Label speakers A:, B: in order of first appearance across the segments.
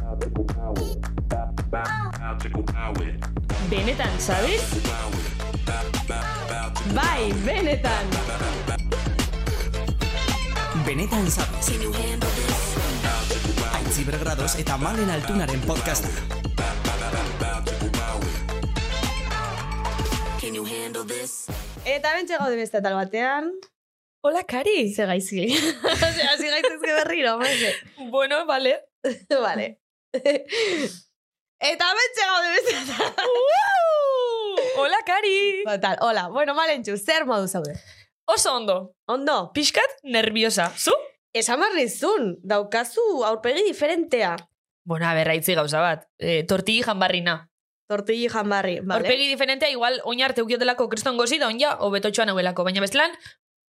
A: Magical power. Ba- ba- Magical power.
B: Benetan, ¿sabes?
A: Power. Ba- ba- magical
B: Bai, benetan!
C: Benetan zabez. Aitzi bergradoz eta malen altunaren podcasta.
D: Eta bentsa gaude beste tal batean.
B: Hola, Kari!
D: Ze gaizki. Ze hasi gaitezke berriro, maize.
B: Bueno, vale.
D: vale. Eta bentsa gaude beste tal.
B: Hola, Kari!
D: Ba, tal, hola. Bueno, malentxu, zer modu zaude?
B: Oso ondo,
D: Ondo,
B: pixkat nerviosa. Zu?
D: esan barri zun, daukazu aurpegi diferentea.
B: Bueno, a ber, haitzi gauza bat. E, tortigi janbarrina.
D: Tortilli janbarri, vale?
B: Horpegi diferentea, igual, oin arte ukiotelako kriston gozi da onja, obetotxoan hauelako. Baina bestelan,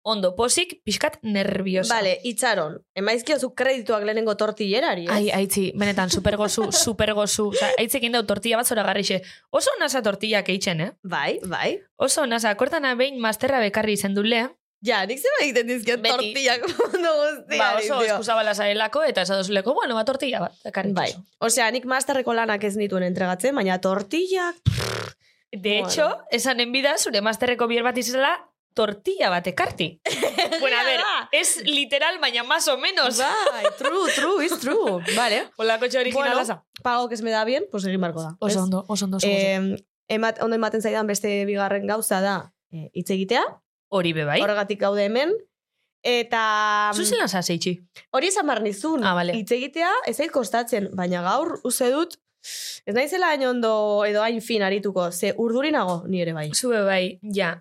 B: ondo posik, pixkat nerviosa.
D: Vale, itxaron. Emaizkiozu kredituak lehenengo eh? tortillerari, ez?
B: Ai, aitzi, benetan, supergozu, supergozu. Osa, aitzekin dau tortilla bat zora garrixe. Oso nasa tortillak eitzen, eh?
D: Bai, bai.
B: Oso nasa, kortana behin masterra bekarri izen du le.
D: Ja, nik zeba egiten dizkiot
B: Beti.
D: tortillak mundu guztiari,
B: Ba, oso
D: tio.
B: eskuzabala zarelako, eta esadozuleko, bueno, ba, tortilla bat. Ekarri
D: Bai.
B: itzazu.
D: Osea, nik masterreko lanak ez nituen entregatzen, baina tortillak
B: De
D: Bueno.
B: hecho, esanen bida, zure masterreko bier bat izela, tortilla bat ekarti. bueno, a ver,
D: da.
B: es literal, baina más o menos.
D: Bai, true, true, is true. Vale.
B: Hola, kotxe originala za.
D: pago que se me da bien, pues egin barko da. ez?
B: Oso ondo, oso ondo, oso ondo.
D: Eh, emat, ondo ematen zaidan beste bigarren gauza da eh, hitz egitea,
B: Hori be, bai?
D: horregatik gaude hemen, eta mm,
B: Zuzen lasa zeitxi.
D: hori esan behar nizun,
B: Ah, vale.
D: hitz egitea ez zait kostatzen, baina gaur uste dut, ez naizela hain ondo edo hain fin arituko, ze urdurinago ni ere bai.
B: Zube bai, ja.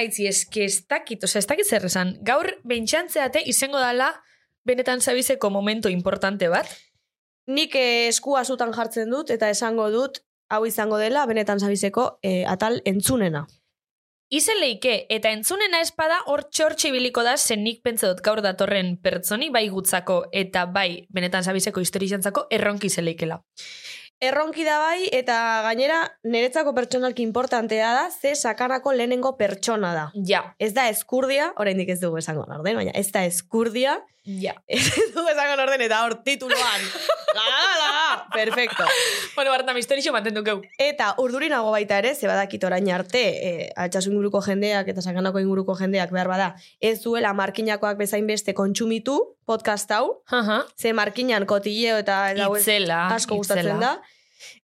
B: Aitzi, eski ez dakit, osea, ez dakit zer esan. Gaur, bentxantzeate izango dala benetan zabizeko momento importante bat.
D: Nik eh, eskua zutan jartzen dut eta esango dut, hau izango dela, benetan zabizeko eh, atal entzunena.
B: Izen leike, eta entzunena espada hor txortxe biliko da zen nik pentsa dut gaur datorren pertsoni bai gutzako eta bai benetan zabizeko historizantzako erronki izen leikela.
D: Erronki da bai, eta gainera niretzako pertsonalki importantea da, ze sakanako lehenengo pertsona da.
B: Ja,
D: Ez da eskurdia, oraindik ez dugu esango norden, baina ez da eskurdia,
B: ja.
D: ez dugu esango norden eta hor tituluan. Laga, laga, perfecto.
B: Bueno, Bartam, historixo mantendu geu.
D: Eta urdurinago baita ere, ze badakit orain arte, e, altsasu inguruko jendeak eta sakanako inguruko jendeak behar bada, ez duela markinakoak bezain beste kontsumitu podcast hau,
B: Aha.
D: ze markinan kotilleo eta lau ez-
B: Itzela.
D: asko gustatzen
B: itzela.
D: da.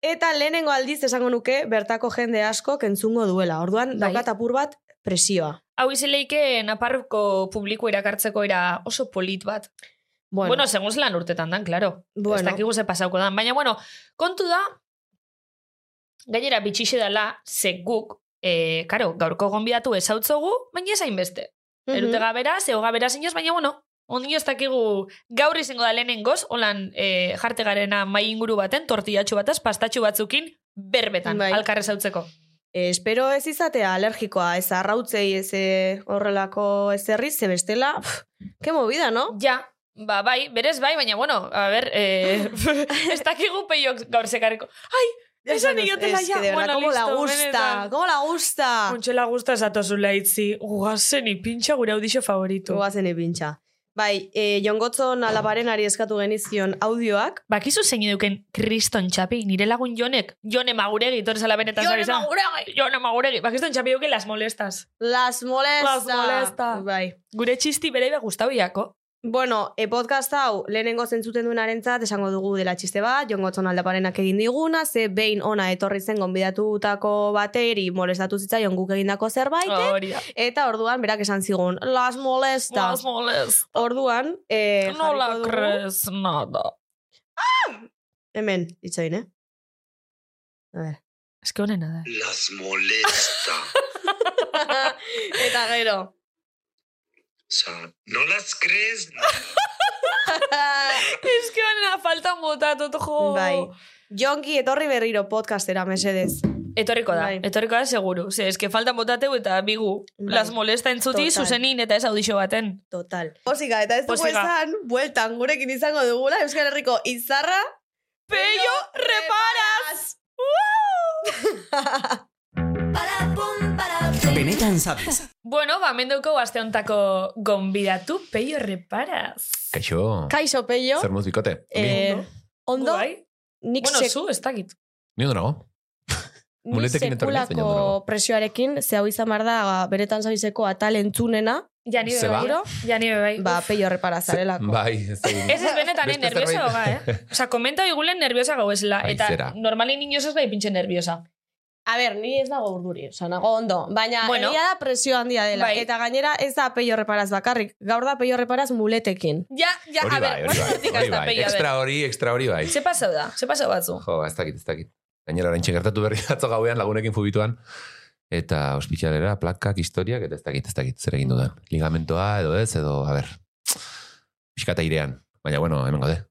D: Eta lehenengo aldiz esango nuke bertako jende asko kentzungo duela. Orduan,
B: Bai.
D: daukat apur bat presioa.
B: Hau izen leike Naparroko publiko irakartzeko era oso polit bat. Bueno,
D: Bueno,
B: segun zelan urtetan dan, claro.
D: Bueno.
B: Ez dakigu ze pasauko dan. Baina, bueno, kontu da, gainera bitxixe dela, ze guk, e, karo, gaurko gonbidatu ezautzogu, baina ezain beste.
D: mhm.
B: Erute gabera, zeo gabera zinez, baina, bueno, ondio ez dakigu gaur izango da lehenen goz, holan e, jarte garena mai inguru baten, tortillatxu bataz, pastatxu batzukin, berbetan,
D: Bai.
B: alkarrez hautzeko.
D: Eh, espero ez izatea alergikoa, ez arrautzei, ez eh, horrelako ez herri, ze bestela, pff, ke movida, no?
B: Ja, ba, bai, berez bai, baina, bueno, a ber, e, ez dakigu peiok gaur zekarriko. Ai, esan iotela
D: Es
B: ja.
D: que de verdad,
B: Bueno,
D: como la
B: listo,
D: gusta,
B: benetan.
D: como la gusta.
B: Kontxela gusta esatozu laitzi, guazen ipintxa gure audixo favoritu.
D: Guazen ipintxa. Bai, eh, jongotzon alabaren ari eskatu genizion audioak.
B: Bakizu zein eduken kriston txapi, nire lagun jonek, jone maguregi, torre zala benetan
D: Jone
B: zabiza. maguregi! Jone maguregi, bakiston txapi eduken las molestas.
D: Las molesta.
B: Las molesta.
D: Bai.
B: Gure txisti bere iba gustabiako.
D: Bueno, e, podcast hau lehenengo zentzuten duenarentzat esango dugu dela txiste bat, jongotzon aldaparenak egin diguna, ze behin ona etorri zen gonbidatutako bateri molestatu zitzaion guk egindako zerbait,
B: Hori da.
D: eta orduan berak esan zigun, las molesta.
B: Las molest.
D: Orduan, e,
B: No la
D: jarriko dugu-
B: crees nada.
D: Hemen, itxain, eh? A ver.
B: Es que honena da.
E: Las molesta.
D: eta gero.
E: Osea, no las crees.
B: Es que honena faltan botatu, tojo.
D: bai. Jonki, etorri berriro podcastera, mesedez.
B: Etorriko da,
D: Bai.
B: etorriko da seguru. Ze, eske faltan botateu eta bigu.
D: Bai.
B: Las molesta entzuti
D: Total.
B: zuzenin eta ez audixo baten.
D: Total. Posika, eta ez dugu
B: Posika.
D: esan, bueltan gurekin izango dugula Euskal Herriko izarra
B: Pello reparas!
C: Benetan zabez.
B: Bueno, ba, mendeuko aste hontako gonbidatu Pello reparas.
F: Kaixo,
D: Kaixo Peio.
F: zer muz bikote?
D: Eh,
B: Ondo.
G: Ondo,
B: Bai?
D: Nik
B: Bueno,
D: sek-
B: zu, ez dakit.
F: Ni ondo nago.
D: Ni
F: Muletekin etorri naiz, baina ondo
D: sekulako
F: nago.
D: presioarekin, ze hau izan behar da, ba, benetan zabizeko atal entzunena,
B: Jani
F: Ze
B: beba,
F: ba?
B: gero. Jani beba, bai.
D: ba, peio repara zarelako.
F: Bai, ez da.
B: Ez ez benetan, eh,
F: Beste
B: nerviosa
F: zerbait.
B: goga, eh? Osa, komenta igulen nerviosa gau esela.
F: Ai,
B: Eta
F: zera.
B: normalin inoz ez bai pintxe nerviosa.
D: A ber, ni ez dago urduri, oza, nago ondo. Baina,
B: Bueno.
D: egia da presio handia dela.
B: Bai.
D: Eta gainera, ez da peio reparaz bakarrik. Gaur da peio reparaz muletekin.
B: Ja, ja,
F: Hori
B: a
F: bai,
B: ber,
F: hori bai,
B: hortik
F: hori
B: hasta
F: bai.
B: peio, a ber.
F: Extra hori, extra hori bai.
B: Ze pasau da, ze pasau batzu.
F: Jo, ba, ez dakit, ez dakit. Gainera, orain gertatu berri atzo gauean lagunekin fubituan. Eta ospitxalera, plakak, historiak, eta ez dakit, ez dakit, zer egin dudan. Ligamentoa, edo ez, edo, a ber, pixkata irean. Baina, bueno, hemen gode.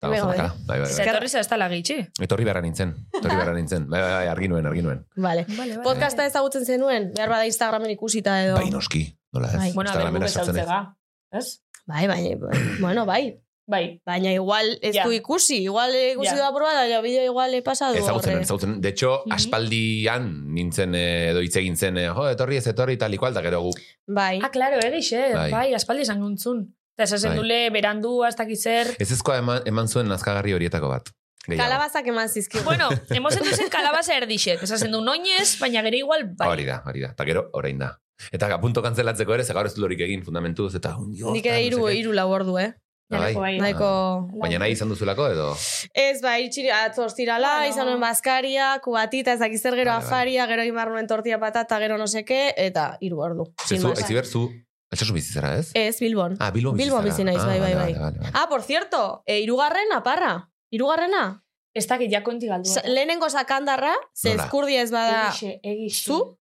F: Eta
D: Hemen
F: oso
D: gaude.
F: makala. Bai, bai,
B: Ze
F: bai.
B: etorri ez da lagitxi.
F: Etorri beharra nintzen, etorri beharra nintzen. Bai, bai, bai, argi nuen, argi nuen.
D: Vale.
B: Vale, vale.
D: Podcasta ezagutzen zenuen, behar bada Instagramen ikusita edo.
F: Bai, noski, nola ez.
D: Bai.
B: Bueno, a ber,
F: Instagramera
B: guk
F: sartzen ez.
B: ezautzega. Ez?
D: Bai, bai, bai, bueno, bai.
B: Bai.
D: Baina igual ez
B: Ja.
D: du ikusi, igual ikusi
B: Ja.
D: du apurba, baina bideo igual pasadu.
F: Ezagutzen nuen, ezagutzen nuen. De hecho,
B: Mhm.
F: aspaldian nintzen, eh, edo hitz egin zen, eh, jo, etorri ez etorri, tal ikual, da gero gu.
D: Bai.
B: Ah, klaro, egixe.
F: Bai.
B: Bai, aspaldi esan guntzun. Eta esasen
F: Bai.
B: dule, berandu, hasta kizer.
F: Ez ezkoa eman, eman zuen nazkagarri horietako bat. Gehiago.
D: Kalabazak eman zizkigu.
B: Bueno, emozen duzen kalabaza erdixek. Esasen du noinez, baina gero igual bai.
F: Hori da, hori da. Eta gero, orain da. Eta apunto kantzelatzeko ere, ze gaur ez dut lorik egin fundamentuz, eta un dio.
D: Nik ere iru, iru lau ordu, eh?
F: Ah, bai.
B: Bai.
D: Nahiko...
F: Baina nahi izan duzulako edo...
D: Ez, bai, itxiri, atzo ostirala,
B: Bueno.
D: izan nuen bazkaria, kubatita, ez dakiz zer, gero
F: Vale, vale.
D: afaria, gero imar nuen tortilla patata, gero no seke, eta iru ordu. Sin
F: Zezu,
D: más.
F: aiziber, zu, altsasun bizizara, ez?
D: Ez, Bilbon.
F: Ah, Bilbon bizi
D: Bilbon
F: zara.
D: Eh, bizi naiz,
F: Ah,
D: bai, bai,
F: vale,
D: bai.
F: vale, vale.
D: Ah, por cierto, e, irugarren aparra. Irugarrena?
B: Ez dakit, ja konti Eh, galdu.
D: Sa- lehenengo sakandarra, ze
F: Nola?
D: eskurdia ez bada...
B: Egixe, egixe.
D: Zu?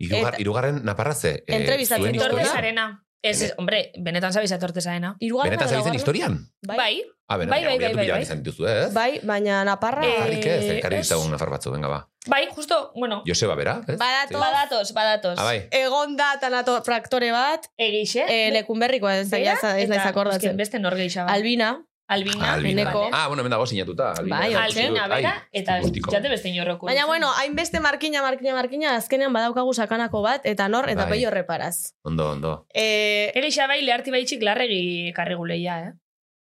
F: Irugar,
D: Eta-
F: irugarren naparra ze? eh,
D: Entrebistatzen
F: zuen
D: dut,
F: historia?
D: eh?
B: Tortesarena. Ez, ez, hombre, benetan zabiz tortesarena.
D: Irugarren
F: Benetan zabizen historian?
D: Bai.
B: Bai,
F: Ah, benetan,
B: Bai, bai, bai, bai, bai.
F: izan dituzu, ez?
D: Bai, baina naparra...
B: Eh,
F: Jarrik Ah, ez, elkarri
B: ez.
F: ditagun nafar batzu, venga, ba.
B: bai, justo, bueno,
F: Joseba, bera, ez?
D: Badato.
F: Sí.
B: badatos, badatos.
F: Ah, bai.
D: Egon da tanato fraktore bat,
B: Egixe.
D: e, lekunberrikoa ez
B: bera,
D: da, ez naiz
B: eta, eske,
D: akordatzen.
B: Beste nor bai. gehiago.
D: Albina,
B: Albina,
F: Albina.
D: Eneko.
B: vale.
F: Ah, bueno, hemen dago sinatuta.
D: Bai,
F: ikusi
B: Albina,
F: dut. Ai,
B: bera, eta
F: ikustiko.
B: jate beste inorroko.
D: Baina, bueno, hainbeste markina, markina, markina, azkenean badaukagu sakanako bat, eta nor, eta
F: Bai.
D: peio reparaz.
F: Ondo, ondo.
D: E,
B: Egixa bai, leharti baitxik larregi karri guleia, eh?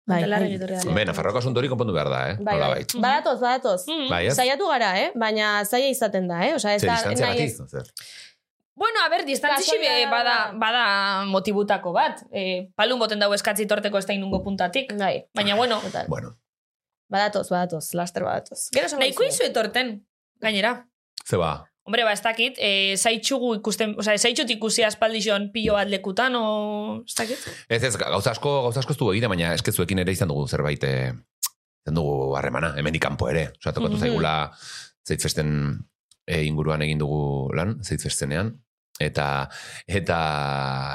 D: bai, bai,
B: Eta larregi torri da.
F: Hemen, Nafarroako asunto hori konpondu behar da, eh?
D: bai,
F: Nola
D: bai.
F: bait.
D: Badatoz, badatoz.
B: Mm.
F: Bai, ez?
D: Saiatu gara, eh? Baina zaila izaten da, eh? Osa, ez
F: Zer,
D: da,
F: distantzia
D: nahi ez...
F: gatik, zer?
B: Bueno, a ber, distantzixi
D: Kasualidadea
B: bada,
D: da.
B: bada motibutako bat. Eh, palun boten dago eskatzi torteko ez da inungo puntatik.
D: Bai,
B: Baina, bueno,
D: total.
F: Bueno,
D: Badatoz, badatoz, laster badatoz. Gero esango
B: nahiko
D: dizuet.
B: izu etorten, gainera.
F: ze ba.
B: Hombre, ba, ez dakit, e, zaitxugu ikusten, oza, zaitxut ikusi aspaldixon pilo bat lekutan, o... Ez dakit?
F: Ez ez, gauza asko, gauza asko ez dugu egiten, baina eskezuekin ere izan dugu zerbait, eh, izan dugu harremana, hemendik kanpo ere. Osa, tokatu
D: Mhm.
F: zaigula zeitzesten eh, inguruan egin dugu lan, zeitzestenean. Eta, eta,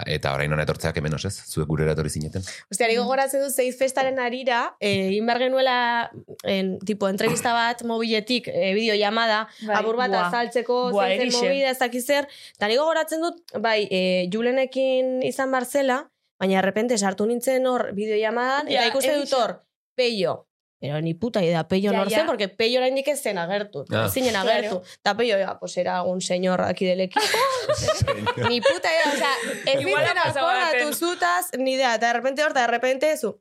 F: eta orain hona etortzeak hemen, ez? Zuek gurera etorri zineten.
D: Ostia,
B: Mm.
D: niko goratzen dut zeiz festaren arira, eh, inbar genuela, en, tipo, entrevista bat mobiletik, eh, bideo llamada, apur bat
B: Bai. Buah.
D: azaltzeko
B: Buah,
D: zein zen
B: erixe.
D: movida ez dakiz zer. Eta niko goratzen dut, bai, e, Julenekin izan barzela, baina errepente sartu nintzen hor bideoiamadan,
B: Ja,
D: eta ikuste dut
B: erixe.
D: hor, peio. Pero ni puta idea, peio
B: Ja,
D: nor
B: ja.
D: zen, porque peio oraindik ez zen agertu.
F: Ah.
D: Ez Zinen
B: Claro.
D: agertu. Eta peio, ja, pues era un señor aquí del equipo. ni puta idea, o sea, ez
B: Igual
D: nintzen
B: ha pasado
D: akordatu
B: baten.
D: zutaz, ni idea. Eta errepente hor, eta errepente zu.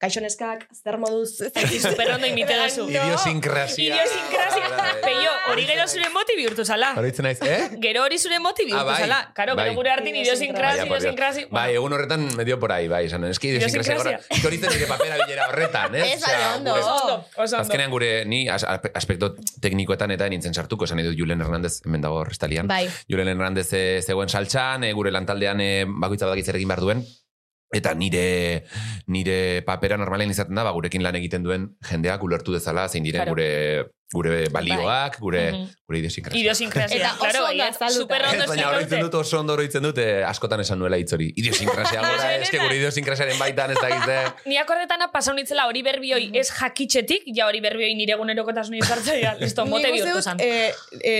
D: Kaixoneskak, zer moduz, ez dakit zer.
B: Superondo imite duzu.
D: Bai, no.
F: Idiosinkrasia.
B: Idiosinkrasia. Peio, hori gero zure moti bihurtu zala.
F: Eh, Hori ditzen naiz, eh?
B: Gero hori zure moti bihurtu
F: bai,
B: zala. Karo, gero
F: bai.
B: gure hartin idiosinkrasi,
F: Baina, por Dios.
B: idiosinkrasi.
F: Bai, egun horretan medio por ahí, bai, esan, eski idiosinkrasia gora.
B: Idiosinkrasia.
F: Itoritzen nire papera bilera horretan, ez?
D: Ez, baina
F: Osea,
D: ondo.
F: gure-
B: Oso ondo.
F: Azkenean gure, ni as- aspe- aspekto teknikoetan eta nintzen sartuko, esan edo Julen Hernandez, hemen dago restalian.
D: Bai,
F: Julen Hernandez eh, zegoen saltxan, eh, gure lantaldean eh, bakoitza badakit zer egin behar duen, eta nire nire papera normalen izaten da, ba, gurekin lan egiten duen jendeak ulertu dezala, zein diren
B: Claro.
F: gure gure balioak, gure,
B: Mhm.
F: gure idiosinkrasia.
B: Idiosinkrasia.
D: Eta oso
B: claro,
D: ondo
B: baiet,
D: azalduta.
B: Superondo
F: Ez, baina oroitzen dut,
B: esikaute.
F: oso ondo oroitzen dut, eh, askotan esan nuela hitz hori. Idiosinkrasia gora,
B: Benetan.
F: eske gure idiosinkrasiaren baitan ez eh. da gizte.
B: Ni akordetana pasau nitzela hori berbioi ez jakitxetik, ja hori berbioi nire gunerokotasun izartzea, listo, mote
D: Nik uste
B: bihurtu
D: dut,
B: zan.
D: eh,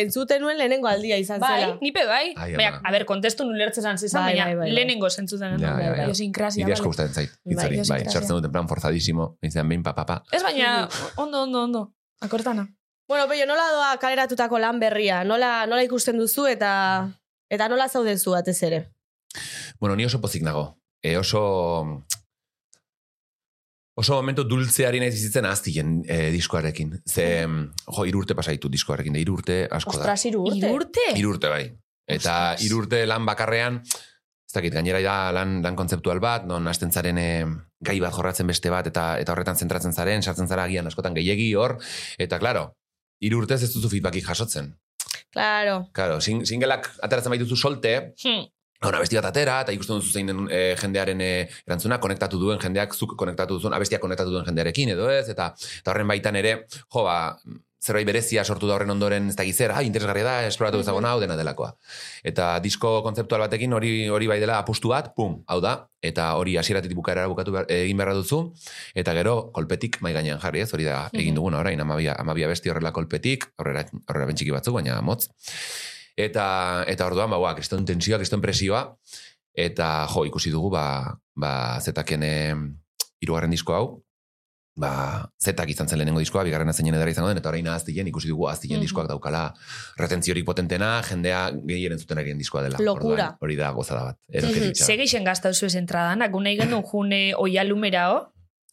D: entzuten nuen lehenengo aldia izan
B: Bai,
D: zela.
B: nipe bai.
F: Ai,
B: Baina,
F: ama.
B: a ber, kontestu nulertze zan zizan,
D: Bai,
B: baina
D: bai, bai, bai.
B: lehenengo zentzuten.
F: Ja, ja, ja.
B: Idiosinkrasia.
F: Nire asko
B: vale.
F: gustatzen zait, hitz
D: Bai,
F: hori. Bai,
B: idiosinkrasia.
F: sartzen duten plan forzadísimo, izan behin papapa.
B: Ez baina, ondo, ondo, ondo. Akortana.
D: Bueno, Peio, nola doa kaleratutako lan berria? Nola, nola ikusten duzu eta eta nola zaudezu batez ere?
F: Bueno, ni oso pozik nago. E, oso... oso momentu dultzeari naiz bizitzen aztien eh, diskoarekin. Ze, jo, irurte pasaitu diskoarekin, da irurte asko da.
D: Ostras, hiru urte.
B: Irurte?
F: Irurte bai. Eta irurte lan bakarrean, ez dakit, gainera da lan, lan kontzeptual bat, non hasten zaren eh, gai bat jorratzen beste bat, eta eta horretan zentratzen zaren, sartzen zara agian askotan gehiegi hor, eta claro, irurtez ez duzu feedbackik jasotzen.
D: Claro.
F: Claro, sing singelak ateratzen baituzu solte,
B: Hmm.
F: Hora, abesti bat atera, eta ikusten duzu zein den, eh, jendearen eh, erantzuna, konektatu duen jendeak, zuk konektatu duzun, abestia konektatu duen jendearekin, edo ez, eta, eta horren baitan ere, jo, ba, zerbait berezia sortu da horren ondoren, ez da gizer, ah, interesgarria da, esploratu ezagun hau dena delakoa. Eta disko kontzeptual batekin hori hori bai dela apustu bat, pum, hau da, eta hori hasieratik bukaera bukatu behar, egin beharra duzu, eta gero kolpetik mai gainean jarri, ez, hori da egin duguna orain, amabia, amabia besti horrela kolpetik, horrela, horrela bentxiki batzu, baina motz. Eta, eta orduan, ba, ba, kriston tensioa, kriston presioa, eta jo, ikusi dugu, ba, ba zetaken eh, irugarren disko hau, ba, zetak izan zen lehenengo diskoa, bigarren zeinen edera izango den, eta orain aztien, ikusi dugu aztien
D: Mhm.
F: diskoak daukala retentziorik potentena, jendea gehien entzuten ari den diskoa dela.
D: Lokura.
F: Orduan, Hori da gozada bat. erokeri txarra.
B: Segeixen gazta duzu ez entradanak, gunei genuen june oialumerao,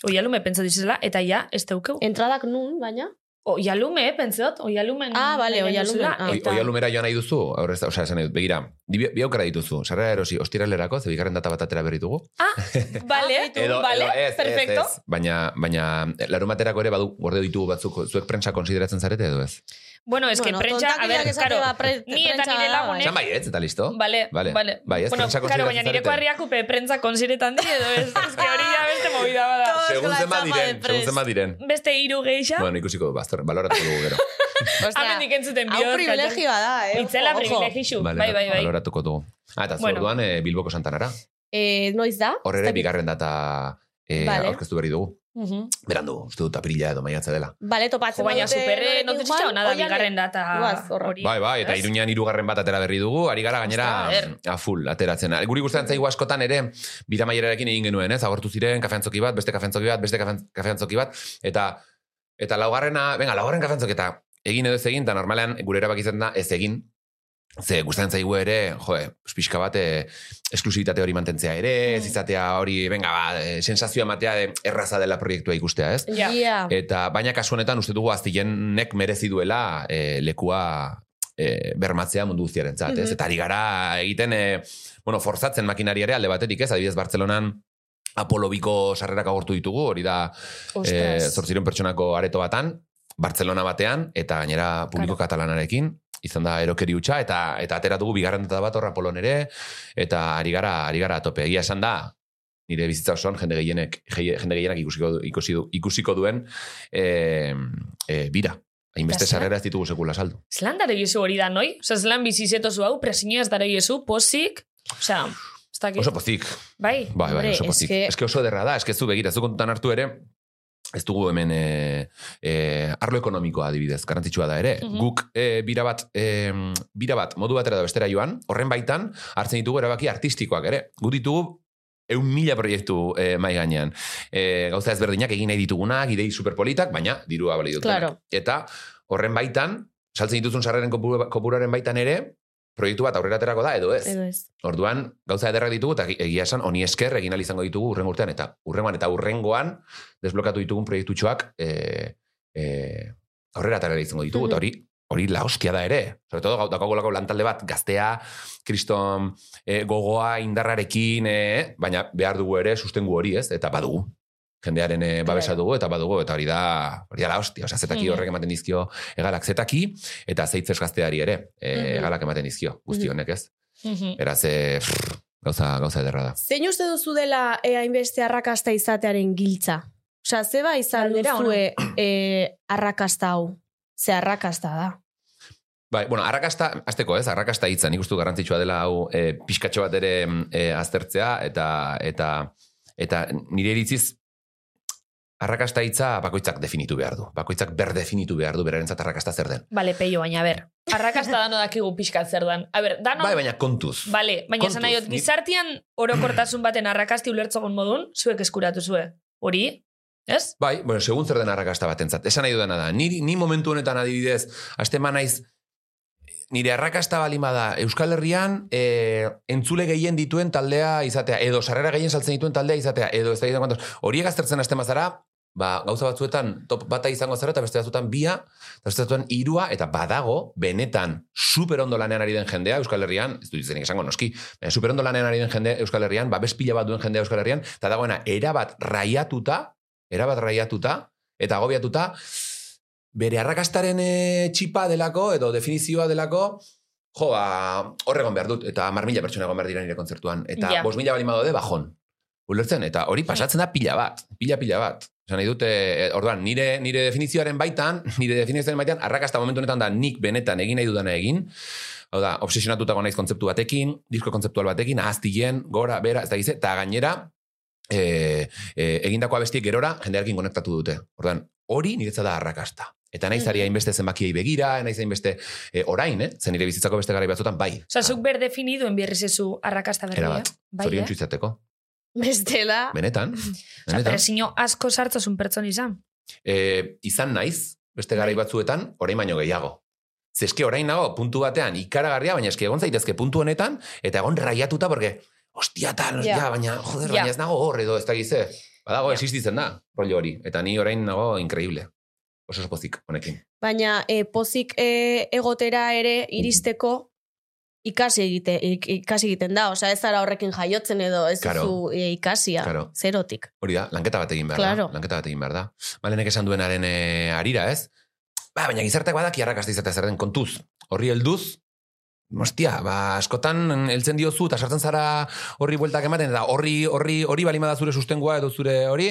B: oialume pentsa dizela, eta ja, ez daukeu.
D: Entradak nun, baina?
B: Oialume, pentsot, oialumen.
D: Ah, bale,
B: nahi genuen
D: oialumen,
B: zela, Eh,
D: ah.
F: Oi,
B: eta-
F: oialumera joan nahi duzu, aurrez, osea, esan nahi dut, begira, di- bi, bi aukera dituzu, sarrera erosi, ostiralerako, ze bigarren data bat atera berri dugu.
B: ah, Bale,
D: Ah,
B: bale,
F: ez,
B: perfecto.
F: ez, ez. Baina, baina larun baterako ere badu gorde ditugu batzuk, zuek prentsa konsideratzen zarete edo ez?
B: Bueno, es que prentsa, a ver,
D: esate
B: karo,
D: ba, pre-
B: ni eta
D: prentsa
B: nire
D: da,
B: lagunek-
D: bai.
F: Esan bai ez, eta listo?
B: Bale,
F: Vale,
B: bale.
F: bai, ez
B: bueno,
F: prentsa
B: claro, baina
F: konsideratzen
B: nireko
F: zarete.
B: harriak upe prentsa konsiretan dire, edo ez, ez que hori da beste movida bada.
F: Segun zema diren, segun zema diren.
B: Beste hiru geixa, bueno,
F: Bueno, ikusiko, bazter, baloratuko dugu gero.
B: amendik entzuten
D: hau
B: bihor.
D: privilegioa da, eh?
B: Itzela
D: Ojo.
B: privilegixu,
F: Bale,
B: bai, bai, bai.
F: Baloratuko dugu. Ah, eta
B: Bueno.
F: bueno. orduan eh, Bilboko Santanara.
D: Eh, noiz da?
F: Hor
D: Ez
F: ere
D: dakit.
F: bigarren data eh,
D: Vale.
F: aurkeztu berri dugu.
B: Mhm.
F: Berandu, uste dut apirila edo maiatza dela.
D: Bale,
B: Jo,
D: topatzen.
B: baina
D: badute
B: superre,
D: norekin
B: no te
D: joan,
B: txitxao nada
D: oiale.
B: bigarren data
D: Goaz, horra.
B: hori.
F: Bai, bai, eta
B: Ez?
F: iruñan irugarren bat atera berri dugu, ari gara gainera
B: Ostra,
F: mm, a full ateratzen. Guri gustatzen zaigu askotan ere bidamaierarekin egin genuen, ez? Agortu ziren kafeantzoki bat, beste kafeantzoki bat, beste kafe- kafeantzoki bat eta eta laugarrena, venga, laugarren kafeantzoki eta egin edo ez egin, eta normalean gure erabaki izan da ez egin. Ze gustatzen zaigu ere, jo, pixka bat eh, esklusibitate hori mantentzea ere, ez
B: Mm.
F: izatea hori, venga, ba, eh, sensazioa ematea de, erraza dela proiektua ikustea, ez?
B: Ja.
D: Ja.
F: Eta baina kasu honetan uste dugu aztienek merezi duela eh, lekua eh, bermatzea mundu guztiaren zat, ez?
D: Mhm.
F: Eta ari gara egiten, eh, bueno, forzatzen makinari ere alde baterik, ez? Adibidez, Bartzelonan Apolo biko sarrerak agortu ditugu, hori da eh,
B: Ostras.
F: zortziron pertsonako areto batan, Bartzelona batean, eta gainera publiko katalanarekin, izan da erokeri hutsa, eta, eta atera dugu bigarren data bat horra polon ere, eta ari gara, ari gara tope. Egia esan da, nire bizitza osoan jende gehienek, jende gehienak ikusiko, du- ikusi du, ikusiko duen eh, eh, bira. Hainbeste
B: Eta zer?
F: sarrera ez ditugu sekula saldu.
B: Zelan dara iesu hori da, noi? Osa, zelan bizizeto zu hau, presinio ez dara iesu, posik, osea, ez dakit.
F: Oso pozik,
B: Bai,
F: bai, bai,
D: Hombre,
F: oso pozik.
D: eske-
F: Eske oso ederra da, eske zu begira, zu kontutan hartu ere, ez dugu hemen e, e, arlo ekonomikoa adibidez, garrantzitsua da ere.
B: Mhm.
F: Guk e, bira bat, e, bira bat, modu batera da bestera joan, horren baitan, hartzen ditugu erabaki artistikoak ere. Gu ditugu eun mila proiektu e, mai gainean. E, gauza ezberdinak egin nahi ditugunak, idei superpolitak, baina dirua balio dutenak.
D: Claro.
F: Eta horren baitan, saltzen dituzun sarreren kopuru- kopuruaren baitan ere, proiektu bat aurrera aterako da, edo ez.
D: Edo ez.
F: Orduan, gauza ederrak ditugu, eta egi- egia esan, honi esker egin ahal izango ditugu urrengo urtean, eta urrengoan eta urrengoan desblokatu ditugun proiektutxoak e, e, aurrera atarela izango ditugu, eta hori hori la hostia da ere. Sobre todo, gautako golako lantalde bat, gaztea, kriston e, gogoa, indarrarekin, e, baina behar dugu ere sustengu hori, ez? Eta badugu. Jendearen e, babesa dugu, eta badugu, eta hori da, hori da la hostia. Osea, zetaki
B: Mhm.
F: horrek ematen dizkio egalak zetaki, eta zeitzez gazteari ere, e,
B: Mhm.
F: egalak ematen dizkio, guzti honek, ez?
B: Mhm.
F: Beraz, e, pff, gauza, gauza ederra da.
D: Zein uste duzu dela eh, hainbeste arrakasta izatearen giltza? Osa, zeba izan
B: Galdera
D: duzue eh, arrakasta hau? Ze arrakasta da.
F: Bai, bueno, arrakasta, azteko ez, arrakasta hitza, nik uste dut garrantzitsua dela hau e, pixkatxo bat ere mm, e, aztertzea, eta, eta, eta nire iritziz, arrakasta hitza bakoitzak definitu behar du. Bakoitzak berdefinitu behar du, berarentzat arrakasta zer den.
B: Bale, peio, baina, ber. Arrakasta dano dakigu pixkat zer dan. A ber, dano...
F: Bai, baina kontuz.
B: Bale, baina esan nahi
F: Kontuz,
B: dut,
F: ni-
B: gizartian orokortasun baten arrakasti ulertzogon modun, zuek eskuratu zue. Hori, ez?
F: Bai, bueno, segun zer den arrakasta batentzat. Esan nahi dudana da. Ni, ni momentu honetan adibidez, astema naiz nire arrakasta balima da Euskal Herrian e, entzule gehien dituen taldea izatea, edo sarrera gehien saltzen dituen taldea izatea, edo ez da egiten kuantos. Horiek aztertzen hasten bazara, ba, gauza batzuetan top bata izango zara, eta beste batzuetan bia, eta beste batzuetan irua, eta badago, benetan, super ondo lanean ari den jendea Euskal Herrian, ez dut izenik esango noski, baina super ondo Eh, lanean ari den jendea Euskal Herrian, babes pila bat duen jendea Euskal Herrian, eta dagoena, erabat raiatuta, erabat raiatuta, eta agobiatuta, bere arrakastaren eh, txipa delako, edo definizioa delako, jo, ba, hor egon behar dut, eta mar mila pertsona egon behar dira nire kontzertuan, eta
B: Ja.
F: yeah. bos mila balima daude bajon. Ulertzen, eta hori pasatzen da pila bat, pila pila bat. Esan nahi dute, eh, orduan, nire, nire definizioaren baitan, nire definizioaren baitan, arrakasta momentu honetan da nik benetan egin nahi dudana egin, hau da, obsesionatutako naiz kontzeptu batekin, disko kontzeptual batekin, ahaztien, gora, bera, ez da gize, eta gainera, e, e, egindako abestiek gerora, jendearekin konektatu dute. Orduan, hori niretza da arrakasta. Eta naiz
B: Mm-hmm.
F: ari hainbeste zenbakiei begira, naiz hainbeste e, orain, eh? Zen nire bizitzako beste garai batzutan, bai.
B: Osa, zuk ber definiduen birrizezu arrakasta berria.
F: Erabat.
B: Bai,
F: Zorion
B: eh? Mm-hmm.
F: txuitzateko.
D: Bestela,
F: Benetan.
B: Osa,
F: Benetan.
B: presio asko sartzazun pertson izan.
F: e, izan naiz, beste garai batzuetan, orain baino gehiago. Ze eske orain nago, puntu batean, ikaragarria, baina eske egon zaitezke puntu honetan, eta egon raiatuta, porque, hostia tal,
D: Ja.
F: ja, baina, joder,
B: Ja.
F: baina ez nago hor, edo ez da gize. Badago, existitzen da, rollo hori. Eta ni orain nago, increíble. Oso espozik, honekin.
D: baina e, pozik e, egotera ere iristeko ikasi egite ik- ikasi egiten da, osea ez zara horrekin jaiotzen edo ez
F: Claro.
D: zu e, ikasia
F: Claro.
D: zerotik.
F: Hori da, lanketa bat egin behar
D: Claro.
F: da. Lanketa bat egin behar da. Malenek esan duenaren eh, arira, ez? Ba, baina gizarteak badaki arrakasta izatea zer den kontuz. Horri helduz, Hostia, ba, askotan heltzen diozu eta sartzen zara horri bueltak ematen eta horri horri hori balima da zure sustengoa edo zure hori,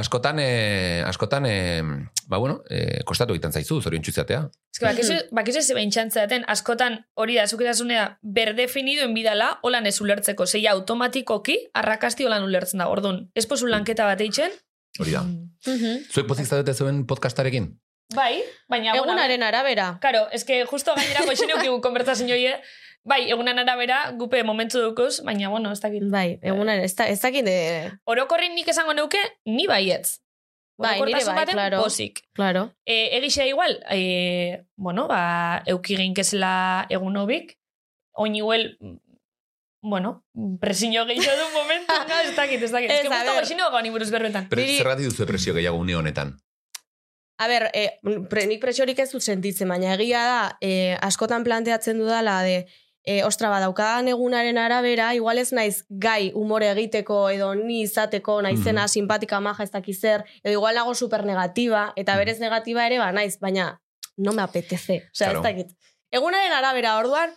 F: askotan eh, askotan eh, ba bueno, eh, kostatu egiten zaizu zorion txutzatea.
B: Ez que bakizu,
D: Mm-hmm.
B: bakizu ez zebein txantzaten, askotan hori da, zuk edasunea, berdefiniduen bidala, holan ez ulertzeko. Zeia, automatikoki, arrakasti holan ulertzen da. Orduan, ez
D: Mm.
B: pozu lanketa bat eitzen?
F: Hori da. Zuek pozik zaudete zuen podcastarekin?
B: Bai, baina... bueno,
D: Egunaren arabera.
B: Claro, es que justo gainera goixen eukigu konbertsazio hie, bai, egunan arabera, gupe momentu dukuz, baina, bueno, ez dakit.
D: Bai, egunaren, ez, da, ez dakit, e,
B: Orokorrin nik esango neuke, ni baietz.
D: Bai, nire
B: Orokortasun
D: bai,
B: baten
D: claro.
B: Pozik.
D: claro.
B: E, egixea igual, e, bueno, ba, eukigein kezela egun hobik, oin igual, bueno, presiño gehiago du momentu, no, ez dakit, ez dakit.
D: Ez,
B: Ez que
D: a
B: gusta
D: ber.
B: goxino gani ba, buruz berbetan.
F: Pre,
D: Niri-
F: Zergatik duzu presio gehiago une honetan?
D: A ber, e, pre, nik presiorik ez dut sentitzen, baina egia da, e, askotan planteatzen dudala de, e, ostra, badaukadan egunaren arabera, igual ez naiz gai umore egiteko, edo ni izateko, naizena,
F: Mhm.
D: simpatika, maja, ez dakizer, edo igual nago super negativa,
F: Mhm.
D: eta berez negativa ere, ba, naiz, baina no me apetece, osea,
F: Claro.
D: ez dakit. Egunaren arabera, orduan,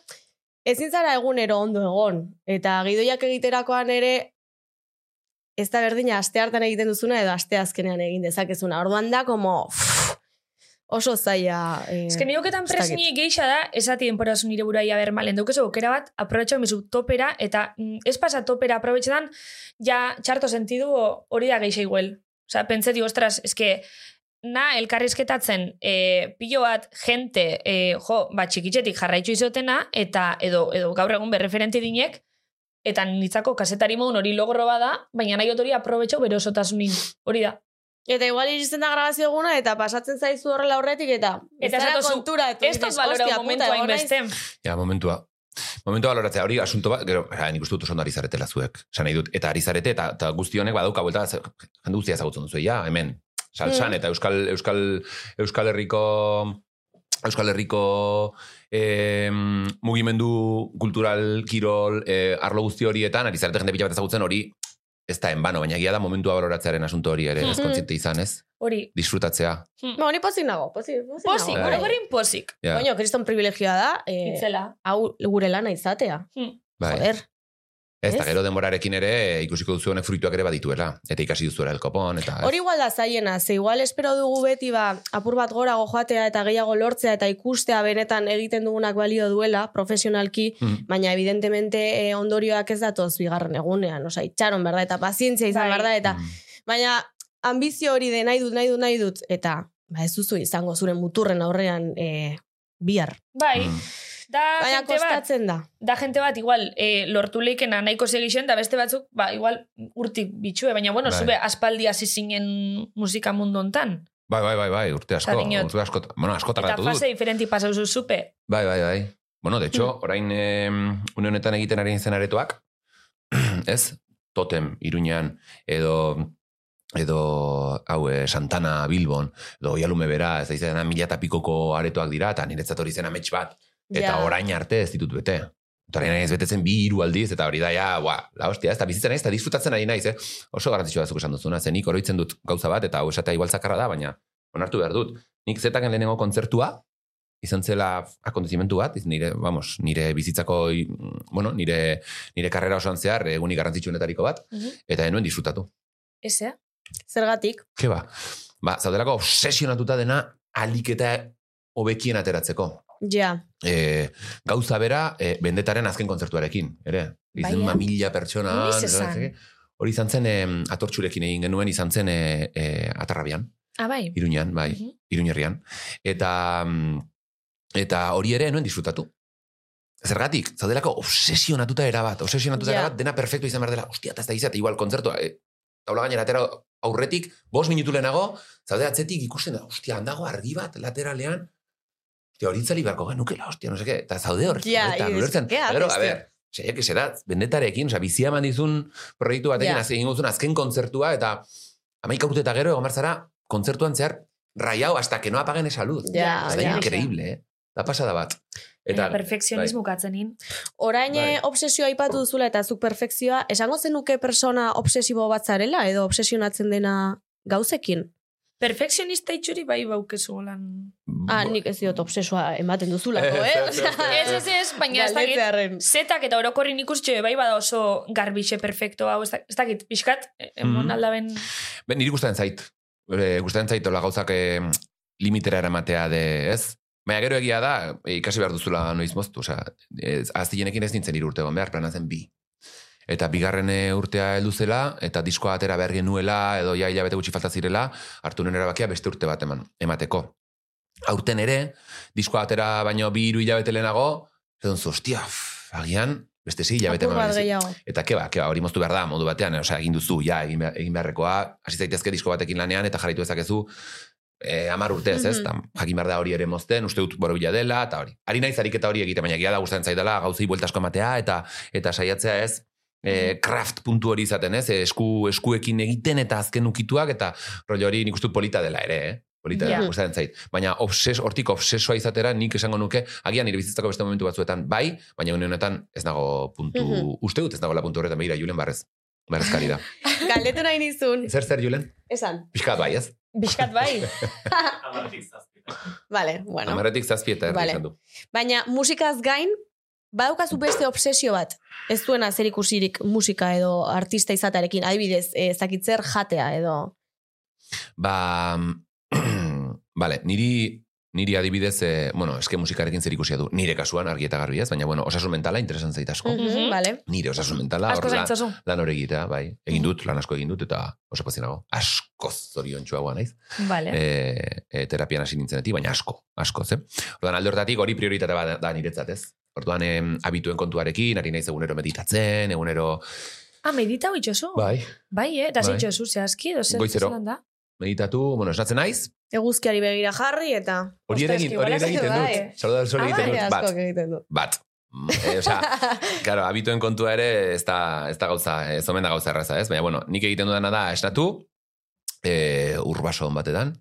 D: ezin zara egunero ondo egon, eta gidoiak egiterakoan ere, ez da berdina aste hartan egiten duzuna edo aste azkenean egin dezakezuna. Orduan da, como pff, oso zaila. Eh,
B: Ez que neoketan
D: ez dakit.
B: presiñi geixa da, esati denporazu nire buruaia bermalen. Daukezu bai, aukera bat, aprobetxo mizu topera, eta mm, ez pasa topera aprobetxetan, ja txarto sentidu o- hori da geixa iguel. Osa, pentseti, ostras, ez que na elkarrizketatzen e, pilo bat jente e, jo, ba, txikitzetik jarraitzu izotena eta edo, edo gaur egun berreferenti dinek eta nitzako kasetari modun hori logro bada, baina nahi dut hori aprobetxo bere osotasunin. Hori da.
D: Eta igual iristen da grabazio eguna eta pasatzen zaizu horrela horretik eta
B: Eta
D: ez zara
B: esatozu,
D: kontura. eta
B: Ez dut
D: dices,
B: balora
D: "Hostia,
B: momentua
D: puta, egon naiz".
B: hainbeste.
F: Ja, momentua. Momentua baloratzea hori asunto bat, gero, ja, nik uste dut oso ondo ari zaretela zuek. Esan nahi dut, eta ari zarete, eta, eta guzti honek badauka buelta, ze- jende guztia ezagutzen duzu, ja, hemen. Salsan, eta Euskal, Euskal, Euskal Herriko... Euskal Herriko eh, mugimendu kultural, kirol, eh, arlo guzti horietan, ari zarete jende pila bat ezagutzen hori, ez da enbano, baina egia da momentua baloratzearen asunto hori ere, ez
D: Mhm.
F: kontziente izan, ez?
B: Hori.
F: Disfrutatzea.
D: Ba, honi pozik nago, pozik, pozik,
B: Pozik,
F: Bai.
D: nago.
B: orokorrin pozik.
F: Ja,
D: Coño, kriston privilegioa da, eh,
B: Itzela. Hmm.
D: hau gure lana izatea.
F: bai.
D: Joder.
F: Ez, eta
D: Ez?
F: gero denborarekin ere e, ikusiko duzu honek fruituak ere badituela. Eta ikasi duzuela elkopon, eta...
D: Hori igual da zaiena, ze igual espero dugu beti ba, apur bat gorago joatea eta gehiago lortzea eta ikustea benetan egiten dugunak balio duela, profesionalki,
F: Mhm.
D: baina evidentemente eh, ondorioak ez datoz bigarren egunean, osea, itxaron berda eta pazientzia izan
B: Bai.
D: berda eta
F: Mm.
D: baina ambizio hori de nahi dut, nahi dut, nahi dut eta ba ez duzu izango zure muturren aurrean eh, bihar.
B: Bai,
F: Mm.
B: da
D: Baina
B: jente bat,
D: kostatzen da.
B: da jente bat igual e, lortu leikena nahiko segixen, da beste batzuk, ba, igual urtik bitxue, baina bueno,
F: Bai.
B: zube aspaldi hasi zinen musika mundu hontan.
F: Bai, bai, bai, bai, urte asko.
B: Eta dinot.
F: Urte asko, bueno, asko
B: Eta
F: tardatu dut.
B: fase diferenti pasau zu zupe.
F: Bai, bai, bai. Bueno, de hecho, orain em, une honetan egiten ari zen aretoak, ez? Totem, Iruñan, edo edo hau eh, Santana Bilbon, edo Oialume bera, ez da izena mila eta pikoko aretoak dira, eta niretzat hori zen amets bat. Eta
D: Ja.
F: orain arte ez ditut bete. Eta orain ez betetzen bi hiru aldiz, eta hori da, ja, ba, la hostia, ez da bizitzen naiz, eta disfrutatzen ari naiz, eh? Oso garrantzitsua da zuk esan duzuna, ze nik oroitzen dut gauza bat, eta hau esatea igual zakarra da, baina onartu behar dut. Nik zetaken lehenengo kontzertua, izan zela akontezimentu bat, iz- nire, vamos, nire bizitzako, i- bueno, nire, nire karrera osoan zehar, eh, egunik garrantzitsuenetariko bat,
B: Mhm.
F: eta enuen disfrutatu.
B: Ez, eh?
D: Zergatik,
F: Ke ba, ba, zaudelako obsesionatuta dena aliketa hobekien ateratzeko.
D: ja.
F: E, gauza bera, e, bendetaren azken kontzertuarekin, ere. Izan
B: Bai,
F: una
B: eh?
F: mila pertsona.
B: Noiz esan?
F: ez dakit. Hori izan zen em, atortxurekin egin genuen, izan zen e, e, atarrabian,
B: Ah, bai.
F: iruñan, bai,
B: Mhm.
F: iruñerrian. Eta, mm, eta hori ere enuen disfrutatu. Zergatik, zaudelako obsesionatuta erabat, obsesionatuta
D: Ja.
F: erabat, dena perfecto izan behar dela, ostia, eta ez da izate, igual, kontzertua, e, taula gainera atera aurretik, bost minutu lehenago, zaude atzetik ikusten da, ostia, handago argi bat, lateralean, ostia, hori itzali beharko genukela, ostia, no seke, eta zaude hor,
D: Ja,
F: horretan,
D: i-
F: ulertzen.
D: ke
F: Eta gero, a
D: abeste.
F: ber, seiak ese da, bendetarekin, oza, bizia eman dizun proiektu batekin,
D: Ja.
F: azken, ingozun, azken kontzertua, eta amaika urte eta gero, egon behar zara, kontzertuan zehar, rayao, hasta que no apaguen esa luz.
D: Ja,
F: Ez da
D: ja.
F: increíble, eh? Da pasada bat.
B: Eta, perfekzionismo katzen in.
D: Orain
F: Bai.
D: eh, obsesioa aipatu duzula eta zuk perfekzioa, esango zenuke persona obsesibo bat zarela edo obsesionatzen dena gauzekin?
B: Perfekzionista itxuri bai baukezu lan.
D: Ah, nik ez diot obsesoa ematen duzulako,
F: Ez,
D: eh?
F: ez, ez, ez.
B: Ez, ez, ez, baina ez dakit.
D: Galdetzearren.
B: Zetak eta orokorrin ikustxe bai bada oso garbixe perfecto hau, ez dak- ez dakit, pixkat, e, emon
F: Mhm.
B: aldaben...
F: Ben, niri gustatzen zait. E, gustatzen zait, hola gauzak eh, limitera eramatea de, ez? Baina gero egia da, eh, ikasi behar duzula noiz moztu. Osea, ez, aztienekin ez nintzen hiru urte egon behar, plana zen bi. Eta bigarren eh, urtea heldu zela, eta diskoa atera behar genuela, edo ja hilabete gutxi falta zirela, hartu nuen erabakia beste urte bat eman, emateko. Aurten ere, diskoa atera baino bi hiru hilabete lehenago, esan zu, ostia, pff, agian, beste sei hilabete
D: Apur
F: eman.
D: bat
F: behar
D: gehiago.
F: Eta keba, keba, ba, hori moztu behar da, modu batean, eh, osea, egin duzu, ja, egin, behar- egin beharrekoa, hasi zaitezke disko batekin lanean, eta jarraitu dezakezu, eh, amar urtez, ez?
D: Mhm.
F: Tam, jakin behar da hori ere mozten, uste dut borobila dela, eta hori. Ari naiz ariketa hori egite, baina egia da gustatzen zaidala gauzei buelta asko ematea, eta eta saiatzea ez, e, craft puntu hori izaten, ez? Eh, Esku, eskuekin egiten eta azken ukituak, eta rollo hori nik uste dut polita dela ere, eh? Polita dela,
B: Ja.
F: gustatzen zait. Baina obses, hortik obsesoa izatera nik esango nuke, agian nire bizitzako beste momentu batzuetan bai, baina une honetan ez nago puntu,
D: Mhm.
F: uste dut ez nago la puntu horretan, begira, Julen barrez. Barrezkari da.
D: Galdetu nahi nizun.
F: Zer zer, Julen?
D: Esan.
F: Piskat bai, ez?
B: Bizkat bai.
D: Vale, bueno.
F: Amaretik zazpi eta erdi
D: Vale.
F: izan du.
D: Baina musikaz gain, badaukazu beste obsesio bat. Ez duena zer ikusirik musika edo artista izatearekin, adibidez, eh, ez dakit zer jatea edo...
F: Ba, mm, vale, niri, niri adibidez, eh, bueno, eske musikarekin zer ikusia du. Nire kasuan, argi eta garbi ez, baina bueno, osasun mentala interesan zait asko.
B: Mhm.
D: Vale.
F: Nire osasun mentala,
B: Asko
F: hor lan,
B: zaintzazu.
F: lan hori egitea, bai. Egin dut, lan asko egin dut, eta oso pozinago. Asko zorion txuagoa naiz.
B: Vale.
F: E, e, terapian hasi nintzenetik, baina asko, asko, ze? Orduan, alde hortatik hori prioritate bat da- da niretzat, ez? Orduan, em, abituen kontuarekin, ari naiz egunero meditatzen, egunero...
B: Ah, medita itxozu?
F: Bai.
B: Bai, eh? Da
F: Bai.
B: zeintxozu, zehazki, edo zer
F: Goizero.
B: zelan da?
F: Meditatu, bueno, esnatzen naiz,
D: Eguzkiari begira jarri eta...
F: hori ere
B: Ostras,
F: egin-
B: que igual
F: hori ere
B: hasi
F: egiten
B: bai.
F: dut. Saluda hori
B: Ah,
F: egiten
B: bai,
F: dut, bat,
D: asko egiten du.
F: bat. Mm, E, osea, claro, habituen kontua ere ez da, ez da gauza, ez omen da gauza erraza, ez? Baina, bueno, nik egiten dudana da esnatu, e, urbaso hon batetan,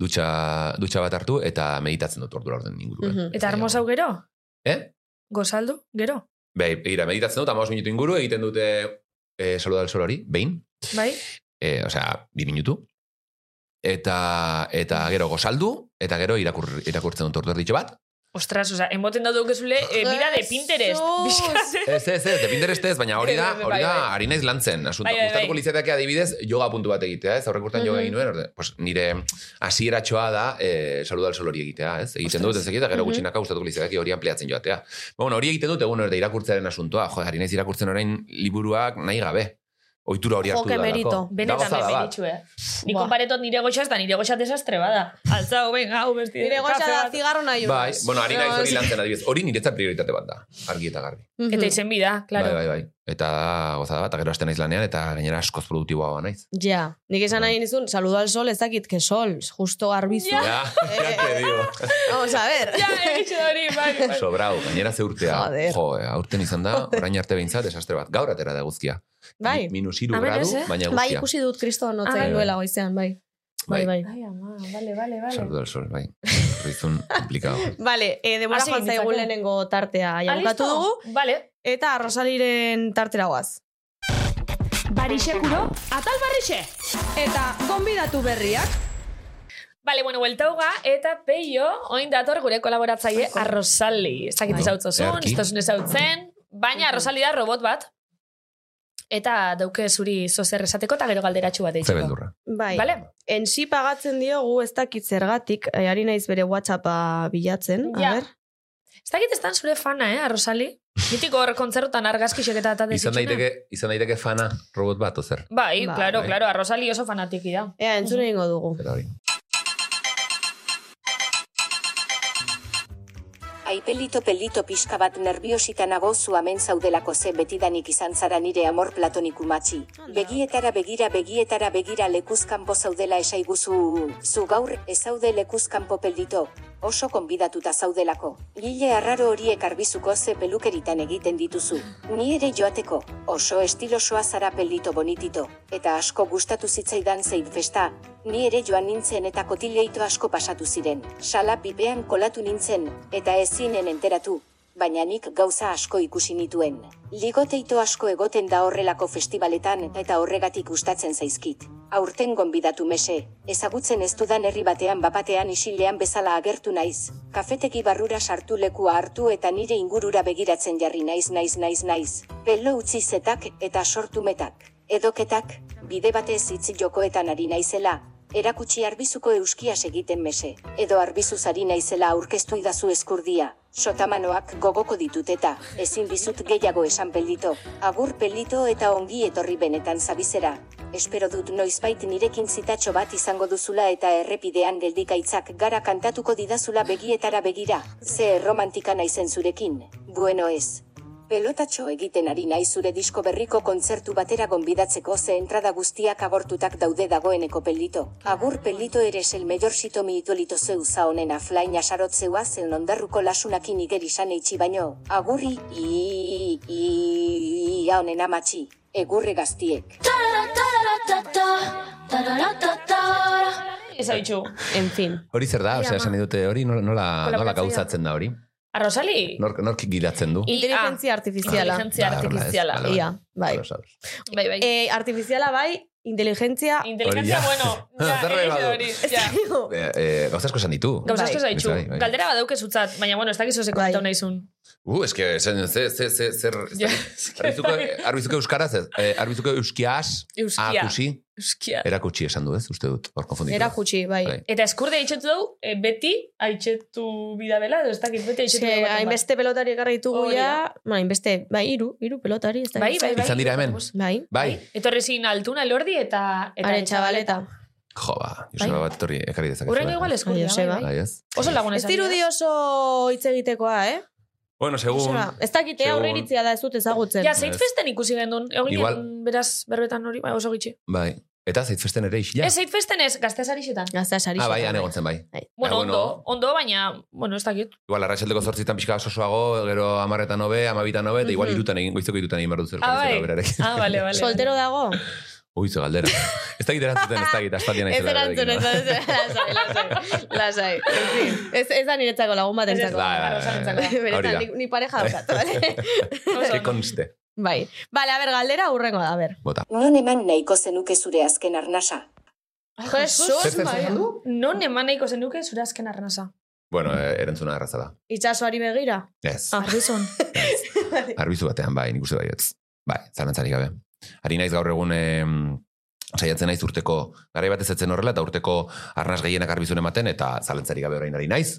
F: dutxa, dutxa bat hartu eta meditatzen dut ordura orden inguruan.
D: Mhm.
B: Eta armozau gero?
F: Eh?
B: Gozaldu, gero?
F: Bai, begira, meditatzen dut, amaos minutu inguru, egiten dute e, saluda del sol hori, behin,
B: Bai?
F: e, osea, bi minutu, eta, eta gero gozaldu, eta gero irakur, irakurtzen dut ordu erditxo bat,
B: Ostras, oza, emoten dut dukezule, eh, bida de Pinterest.
D: Jesus!
B: Bizkat.
F: Ez, ez, ez, de Pinterest ez, baina hori da,
B: Bai, bai,
F: hori da,
B: bai, bai.
F: ari naiz lan zen. Asunto.
B: Bai, bai, Mhm. bai.
F: Gustatuko litzaidake adibidez, yoga puntu bat egitea, ez? Aurrek urtean yoga egin nuen, orde, pues, nire hasieratxoa da, eh, saluda al sol hori egitea, ez? Egiten dut, ez egita, gero
B: Mhm.
F: gutxinaka gustatuko litzaidake hori ampliatzen joatea. Ba, bueno, hori egiten dut egun orde irakurtzearen asuntoa, jo, ari naiz irakurtzen orain liburuak nahi gabe. ohitura hori hartu
D: Joke
F: da.
D: merito.
B: Benetan eh,
F: da bat. ba.
B: bebenitxue. Ni
D: Buah.
B: konparetot nire goxa ez da, nire goxa desastre bada. Altza, ben, hau, besti.
D: Nire goxa
B: kafe
D: da
B: bat.
D: zigarro nahi unas.
F: Bai, bueno, ari naiz hori
D: Pero-
F: lantzen adibidez. Hori niretzat prioritate bat da, argi eta garbi.
D: Mhm.
B: Eta izen bida,
F: Bai,
B: klaro.
F: bai, bai. Eta da, gozada bat, eta gero hasten naiz lanean, eta gainera askoz produktiboa naiz.
D: Ja, nik esan nahi nizun, saludo al sol, ez dakit, que sol, justo garbizu.
F: Ja, ja te digo.
D: Vamos a ver.
B: Ja, egitxe da hori, bai. bai.
F: Sobrau, gainera ze urtea.
D: Joder.
F: Jo, eh, aurten izan da, orain arte behintzat, desastre bat. Gaur atera da guztia.
D: Bai,
F: Minus iru
B: Amen, ez,
F: gradu,
B: eh?
F: baina
D: bai
F: guztia.
D: ikusi dut kristo
B: Ah,
D: notzen
B: bai,
D: ah,
B: bai.
D: duela goizean, bai. Bai, bai.
B: Ai, ama, vale, vale, vale.
F: Saludo al sol, bai. Rizun, implikado.
D: Vale, e, demora
B: Hasi
D: joan zaigu
B: genitzake.
D: lehenengo tartea. Ja,
B: Ah,
D: bukatu
B: listo?
D: dugu,
B: Vale.
D: eta Rosaliren tartera guaz.
H: Barixekuro, atal barrixe!
D: Eta, gonbidatu berriak.
B: Bale, bueno, hueltauga eta peio, oin dator gure kolaboratzaile Arrosali. Ez dakit
F: Bai.
B: ezautzo zuen,
F: Ederki.
B: ez tozun ezautzen, baina Arrosali da robot bat. Eta dauke zuri zozer esateko eta gero galderatxu bat
F: Ze
B: egiteko.
F: beldurra.
D: Bai,
B: Bale?
D: ensi pagatzen diogu ez dakit zergatik, e, ari naiz bere WhatsAppa bilatzen,
B: Ja.
D: a ber.
B: Ez dakit ez zure fana, eh, Arrosali? Mitiko hor kontzerrotan argazkixek eta eta
F: Izan daiteke, izan daiteke fana robot bat, ozer.
B: Bai,
D: Bai.
B: claro, claro, Arrosali oso fanatiki da.
D: Ea, entzun egingo dugu.
F: Eta hori.
I: Ai pelito pelito pixka bat nerviosita nago zuamen zaudelako ze betidanik izan zara nire amor platonik umatxi. Begietara begira begietara begira lekuzkanpo zaudela esaiguzu, zu gaur ezaude lekuzkanpo pelito, oso konbidatuta zaudelako. Gile arraro horiek arbizuko ze pelukeritan egiten dituzu. Ni ere joateko, oso estilosoa zara pelito bonitito, eta asko gustatu zitzaidan zein festa, ni ere joan nintzen eta kotileito asko pasatu ziren. Sala pipean kolatu nintzen, eta ezinen enteratu, baina nik gauza asko ikusi nituen. Ligoteito asko egoten da horrelako festivaletan eta horregatik gustatzen zaizkit. Aurten gonbidatu mese, ezagutzen ez dudan herri batean bapatean isilean bezala agertu naiz. Kafetegi barrura sartu lekua hartu eta nire ingurura begiratzen jarri naiz naiz naiz naiz. Pelo utzi zetak eta sortumetak. Edoketak, bide batez hitz jokoetan ari naizela, erakutsi arbizuko euskias egiten mese, edo arbizuz ari naizela aurkeztu idazu eskurdia, sotamanoak gogoko ditut eta, ezin dizut gehiago esan pelito, agur pelito eta ongi etorri benetan zabizera. Espero dut noizbait nirekin zitatxo bat izango duzula eta errepidean geldikaitzak gara kantatuko didazula begietara begira, ze romantika naizen zurekin, bueno ez, Pelotatxo egiten ari nahi zure disko berriko kontzertu batera gonbidatzeko ze entrada guztiak agortutak daude dagoeneko pelito. Agur pelito eres el mellor sito mi idolito zeuza honen aflain asarotzeua zen ondarruko lasunakin igerizan eitxi baino. Agurri i- i- i- ia honen amatxi. Egurre gaztiek.
F: Bai.
B: Ez hau itxu.
D: En fin.
F: Hori zer da, osea, esan nahi dute hori nola, nola, nola
B: Kolaboratzailea.
F: gauzatzen da hori.
B: Arrosali?
F: Nork, nork gidatzen du.
B: I-
D: Inteligentzia artifiziala.
B: Ah. Inteligentzia
F: Ba, horrela ez,
B: artifiziala.
F: bale, bale.
D: Ia, bai.
F: Ados, ados.
B: Bai, bai.
D: E, artifiziala bai, inteligentzia...
B: Inteligentzia,
F: Hori, ja.
B: bueno, ja,
F: Zer nahi
B: egitxe
F: badu.
B: hori. ja.
F: Eh, eh, gauza asko esan ditu.
B: Gauza asko
D: Bai.
B: zaitxu.
F: Bai, bai.
B: Galdera bat daukezutzat, baina bueno, ez dakizu
D: Bai.
B: sekontatu nahi zun.
F: Uh, eske, esan, ze, ze, ze, zer...
B: Ja,
F: Arbizuko, arbizuko euskaraz, ez? Eh, Arbizuko euskiaz,
B: Euskia.
F: akusi,
B: Euskia.
F: erakutsi esan du, ez? Uste dut, hor konfunditu.
D: Era jutxi, bai.
F: Bai.
B: Eta eskurde haitxetu dugu, e, beti haitxetu bidabela, edo ez dakit beti haitxetu
D: Ze,
B: bidabela.
D: hainbeste pelotari ekarri ditugu
B: Bai. Hori da.
D: ja, ba, hainbeste, bai, iru, iru pelotari, ez da.
B: Bai, bai, bai.
F: Izan dira hemen.
D: Bai,
F: Bai.
B: Etorri zin altuna elordi eta... eta
D: haren txabaleta.
F: Jo, ba, Joseba bat etorri, ekarri dezakezu. eh.
B: Urrengo igual
D: Bai,
B: eskurdia,
D: Joseba.
B: bai, bai.
F: Bai, ez?
B: Oso lagun
D: Ez dirudi oso hitz egitekoa, eh?
F: Bueno, segun...
D: Joseba, Ez dakite
F: segun-
D: aurre iritzia da ez dut ezagutzen.
B: Ja, zeitfesten ikusi gendun. Egon
F: Igual-
B: ginen, beraz, berbetan hori, bai, oso gitxi.
F: Bai. Eta zaitfesten ere isila.
B: Ez, zeitfesten ez, gazteaz arixetan.
D: Gazta sari.
F: Ah, bai, han egon zen, bai.
B: Bueno,
F: Ah, bueno.
B: ondo, ondo, baina, bueno, ez dakit.
F: Igual, arratsaldeko zortzitan pixka sosoago, gero amarretan hobe, amabitan hobe, eta igual
D: Mhm.
F: irutan egin, goizeko irutan egin behar dut zer.
B: Ah, bai. Ah, bale, bale.
D: Soltero dago?
F: Ui, ze galdera. Ez dakit erantzuten, ez dakit, aspaldian
D: Ez
F: naizela
D: erantzun, ez
F: berarekin,
D: ez lasai, lasai, lasai. En fin, Ez, ez da niretzako lagun bat
B: Ez, ez,
D: entzako.
F: Bai,
B: oso
F: bai, bai.
B: nintzako.
F: Hori
D: Beretan,
F: da.
D: ni, ni pareja daukat, bale?
B: Oso
F: ba. Que
B: ondo.
F: conste.
D: Bai. Bale, a ber, galdera urrengo da, a ber.
I: Non eman nahiko zenuke zure azken arnasa.
B: Ai,
D: Jesus,
F: Zer
D: bai.
F: esan
B: Non eman nahiko zenuke zure azken arnasa.
F: Bueno, eh, erantzuna erraza da.
D: Itxasoari begira.
F: Ez.
B: Ah, Arrizun.
F: Arbizu batean, bai, nik uste baietz. Bai, zalantzarik gabe. Ari naiz gaur egun em, saiatzen naiz urteko, garai batez etzen horrela, eta urteko arnaz gehienak arbizun ematen, eta zalantzarik gabe orain ari naiz.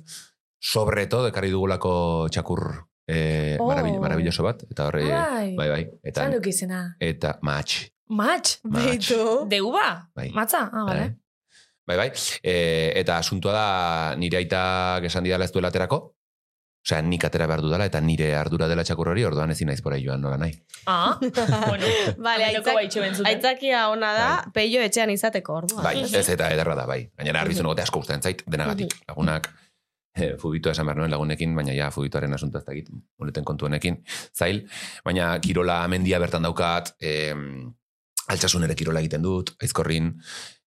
F: Sobre todo, ekarri dugulako txakur eh,
D: Oh.
F: marabil- marabilloso bat, eta horre,
B: Ai,
F: bai, bai, eta,
B: Zan duk izena.
F: eta matx,
B: Match?
F: Match.
B: Deu ba?
F: Bai.
B: Matza? Ah,
F: Bai,
B: bale.
F: Bai, bai. E, eta asuntua da nire aitak esan didala ez duela aterako. Osea, nik atera behar dudala eta nire ardura dela txakur hori, orduan ezin naiz pora joan nola nahi.
B: Ah, bueno.
D: Vale,
B: Aterako
D: aitzak-
B: baitxo entzuten.
D: Aitzakia ona da, peio etxean izateko orduan.
F: Bai, ez eta ederra da, bai. Gainera, arbizun egote asko gustatzen zait, denagatik.
B: Bai.
F: Lagunak, eh, fubitua esan behar nuen lagunekin, baina ja fubituaren asuntua ez dakit, moneten kontu honekin, zail. Baina kirola mendia bertan daukat, eh, altxasun ere kirola egiten dut, aizkorrin,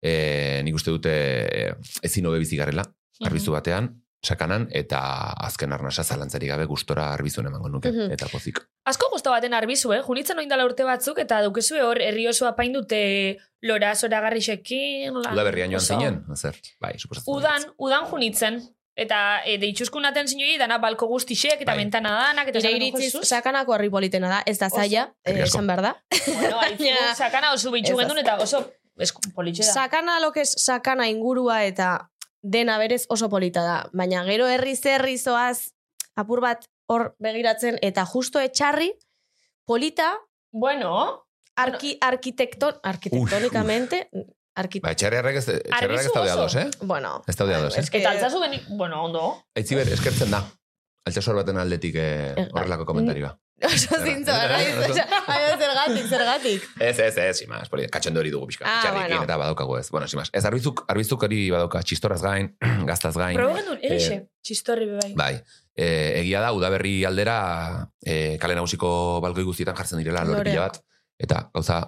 F: eh, nik uste dute eh, ezin hobe bizi garela, Mm. arbizu batean, sakanan, eta azken arnasa zalantzarik gabe gustora arbizun emango nuke,
D: Mhm.
F: eta pozik.
B: Asko guztua baten arbizu, eh? Junitzen oindala urte batzuk eta dukezue hor herri osoa paindute lora zoragarrixekin. la-
F: Udaberrian joan
B: oso.
F: zinen, zer? Bai, suposatzen. dut.
B: Udan, udan junitzen. Eta e, deitxuskunaten zinoi, dana balko guztixek, eta
F: Bai.
B: bentana danak, eta
D: Nire
B: esan,
D: iritziz,
B: "Jo, Jesus".
D: sakanako herri politena da, ez da zaila, eh,
F: Eskerrik asko.
D: esan behar da.
B: Bueno, aizu,
D: Baina-
B: sakana oso
D: Ez
B: bitxu
D: da.
B: gendun, eta oso esku, politxe da.
D: Sakana lo que es sakana ingurua eta dena berez oso polita da. Baina gero herri zerri zoaz apur bat hor begiratzen eta justo etxarri polita
B: Bueno,
D: arki, arkitekton, arkitektonikamente arki,
F: Ba, etxarriarrek ez, etxarriarrek ez
B: Arbizu
F: daude
B: oso. Bai,
F: ados, eh?
D: bueno,
F: Ez daude ados, eh?
D: eske-
B: eta altzazu geni... Bueno, ondo.
F: Aitziber, eskertzen da. Altxasor baten aldetik eh,
D: Erra-
F: horrelako komentarioa.
D: bai. oso zintzo, bai, gara, Ai, zergatik, zergatik.
F: Ez, ez, ez, simaz. Poli, katxendori dugu pixka.
D: Ah,
F: Ah,
D: bueno.
F: eta badaukagu ez. Bueno, simaz. Ez, arbizuk, arbizuk hori badauka. Txistoraz gain, gaztaz gain.
B: Probo gendun, erixe,
F: Eh,
B: txistorri bebai.
F: Bai. E, egia da, udaberri aldera e, kale nagusiko balgoi guztietan jartzen direla lore pila bat. Eta gauza,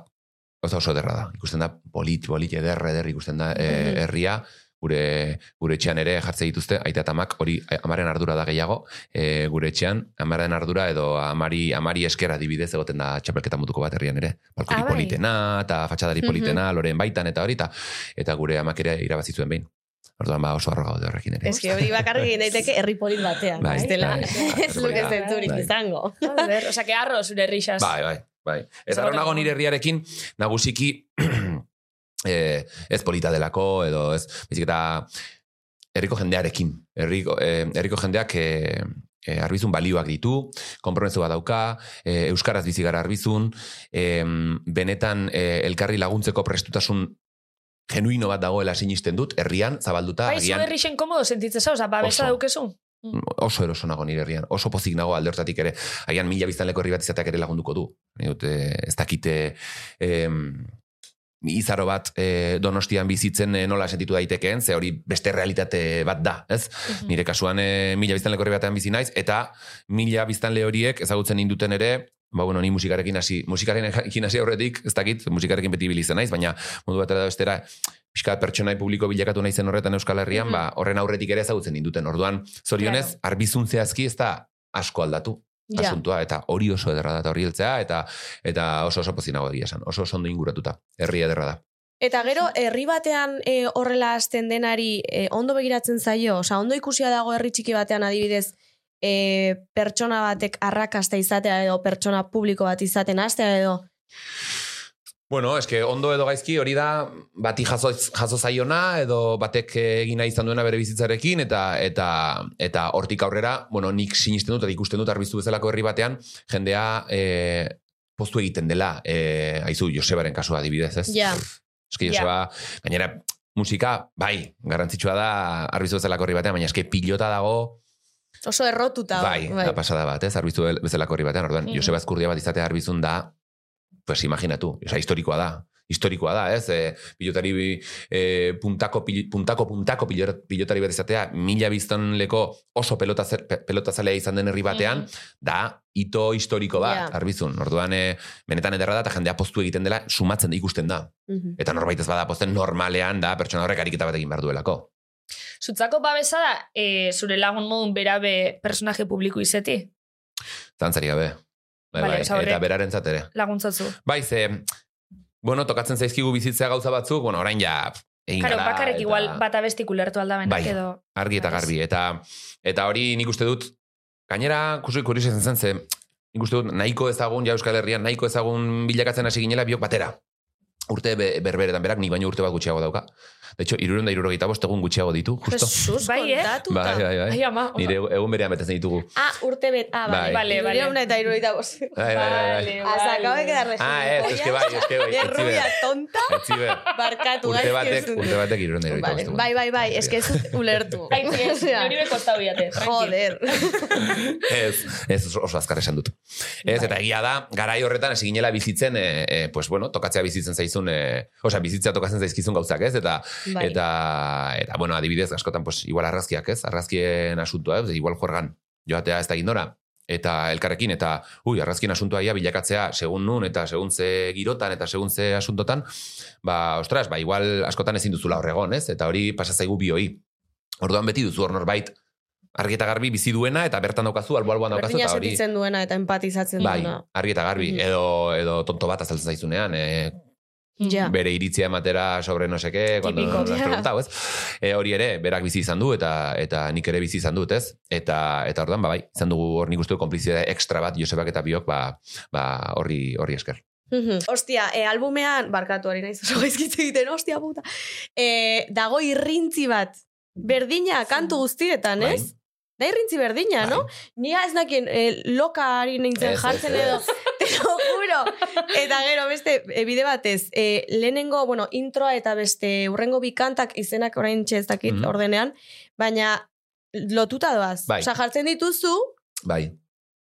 F: gauza oso ederra da. Ikusten da polit, polit, eder, eder ikusten da e, herria. Gure, gure etxean ere jartze dituzte, aita eta amak, hori eh, amaren ardura da gehiago, e, gure etxean, amaren ardura edo amari, amari eskera dibidez egoten da txapelketa mutuko bat herrian ere. Balkoni
B: Ah, bai.
F: politena, eta fatxadari politena, loreen baitan, eta hori, eta, eta gure amak ere irabazi zuen behin. Orduan ba oso arro gaude horrekin ere.
D: Ez que hori bakarrik egin daiteke herri polit batean.
F: Bai,
D: ez dela,
F: bai, bai,
D: ez luke
F: bai,
D: zenturik
F: bai.
D: izango.
B: Joder, Osea, que arro zure errixaz.
F: Bai, bai, bai. Ez
B: Zabalak-
F: arro nago nire herriarekin nagusiki eh, ez polita delako edo ez, bezik eta herriko jendearekin. Herriko, eh, herriko jendeak eh, eh, arbizun balioak ditu, konpromezu bat dauka, eh, euskaraz bizi gara arbizun, eh, benetan eh, elkarri laguntzeko prestutasun genuino bat dagoela sinisten dut, herrian, zabalduta,
B: Bai, zu
F: agian
B: errixen komodo sentitzeza, oza, babesa
F: Oso.
B: daukezu.
F: oso eroso nago nire herrian, oso pozik nago alde hortatik ere, agian mila biztanleko herri bat izateak ere lagunduko du. Ni dut, eh, ez dakite em, izaro bat eh, donostian bizitzen eh, nola sentitu daitekeen, ze hori beste realitate bat da, ez? Nire kasuan eh, mila biztanleko herri batean bizi naiz, eta mila biztanle horiek ezagutzen induten ere, ba bueno, ni musikarekin hasi, musikarekin hasi aurretik, ez dakit, musikarekin beti bilizan naiz, baina modu batera da bestera, pixka bat pertsonai publiko bilakatu naizen horretan Euskal Herrian,
B: Mhm.
F: ba, horren aurretik ere ezagutzen induten. Orduan, zorionez, arbizun zehazki ez da asko aldatu
B: Ja.
F: asuntua, eta hori oso ederra da, eta hori heltzea, eta, eta oso oso pozinago egia esan, oso oso ondo inguratuta, herri ederra da.
D: Eta gero, herri batean eh, horrela hasten denari eh, ondo begiratzen zaio, osea, ondo ikusia dago herri txiki batean adibidez, eh, pertsona batek arrakasta izatea edo pertsona publiko bat izaten hastea edo,
F: Bueno, eske ondo edo gaizki hori da bati jaso, jaso zaiona edo batek eh, egin nahi izan duena bere bizitzarekin eta eta eta hortik aurrera, bueno, nik sinisten dut eta ikusten dut arbizu bezalako herri batean jendea eh postu egiten dela, eh aizu Josebaren kasua adibidez, ez?
D: Ja.
F: Eske
B: Ja.
F: Joseba, gainera musika, bai, garrantzitsua da arbizu bezalako herri batean, baina eske pilota dago,
D: oso errotuta.
F: Bai, da pasada bat, ez? Arbizu bel- bezalako herri batean, orduan,
B: Mhm.
F: Joseba Azkurdia bat izatea arbizun da, pues imaginatu, oza, historikoa da, historikoa da, ez? E, pilotari bi- e, puntako, pil- puntako, puntako pilor- pilotari bat izatea, mila biztanleko oso pelota zer- pe- pelotazalea izan den herri batean, da hito historiko bat,
D: Ja.
F: arbizun. Orduan, e, benetan ederra da, eta jendea postu egiten dela, sumatzen da, ikusten da.
D: Mhm.
F: Eta norbait ez bada posten normalean da, pertsona horrek ariketa bat egin behar duelako.
B: Zutzako babesa da, e, zure lagun modun berabe personaje publiko izeti,
F: Zantzari gabe. Bai,
B: Bale,
F: bai,
B: oza, horrek-
F: eta berarentzat ere.
B: laguntzatzu.
F: Bai, ze, bueno, tokatzen zaizkigu bizitzea gauza batzuk, bueno, orain ja, pf, egin
B: Karo,
F: gara,
B: bakarrik
F: eta
B: igual bata besti kulertu aldabenak
F: Bai.
B: edo...
F: argi eta garbi. Eta, eta hori nik uste dut, gainera, kusu ikuri zen zen, ze, nik uste dut, nahiko ezagun, ja Euskal Herrian, nahiko ezagun bilakatzen hasi ginela biok batera. Urte be- berberetan berak, nik baino urte bat gutxiago dauka. De hecho, irurenda da irurogeita bost egun gutxiago ditu, justo.
D: Jesus,
B: Bai, eh?
D: kontatuta.
F: Bai, bai, bai.
B: Ai, ama, oso-
F: Nire egun berean betetzen ditugu.
D: Ah, urte bet. Ah,
F: Bai.
D: bale,
B: Bale,
D: bale.
B: bale.
D: Vale, una eta irurogeita bost.
F: Bai, bai, bai, bai.
D: Hasta acabo de quedar
F: Ah, eh, es que bai, es que bai.
D: Ye
F: etzi
D: rubia
F: behar,
D: tonta.
F: etzi behar.
D: Barkatu,
F: Urte
D: gaizki
F: batek,
D: entzun dut.
F: urte batek irurenda irurogeita
D: Vale,
F: bost egun.
D: Bai, bai, bai, es que ez dut ulertu.
B: Ai, ez,
D: Osea,
B: niri bekostau diate, tranqui.
D: Joder.
F: Ez, ez oso- oso azkar esan dut. Ez, eta egia da, garai horretan hasi ginela bizitzen, e, e, pues bueno, tokatzea bizitzen zaizun, e, osea, bizitzea tokatzen zaizkizun gauzak, ez? Eta,
D: Bai.
F: eta, eta, bueno, adibidez, askotan, pues, igual argazkiak, ez? Argazkien asuntua, ez? Igual juergan, joatea ez da gindora, eta elkarrekin, eta, ui, argazkien asuntua ia bilakatzea, segun nun, eta segun ze girotan, eta segun ze asuntotan, ba, ostras, ba, igual askotan ezin duzula horregon, ez? Eta hori pasatzaigu bioi. Orduan beti duzu hor norbait argi eta garbi bizi duena eta bertan daukazu, albo-alboan daukazu
D: Berdina
F: eta hori.
D: sentitzen duena eta empatizatzen
F: Bai,
D: duena.
F: argi eta garbi,
D: Mhm.
F: edo, edo tonto bat azaltzen zaizunean, e,
B: Mm.
D: Ja.
F: bere iritzia ematera sobre no seke, cuando
B: Tipiko.
F: nos has preguntado, ez? E, hori ere, berak bizi izan du eta eta nik ere bizi izan dut, ez? Eta eta ordan ba bai, izan dugu hor nik uste dut konplizitate extra bat Josebak eta biok ba, ba horri horri esker.
D: Mhm. Ostia, e, albumean, barkatu ari naiz oso gaizkitz egiten, ostia puta. E, dago irrintzi bat, berdina, kantu guztietan,
F: Bai.
D: ez? Da irrintzi berdina,
F: Bai.
D: no? Nia ez dakien, e, loka ari nintzen
F: Ez,
D: jartzen
F: ez, ez.
D: edo, te lo juro. Eta gero, beste, e, bide batez, e, lehenengo, bueno, introa eta beste, urrengo bikantak izenak orain ez dakit
F: Mhm.
D: ordenean, baina lotuta doaz.
F: Bai.
D: Osa, jartzen dituzu,
F: Bai,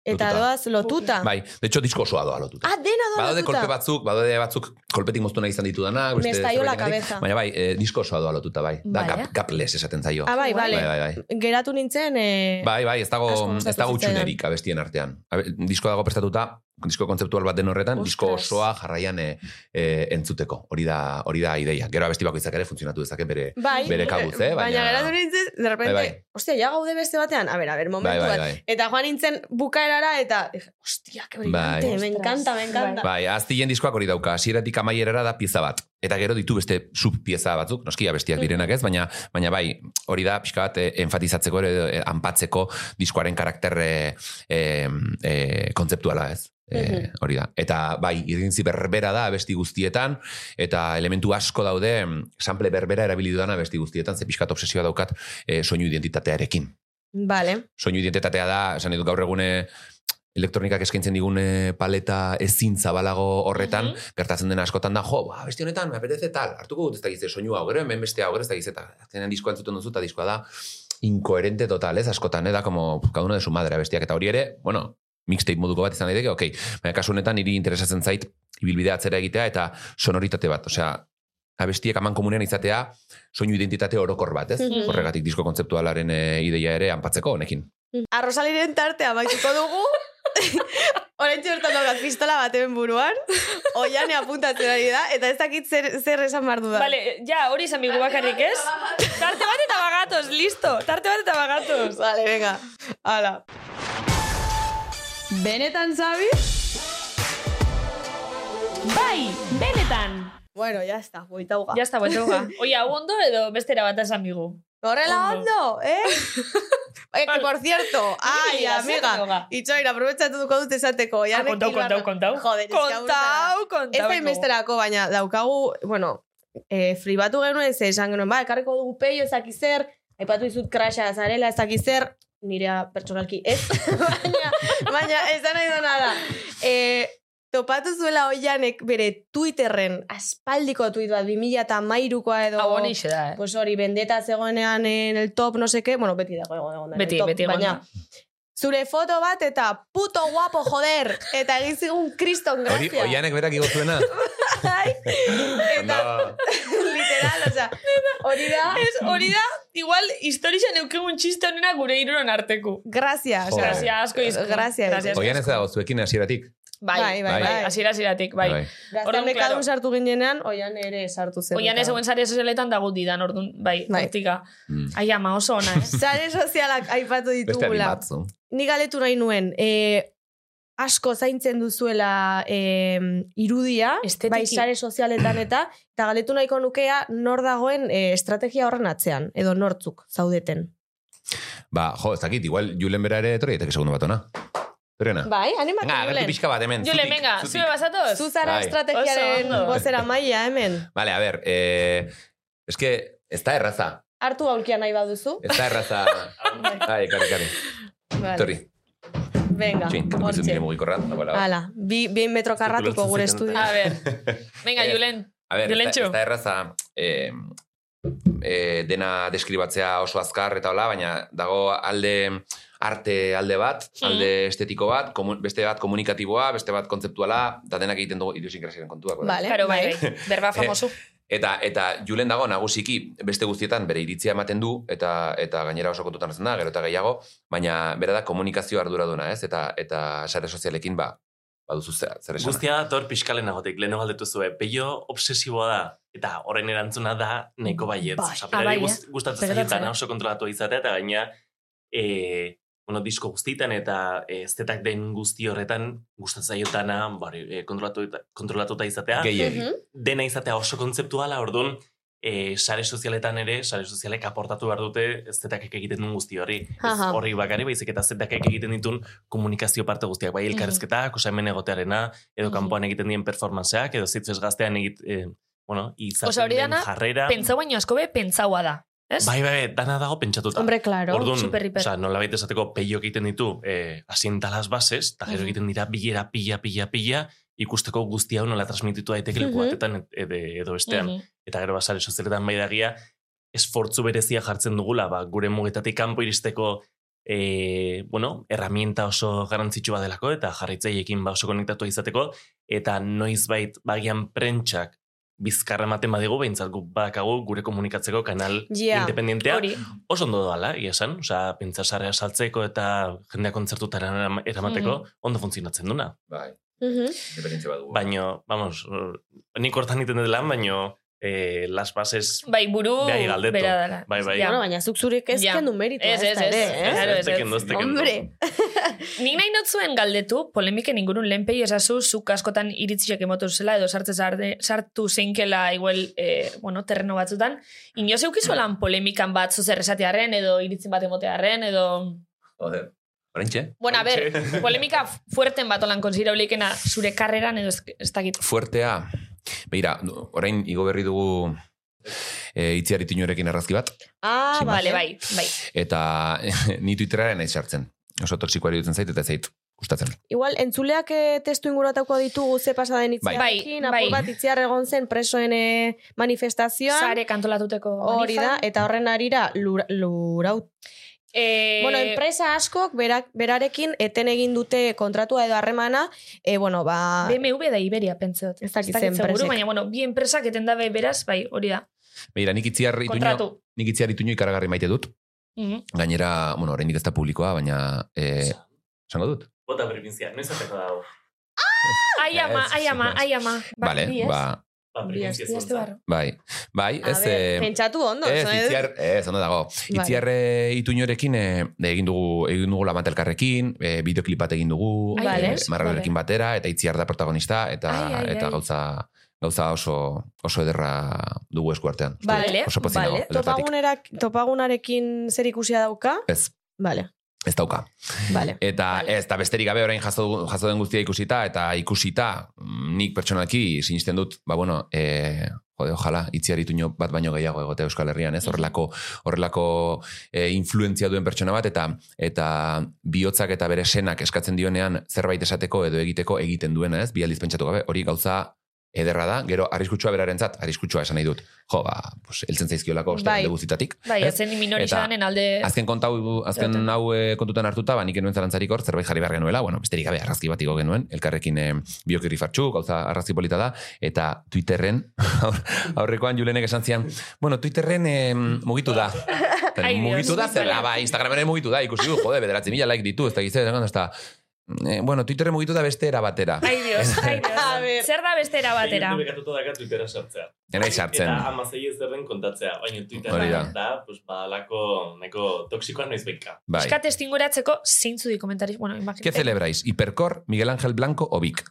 D: eta
F: Lotuta.
D: doaz lotuta.
F: bai. De hecho, disko osoa doa lotuta.
D: Ah, dena doa
F: Badaude
D: lotuta.
F: Ba, kolpe batzuk, badaude batzuk kolpetik moztu nahi izan ditu dana.
D: Me estalló la cabeza.
F: Baina bai, eh, disko osoa doa lotuta, bai. Da,
D: Vale.
F: gap, gapless esaten zaio.
D: Ah, bai,
F: bai,
D: bale.
F: bai, bai.
D: geratu nintzen... E...
F: Bai, bai, ez dago,
D: Asko gustatu
F: ez dago
D: zitzaidan.
F: utxunerik abestien artean. Abe, disko dago prestatuta, disko kontzeptual bat den horretan, disko
D: Ostras.
F: osoa jarraian e, e, entzuteko. Hori da, hori da ideia. Gero abesti bakoitzak ere funtzionatu dezake bere.
D: Bai,
F: Bere kabuz, eh,
D: Baina
F: baina-
D: geratu nintzen, de repente,
F: Bai, bai.
D: ostia, ja gaude beste batean, a ber, a ber,
F: Bai,
D: momentu
F: bai,
D: bat.
F: bai.
D: Eta joan nintzen bukaerara, eta, dije, ostia, que brillante,
F: Bai.
D: me encanta, me encanta.
F: Bai, aztien diskoak hori dauka, hasieratik amaierara da pieza bat. Eta gero ditu beste subpieza batzuk, noski abestiak direnak ez, baina, baina bai, hori da pixka bat eh, enfatizatzeko, ere, eh, anpatzeko diskoaren karakter eh, eh, eh, kontzeptuala ez. Eh, hori da. Eta bai, irrintzi berbera da abesti guztietan, eta elementu asko daude, mm, sample berbera erabili dudana abesti guztietan, ze pixkat obsesioa daukat eh, soinu identitatearekin
D: Vale.
F: soinu identitatea da, esan ditut gaur egune elektronikak eskaintzen digune paleta ezin zabalago horretan, gertatzen den askotan da, jo, ba, beste honetan, me apetece tal, hartuko dut ez da gizte soinu hau, gero hemen beste hau, gero ez da gizte, eta azkenean diskoa entzuten duzu, eta diskoa da, inkoherente total, ez askotan, eh, da, como, pf, cada uno de su madre, bestiak, eta hori ere, bueno, mixtape moduko bat izan daiteke, ok, baina kasu honetan niri interesatzen zait, ibilbidea atzera egitea, eta sonoritate bat, osea, abestiek aman komunean izatea soinu identitate orokor bat, ez?
D: Mhm.
F: Horregatik disko kontzeptualaren eh, ideia ere anpatzeko honekin.
D: Arrosaliren tarte amaituko dugu. Orain bertan daukat pistola baten buruan, oian apuntatzen ari da, eta ez dakit zer, zer esan behar dudan.
B: Bale, eh, ja, hori izan bigu bakarrik, ez? Tarte bat eta bagatoz, listo. Tarte bat eta bagatoz.
D: Vale, venga. Hala.
H: Benetan zabiz? Bai, benetan.
D: Bueno, ya está, buita uga.
B: Ja está, buetoga. Oia, hau ondo edo bestera bat esan bigu.
D: Horrela
B: Ondo.
D: ondo, eh? Eh, que por cierto, ay,
B: digas, zer
D: amiga,
B: droga?
D: itxoin, aprobetsatuko dut esateko.
B: Ah,
D: Ah,
B: kontau, kontau, kontau.
D: Joder, eske hau da.
B: kontau, kontau.
D: Ez da inbesterako, baina daukagu, bueno, eh, fribatu genuen, ze esan genuen, ba, ekarriko dugu peio ezakizer, aipatu izut krasa zarela ezakizer, nirea pertsonalki ez, baina, baina ez da nahi dona da. Eh, topatu zuela oianek bere Twitterren, aspaldiko tuit bat, 2008koa edo...
B: Hau honi xe da, eh?
D: Pues hori, bendeta zegoenean en el top, no seke, bueno, beti dago egon egon da en el
B: Beti,
D: top,
B: beti egon
D: baina, zure foto bat eta puto guapo joder, eta egin zigun kriston
F: Hori,
D: grazia.
F: oianek berak igotzuena.
D: Bai, eta,
F: Ondo,
D: literal, osea, hori da,
B: Ez, hori da, igual, historia neukegun txiste honena gure iruron arteko.
D: grazia,
F: Jo.
D: osea,
B: Grazia asko izko.
D: Grazia izko.
B: Grazia asko.
F: oian ez dago zuekin hasieratik.
B: Eh, Bai,
D: Bai,
F: bai,
D: bai.
B: Asiera, asieratik, bai.
F: Bai.
D: gaztan
B: Orduan,
D: bekadun
B: claro.
D: sartu ginenean, oian ere sartu zen.
B: Oian ez eguen sare sozialetan dago didan, orduan, bai,
D: Bai.
B: hortika.
F: Mm.
B: Ai, ama, oso ona, eh?
D: Zare sozialak aipatu
F: Beste
D: ditugula.
F: animatzu.
D: Ni galetu nahi nuen, e, asko zaintzen duzuela e, irudia,
B: Estetiki.
D: bai sare sozialetan eta, eta galetu nahiko nukea nor dagoen e, estrategia horren atzean, edo nortzuk zaudeten.
F: Ba, jo, ez dakit, igual Julen bera ere etorri daiteke segundo bat ona. Etorriena.
D: Bai, animatu,
F: Venga, agertu
D: Julen.
F: pizka bat hemen.
B: Jule,
F: zutik,
B: venga,
F: zutik.
B: zube basatoz?
D: Zu zara
F: Bai.
D: estrategiaren
B: Oso ondo.
D: bozera maila hemen.
F: Vale, a ver, eh, es que Ez da erraza.
D: Artu aulkia nahi baduzu.
F: Ez da erraza. Bai, Ai, ekarri, ekarri. Torri.
D: Venga,
F: Txin, ez
D: hortxe.
F: nire mugikorra. da, bala.
D: Hala, bi, bi metro karratuko gure estudio.
F: Zirkulatzen
B: A ver, venga,
F: Eh,
B: Julen.
F: A ber, ez
B: Jolentxo.
F: da- ez da erraza eh, eh, dena deskribatzea oso azkar eta hola, baina dago alde arte alde bat, alde estetiko bat, komun, beste bat komunikatiboa, beste bat kontzeptuala, eta denak egiten dugu idiosinkrazioaren kontuak. bada.
D: Vale,
B: Karo, bai,
D: bai.
B: bai.
F: Eh,
B: Berba famoso.
F: Eta, eta Julen dago nagusiki beste guztietan bere iritzia ematen du eta eta gainera oso kontutan hasten da, gero eta gehiago, baina bera da komunikazio arduraduna, ez? Eta eta sare sozialekin ba baduzu zer, zer esana.
J: Guztia dator piskalen agotik, lehenok galdetu zuen. Peio obsesiboa da, eta horren erantzuna da neko baietz.
D: Bai.
J: Osa,
B: Ah, bai,
J: berari
B: eh?
J: guz- gustatu
B: Begiratzen,
J: zaietan
B: eh?
J: oso kontrolatua izatea, eta gaina e, bueno, disko guztietan eta e, estetak den guzti horretan gustatzen zaiotana bari, e, kontrolatu, kontrolatuta izatea.
F: Gehiegi.
D: Mhm.
J: Dena izatea oso kontzeptuala, orduan, e, sare sozialetan ere, sare sozialek aportatu behar dute estetakek egiten duen guzti hori. Ez
D: Aha.
J: horri bakari, baizik eta estetakek egiten ditun komunikazio parte guztiak, bai elkarrezketak, osa hemen egotearena, edo
D: Mhm.
J: kanpoan egiten dien performanceak, edo zitzez gaztean egit, eh, bueno,
B: Osea,
J: izaten
B: hori
J: den
B: dana,
J: jarrera.
B: Pentsau baino asko be, pentsaua da. Ez?
J: Bai, bai, bai, dana dago pentsatuta.
D: Hombre, claro.
J: Orduan,
B: super hiper.
J: osea, nola baita esateko peio egiten ditu eh, asienta las bases, eta gero
D: Mhm.
J: egiten dira bilera pila, pila, pila, ikusteko guzti hau nola transmititu daiteke leku
D: Mhm.
J: batetan edo, edo bestean.
B: Mhm.
J: Eta gero basare sozialetan bai dagia, esfortzu berezia jartzen dugula, ba, gure mugetatik kanpo iristeko e, bueno, herramienta oso garrantzitsua delako eta jarraitzaiekin ba oso konektatua izateko eta noizbait bagian prentsak bizkarra ematen badigu behintzat guk bakagu gure komunikatzeko kanal
D: Ja,
J: independentea
B: Hori.
J: oso ondo doala, egia esan, osea, pentsa sarrea saltzeko eta jendea kontzertutara eram- eramateko ondo funtzionatzen duna.
F: Bai,
D: Mhm.
F: independentzia badugu.
J: Baino, vamos, eh, nik hortan egiten dut lan, baino eh, las bases
B: Bai, buru
J: Bai, galdetu.
B: bera dela.
J: Bai, bai.
B: Ja.
D: Bueno, baina zuk zurek ez
B: Ja.
D: kendu meritua
B: Ez, ez,
D: da
B: ez.
D: ere, eh?
B: Claro, ez, ez.
J: tekendo, ez tekendo.
D: Hombre,
B: Nik nahi notzuen galdetu, polemiken ingurun lehenpei esazu, zuk askotan iritziak emotu zela, edo sartze zarde, sartu zeinkela igual, eh, bueno, terreno batzutan. Ino zeukizu lan polemikan bat zuzer esatearen, edo iritzin bat emotearen, edo...
F: Joder. Oraintxe?
B: Bueno, a ber, polemika fuerten bat olan konsiderableikena zure karreran, edo ez- ez dakit.
F: Fuertea. Begira, orain igo berri dugu eh itziar itinurekin argazki bat
D: Ah,
F: Sin más.
D: vale,
B: Vale,
D: bai.
B: bai, bai.
F: eta eh, ni Twitteraren naiz sartzen. Oso toksikoa iruditzen zait eta ez zait gustatzen.
D: Igual, entzuleak eh, testu inguratuko ditugu ze pasaden itziarrekin,
B: Bai, bai.
D: apur bat itziar egon zen presoen eh, manifestazioan,
B: Sare kantolatuteko
D: hori da, eta horren arira lur, lurau.
B: Eh,
D: Bueno, enpresa askok berak, berarekin eten egin dute kontratua edo harremana, eh, bueno,
B: Ah.
D: ba...
B: BMW da Iberia, pentseot.
D: Ez dakit
B: Ez dakit
D: zen
B: seguru,
D: presek.
B: baina, bueno, bi enpresak etendabe beraz, bai, hori da.
F: Begira, nik itziar ituño,
B: Kontratu.
F: nik itziar ituño ikaragarri maite dut.
B: Mhm.
F: Gainera, bueno, oraindik ez da publikoa, baina eh esango dut.
J: Bota berpintzia, noiz ateko dago.
B: Ai ama, ai ama, ai ama.
F: Vale,
B: bi Bai, ez?
F: ba,
J: Ba,
B: Bi ez,
J: berpintzia
B: bi ez
J: zuntza.
B: barru.
F: bai. Bai,
D: A
F: ez...
D: ber,
F: eh,
D: pentsatu ondo,
F: Ez,
D: oso, eh?
F: itziar, ez, ondo dago.
D: Bai.
F: Itziarre ituñorekin eh, egin dugu, egin dugu lamantelkarrekin, eh, bideoklip bat egin dugu,
B: Ai,
F: eh,
B: ez?
F: marralerekin batera, eta itziar da protagonista, eta,
B: Ai, ai,
F: eta
B: ai.
F: gauza gauza oso, oso ederra dugu eskuartean. Uste dut,
B: Bale,
F: oso pozin
B: bale.
F: dago, edertatik.
D: Topagunerak, topagunarekin zer ikusia dauka?
F: Ez,
D: Vale,
F: ez dauka.
D: vale.
F: Eta
B: Vale.
F: ez, eta besterik gabe orain jaso, dugu- jaso den guztia ikusita, eta ikusita mm, nik pertsonalki sinisten dut, ba bueno, e, jode, ojala, itziar ituño bat baino gehiago egotea Euskal Herrian, ez? Horrelako, horrelako e, influentzia duen pertsona bat, eta eta bihotzak eta bere senak eskatzen dionean zerbait esateko edo egiteko egiten duena, ez? Bi aldiz pentsatu gabe, hori gauza ederra da, gero arriskutsua berarentzat, arriskutsua esan nahi dut. Jo, ba, pues, eltzen zaizkiolako, oste,
D: Bai.
F: alde guztitatik.
B: Bai,
F: ez?
B: ezen
F: Eta-
B: minorizanen alde...
F: Azken konta hau, azken
B: Joten.
F: hau eh, kontutan hartuta, ba, nik enuen zarantzarik hor, zerbait jarri behar genuela, bueno, besterik gabe, arrazki bat igo genuen, elkarrekin eh, biokirri fartxu, gauza arrazki polita da, eta Twitterren, aur- aurrekoan Julenek esan zian, bueno, Twitterren eh, mugitu da. Eta
B: Ai, Dios,
F: mugitu da, zer,
B: Nikola.
F: ah, ba, Instagrameren mugitu da, ikusi du, jode, bederatzi mila like ditu, ez da gizte, eta, eh, bueno, Twitterren mugitu da beste era batera.
B: Ai, Dios, ai,
F: Eh,
D: A
B: Dios.
D: ver.
B: Zer da beste era batera?
J: Zein urte bekatuta daka Twittera sartzea.
F: Nena sartzen.
J: Eta amazei ez derren kontatzea. Baina Twittera
F: Hori da.
J: da, pues, badalako neko toksikoa noiz behinka.
F: Bai.
B: Eskat estinguratzeko zeintzu di komentariz... Bueno,
F: ¿Qué
B: imagínate.
F: celebráis? ¿Hipercor, Miguel Ángel Blanco o Vic?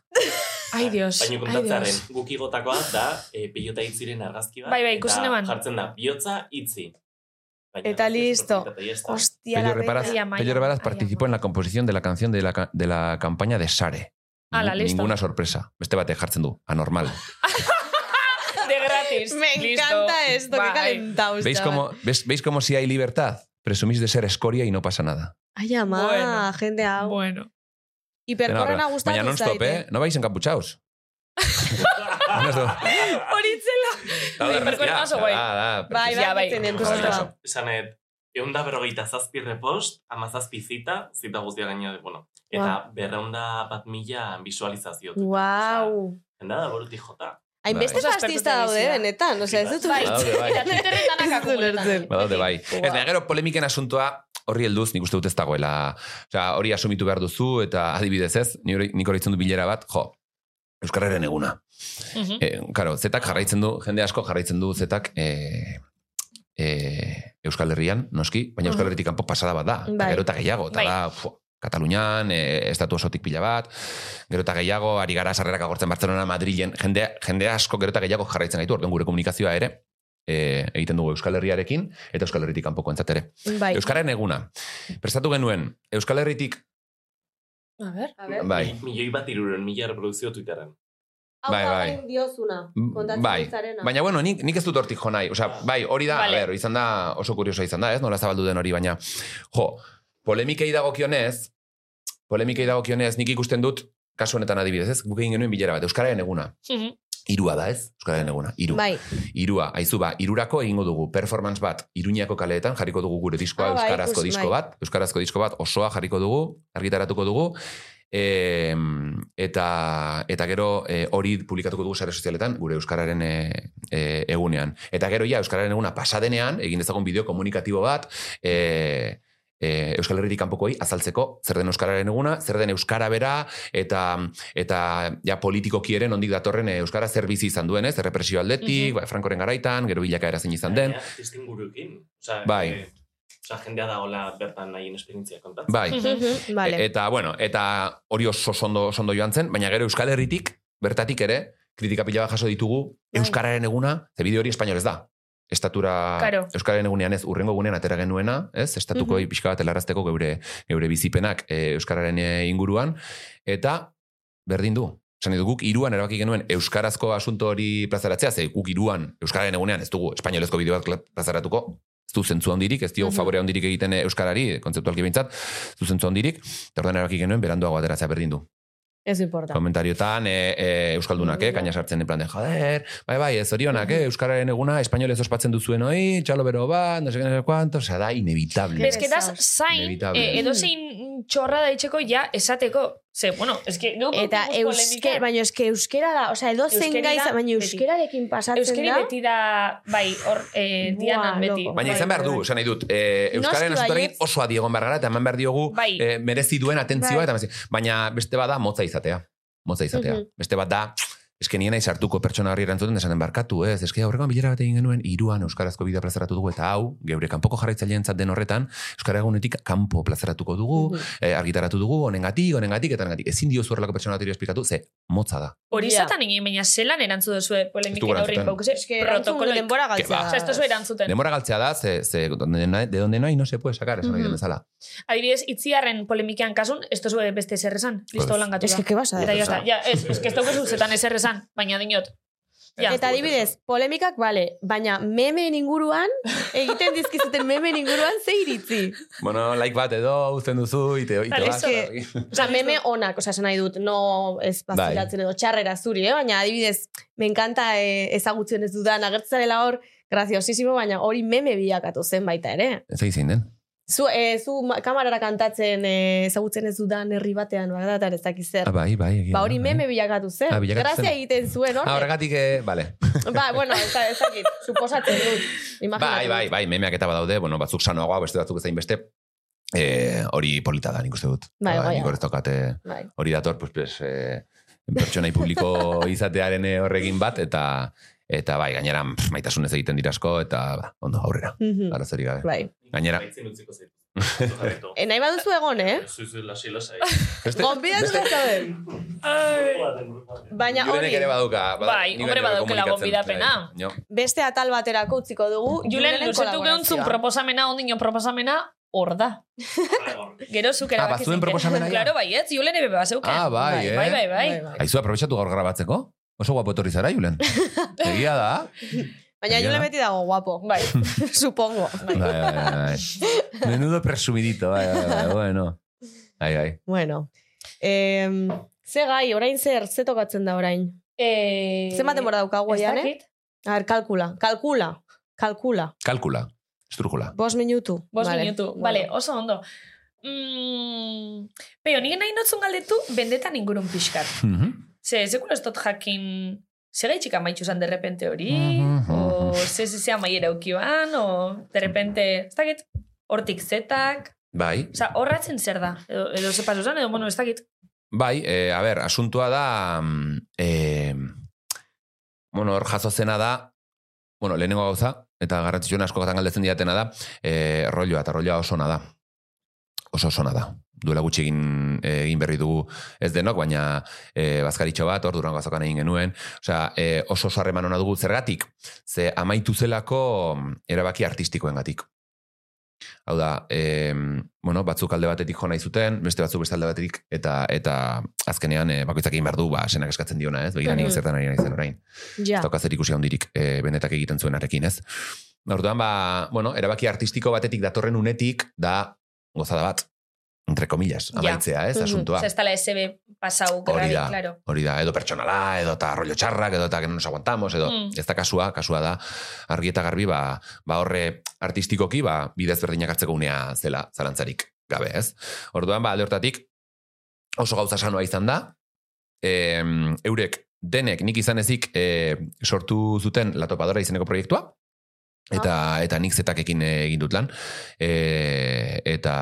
B: Ai, Dios,
J: Baina
B: ai,
J: kontatzearen
B: Dios.
J: guki gotakoa da e, pilota itziren argazki bat.
B: Bai, bai,
J: eta
B: ikusi neban.
J: Jartzen da, bihotza itzi. Baina
D: Eta
J: argazki
D: listo.
J: oso polita eta ya está.
F: Pello
D: la
F: Reparaz,
B: Ay, ama,
F: Pello
B: ama,
F: Reparaz
B: ay,
F: participó
B: ama.
F: en la composición de la canción de la, ca- de la campaña de Sare.
B: Ala,
F: Ningú-
B: listo.
F: Ninguna sorpresa. Beste batek jartzen du, anormal.
B: Degrad- gratis.
D: Me
B: Listo.
D: encanta esto,
B: Bai.
D: qué calentaos.
F: ¿Veis
D: chaval.
F: cómo, ves- veis cómo si hay libertad? Presumís de ser escoria y no pasa nada.
D: Ai, ama,
B: Bueno.
D: jende hau.
B: Bueno.
D: Hiperkorrena
F: Dena horrela.
D: gustatu
F: Baina non stop, eh? No vais encapuchaos. no stop.
B: Horitzela.
F: Da, da,
B: Hiperkorrena oso guai.
F: da, da,
D: Bai,
B: Ja, bai.
D: bai, bai,
F: Oso
D: bai,
F: oso.
J: Esanet, eunda berrogeita zazpi repost, amazazpi zita, zita guztia gaina, bueno, eta berreunda bat mila visualizazio.
D: Wow.
J: Jendea da burutik jota.
D: Hainbeste
B: Bai.
D: pastista daude,
B: Oso aspertuta
D: benetan. Osea, ez dut
B: Bai.
F: Badaude, bai.
B: Eta Twitterren danak
D: ulertzen.
B: akumuletan.
F: Badaude, bai. Ez, baina gero polemiken asuntoa horri helduz nik uste dut ez dagoela. Osea, hori asumitu behar duzu eta adibidez ez, ni hori- nik hori itzen du bilera bat, jo, Euskarraren eguna.
B: Mhm.
F: E, karo, zetak jarraitzen du, jende asko jarraitzen du zetak e, e, Euskal Herrian, noski, baina Euskal Herritik kanpo pasada bat da, eta
D: Bai.
F: gero eta gehiago, eta
B: Bai.
F: da, fua, Katalunian, e, estatu osotik pila bat, gero eta gehiago, ari gara sarrerak agortzen Barcelona, Madrilen, jende, jende asko gero eta gehiago jarraitzen gaitu, orduan gure komunikazioa ere, e, egiten dugu Euskal Herriarekin, eta Euskal Herritik kanpoko entzat ere.
D: Bai.
F: Euskararen eguna, prestatu genuen, Euskal Herritik,
B: A ber.
F: bai,
J: Mi- Milioi bat iruren mila reprodukzio Twitterren.
F: bai, bai.
D: Diozuna. kontatzen
F: Bai,
D: dutzarena.
F: baina bueno, nik, nik ez dut hortik jo nahi. Osea, bai, hori da,
B: Vale.
F: a ber, izan da oso kurioso izan da, ez? Nola zabaldu den hori, baina jo, polemikei dagokionez, polemikei dagokionez nik ikusten dut, kasu honetan adibidez, ez? Guk egin genuen bilera bat, Euskararen eguna.
B: Mhm.
F: Irua da, ez? Euskararen eguna, iru.
D: Bai.
F: Irua, aizu ba, irurako egingo dugu performance bat, iruñako kaleetan jarriko dugu gure diskoa,
D: Ah, bai,
F: euskarazko
D: ikus-
F: disko
D: bai.
F: bat, euskarazko disko bat osoa jarriko dugu, argitaratuko dugu, e, eta, eta gero e, hori publikatuko dugu sare sozialetan, gure euskararen e, e, egunean. Eta gero ja, euskararen eguna pasadenean, egin dezagun bideo komunikatibo bat, e, e, Euskal Herritik kanpokoei azaltzeko zer den Euskararen eguna, zer den Euskara bera, eta, eta ja politikoki ere nondik datorren e, Euskara zer bizi izan duen, ez? Errepresio
D: Mhm.
F: aldetik, bai, Frankoren garaitan, gero bilakaera zein izan den.
J: Gainera, Testuinguruekin. Osea,
F: Bai.
J: eh, osea, jendea da hola bertan nahien esperientzia kontatzen.
F: Bai,
D: Mhm, Vale.
F: E- Eta, bueno, eta hori oso sondo, sondo joan zen, baina gero Euskal Herritik, bertatik ere, kritika pila bat jaso ditugu, Euskararen eguna, ze bideo hori espainolez da. Estatura
B: Claro.
F: Euskararen egunean ez, urrengo egunean atera genuena, ez? Estatuko mm pixka bat helarazteko geure, geure bizipenak e, Euskararen e, inguruan, eta berdin du. Esan dut, guk iruan erabaki genuen Euskarazko asunto hori plazaratzea, ze guk iruan Euskararen egunean ez dugu espainolezko bideo bat kla- plazaratuko, ez du zentzu handirik, ez dio favore handirik egiten eh, Euskarari, kontzeptualki behintzat, ez du zentzu handirik, Eta orduan erabaki genuen beranduago ateratzea berdin du.
D: Ez importa.
F: Komentariotan e, e, euskaldunak, eh, kaina sartzen den plan de, joder, bai, bai, ez zorionak, eh, euskararen eguna, espainolez ospatzen duzuen hoi, txalo bero bat, no sé qué, no sé cuánto, o sea, da inevitable.
B: Es Mm-hmm. que das
D: Besas.
B: zain,
F: Inevitable.
B: eh, edozein txorra da itxeko ja esateko. Ze, bueno, es que no
D: Eta euske, baina eske euskera da, osea, edo zen
B: Euskeri da
D: gaiza, baina
B: beti.
D: euskerarekin pasatzen
B: Euskeri
D: da.
B: beti da, bai, hor, eh,
D: Buah,
B: Diana beti.
D: loko.
F: Baina izan behar du, esan nahi dut, e, euskaren
D: Bai, Noski
F: asuntoari
D: baietz.
F: oso adiegon behar gara, eta eman behar diogu
B: Bai.
F: eh, merezi duen atentzioa,
D: Bai.
F: eta merezi- baina beste bat da motza izatea. Motza izatea.
D: Mhm.
F: Beste bat da, eske nien naiz hartuko pertsona horri erantzuten desaten barkatu, ez? Eske aurrekoan bilera bat egin genuen, iruan Euskarazko bidea plazaratu dugu, eta hau, geure kanpoko jarraitzaileentzat den horretan, Euskara egunetik kanpo plazaratuko
D: Mhm.
F: dugu, eh, argitaratu dugu, honengatik, honengatik, eta honengatik. Ezin dio zuerlako pertsona bat esplikatu, ze motza da.
B: Hori
D: Ja.
B: zatan egin, baina zelan erantzu duzue
F: Ez dugu
B: polemiken
F: erantzuten.
B: aurrein baukuse.
D: Eske erantzun
B: protokoloik.
D: denbora
F: Ke ba.
D: galtzea.
B: Osa, ez duzu erantzuten.
F: Denbora galtzea da, ze, ze donde nahi- de donde no hay no se puede sacar, esan mm
D: Mhm.
F: bezala.
B: Adibidez, itziarren polemikian kasun, ez duzu beste ezer esan. Listo
F: Pues,
B: holan gatu
D: Es que,
B: da.
D: ¿qué vas a
B: Eta
D: decir?
B: ya está. Ja, ez, ez que ez daukazu zetan ezer esan, baina dinot. Ja.
D: Eta adibidez, polemikak, bale, baina memeen inguruan, egiten dizkizuten memeen inguruan, ze iritzi.
F: Bueno, like bat edo, uzten duzu, ite, ite
B: Vale,
F: bat.
D: eske- Osa, meme onak, osa, esan nahi dut, no ez
F: Bai.
D: pazilatzen edo txarrera zuri, eh? baina adibidez, me encanta eh, ezagutzen ez dudan, agertzarela hor, graziosísimo, baina hori meme bilakatu zen baita ere.
F: Ez egin zein den.
D: Zu, eh, zu ma- kamarara kantatzen eh, ezagutzen ez dudan herri batean, bada, eta ez dakiz zer.
F: Ah, bai, bai. egia
D: Ba
F: da,
D: hori
F: bai.
D: meme bilakatu zen.
F: Ah, bilakatu zen.
D: Grazia egiten zuen, hor.
F: Ah, horregatik, eh, bale.
D: Ba, bueno, ez da- ez dakit, suposatzen dut.
F: Bai,
D: Imaginatu.
F: bai, bai, memeak eta badaude, bueno, batzuk sanoagoa, beste batzuk ezain beste. Eh, hori polita da, nik uste dut.
D: Bai,
F: Ba,
D: bai,
F: Nik
D: bai.
F: hor ez daukat, eh,
D: Bai.
F: hori dator, pues, pues, eh, pertsonai publiko izatearen eh, horrekin bat, eta eta bai, gainera pff, maitasunez egiten dirasko, eta ba, ondo aurrera,
D: Mhm.
F: arazorik gabe.
D: Bai.
F: Gainera.
J: Baitzen utziko zaitu. Jarraitu.
D: E, nahi baduzu egon, eh?
J: Zuzu lasi lasai.
F: Beste,
D: Gonbidatu
F: beste-
D: bezaude. Baina
F: Julenek
D: hori,
F: ere badauka. bada-
B: Bai,
F: nik
B: hombre,
F: gainera
B: badaukela
F: komunikatzen,
B: gonbidapena.
F: bai, jo.
D: beste atal baterako utziko dugu.
B: Julen,
D: Julenen
B: luzetu gehuntzun
D: kolaborazioa.
B: proposamena, ondino proposamena, hor da. Gero zuk
F: Ah,
B: erabaki
F: bazuen
B: zinken.
F: proposamena ja?
B: Claro, baietz, Julen ebe bazeuken.
F: Ah, bai, eh?
B: Bai, bai, bai.
D: bai.
F: Aizu, aprobetsatu gaur grabatzeko? Oso guapo etorri zara, Julen. Egia da.
D: Baina
F: Egia
D: Jule
F: da.
D: beti dago guapo.
B: Bai.
D: Supongo.
F: Bai, bai, bai. Menudo presumidito, bai, bai, bai, bueno. Bai, bai.
D: Bueno. Em, ze gai, orain zer, ze tokatzen da orain?
B: Eh,
D: Zenbat denbora daukagu
B: ez
D: ja, eh?
B: dakit.
D: A ver, kalkula, kalkula, kalkula.
F: Kalkula. Estrujula.
D: Bost minutu.
B: Bost
D: Vale.
B: minutu.
D: Bueno.
B: Bale, oso ondo. Mm, Peio, nik nahi notzun galdetu bendetan ingurun pixkat.
F: Mhm.
B: Ze, sekula ez dut jakin... Segaitxik amaitxu zan derrepente hori,
F: Mhm,
B: o
F: mhm.
B: ze ze ze amaiera ukiban, o derrepente, ez dakit, hortik zetak,
F: Bai,
B: oza, horratzen zer da, edo, edo ze pasu zan, edo, bueno, ez dakit.
F: Bai, e, a ber, asuntua da... mm, E, bueno, hor jaso zena da... Bueno, lehenengo gauza, eta garrantzitsuena askotan galdetzen diatena da, e, rolloa, eta rolloa oso ona da. Oso oso ona da. Duela gutxi egin, e, egin berri dugu ez denok, baina e, bazkaritxo bat, hor durango azokan egin genuen. Osea, e, oso oso harreman ona dugu zergatik, ze amaitu zelako erabaki artistikoengatik. Hau da, e, bueno, batzuk alde batetik jo nahi zuten, beste batzuk beste alde batetik, eta eta azkenean e, bakoitzak egin behar du, ba, senak eskatzen diona, ez? Begira nik
D: Mhm.
F: zertan ari nahi zen orain.
D: Ja.
B: Ah.
F: Ez dauka zer ikusi handirik e, benetak egiten zuenarekin, ez? Orduan, ba, bueno, erabaki artistiko batetik datorren unetik da gozada bat, entre comillas,
B: Ja.
F: amaitzea, ez,
D: Mhm.
F: asuntua.
B: Oza, ez dala SB pasau,
F: Hori
B: grabe,
F: da.
B: claro.
F: Hori da, edo pertsonala, edo eta rollo txarrak, edo eta que no nos aguantamos, edo
B: Mm.
F: ez da kasua, kasua da, argi eta garbi, ba, ba horre artistikoki, ba, bidez berdinak hartzeko unea zela, zalantzarik gabe, ez? Orduan, ba, alde hortatik, oso gauza sanoa izan da, em, eurek denek nik izan ezik e, sortu zuten La Topadora izeneko proiektua,
B: Ah.
F: Eta, eta nik zetakekin e, egin dut lan. E, eta,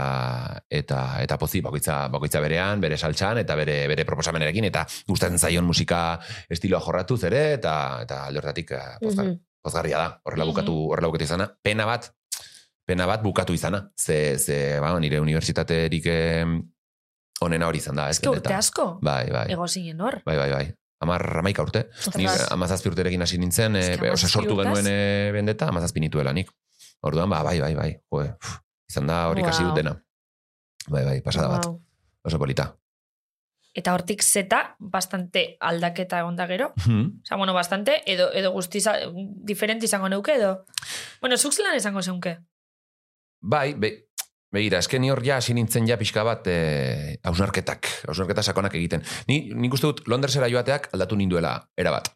F: eta, eta pozi, bakoitza, bakoitza berean, bere saltxan, eta bere, bere proposamenerekin, eta gustatzen zaion musika estiloa jorratuz ere, eta, eta alde horretatik eh, pozgar,
D: Mhm.
F: pozgarria da. Horrela
B: Mhm.
F: bukatu, horrela bukatu izana. Pena bat, pena bat bukatu izana. Ze, ze ba, nire unibertsitaterik em, onena hori izan da. Ez,
B: Ez que urte
F: benetan.
B: asko,
F: Bai, bai.
B: ego zinen hor.
F: Bai, bai, bai. Amar, amaika urte. Ni
B: Ostras.
F: amazazpi urterekin hasi nintzen, e,
B: Eske
F: oza,
B: hamazazpi
F: sortu
B: urtaz?
F: genuen e, bendeta, amazazpi nituela nik. Orduan, ba, bai, bai, bai. Joe, pf, izan da hori ikasi
D: Wow.
F: dut dena. Bai, bai, pasada bat.
D: Wow.
F: Oso polita.
B: Eta hortik zeta, bastante aldaketa egon da gero.
F: Hmm.
B: Osa, bueno, bastante, edo, edo guztiza, diferente izango neuke, edo. Bueno, zuk zelan izango zeunke.
F: Bai, be, begira, esken hor ja hasi nintzen ja pixka bat e, ausnarketak, ausnarketa sakonak egiten. Ni, nik uste dut Londresera joateak aldatu ninduela, erabat.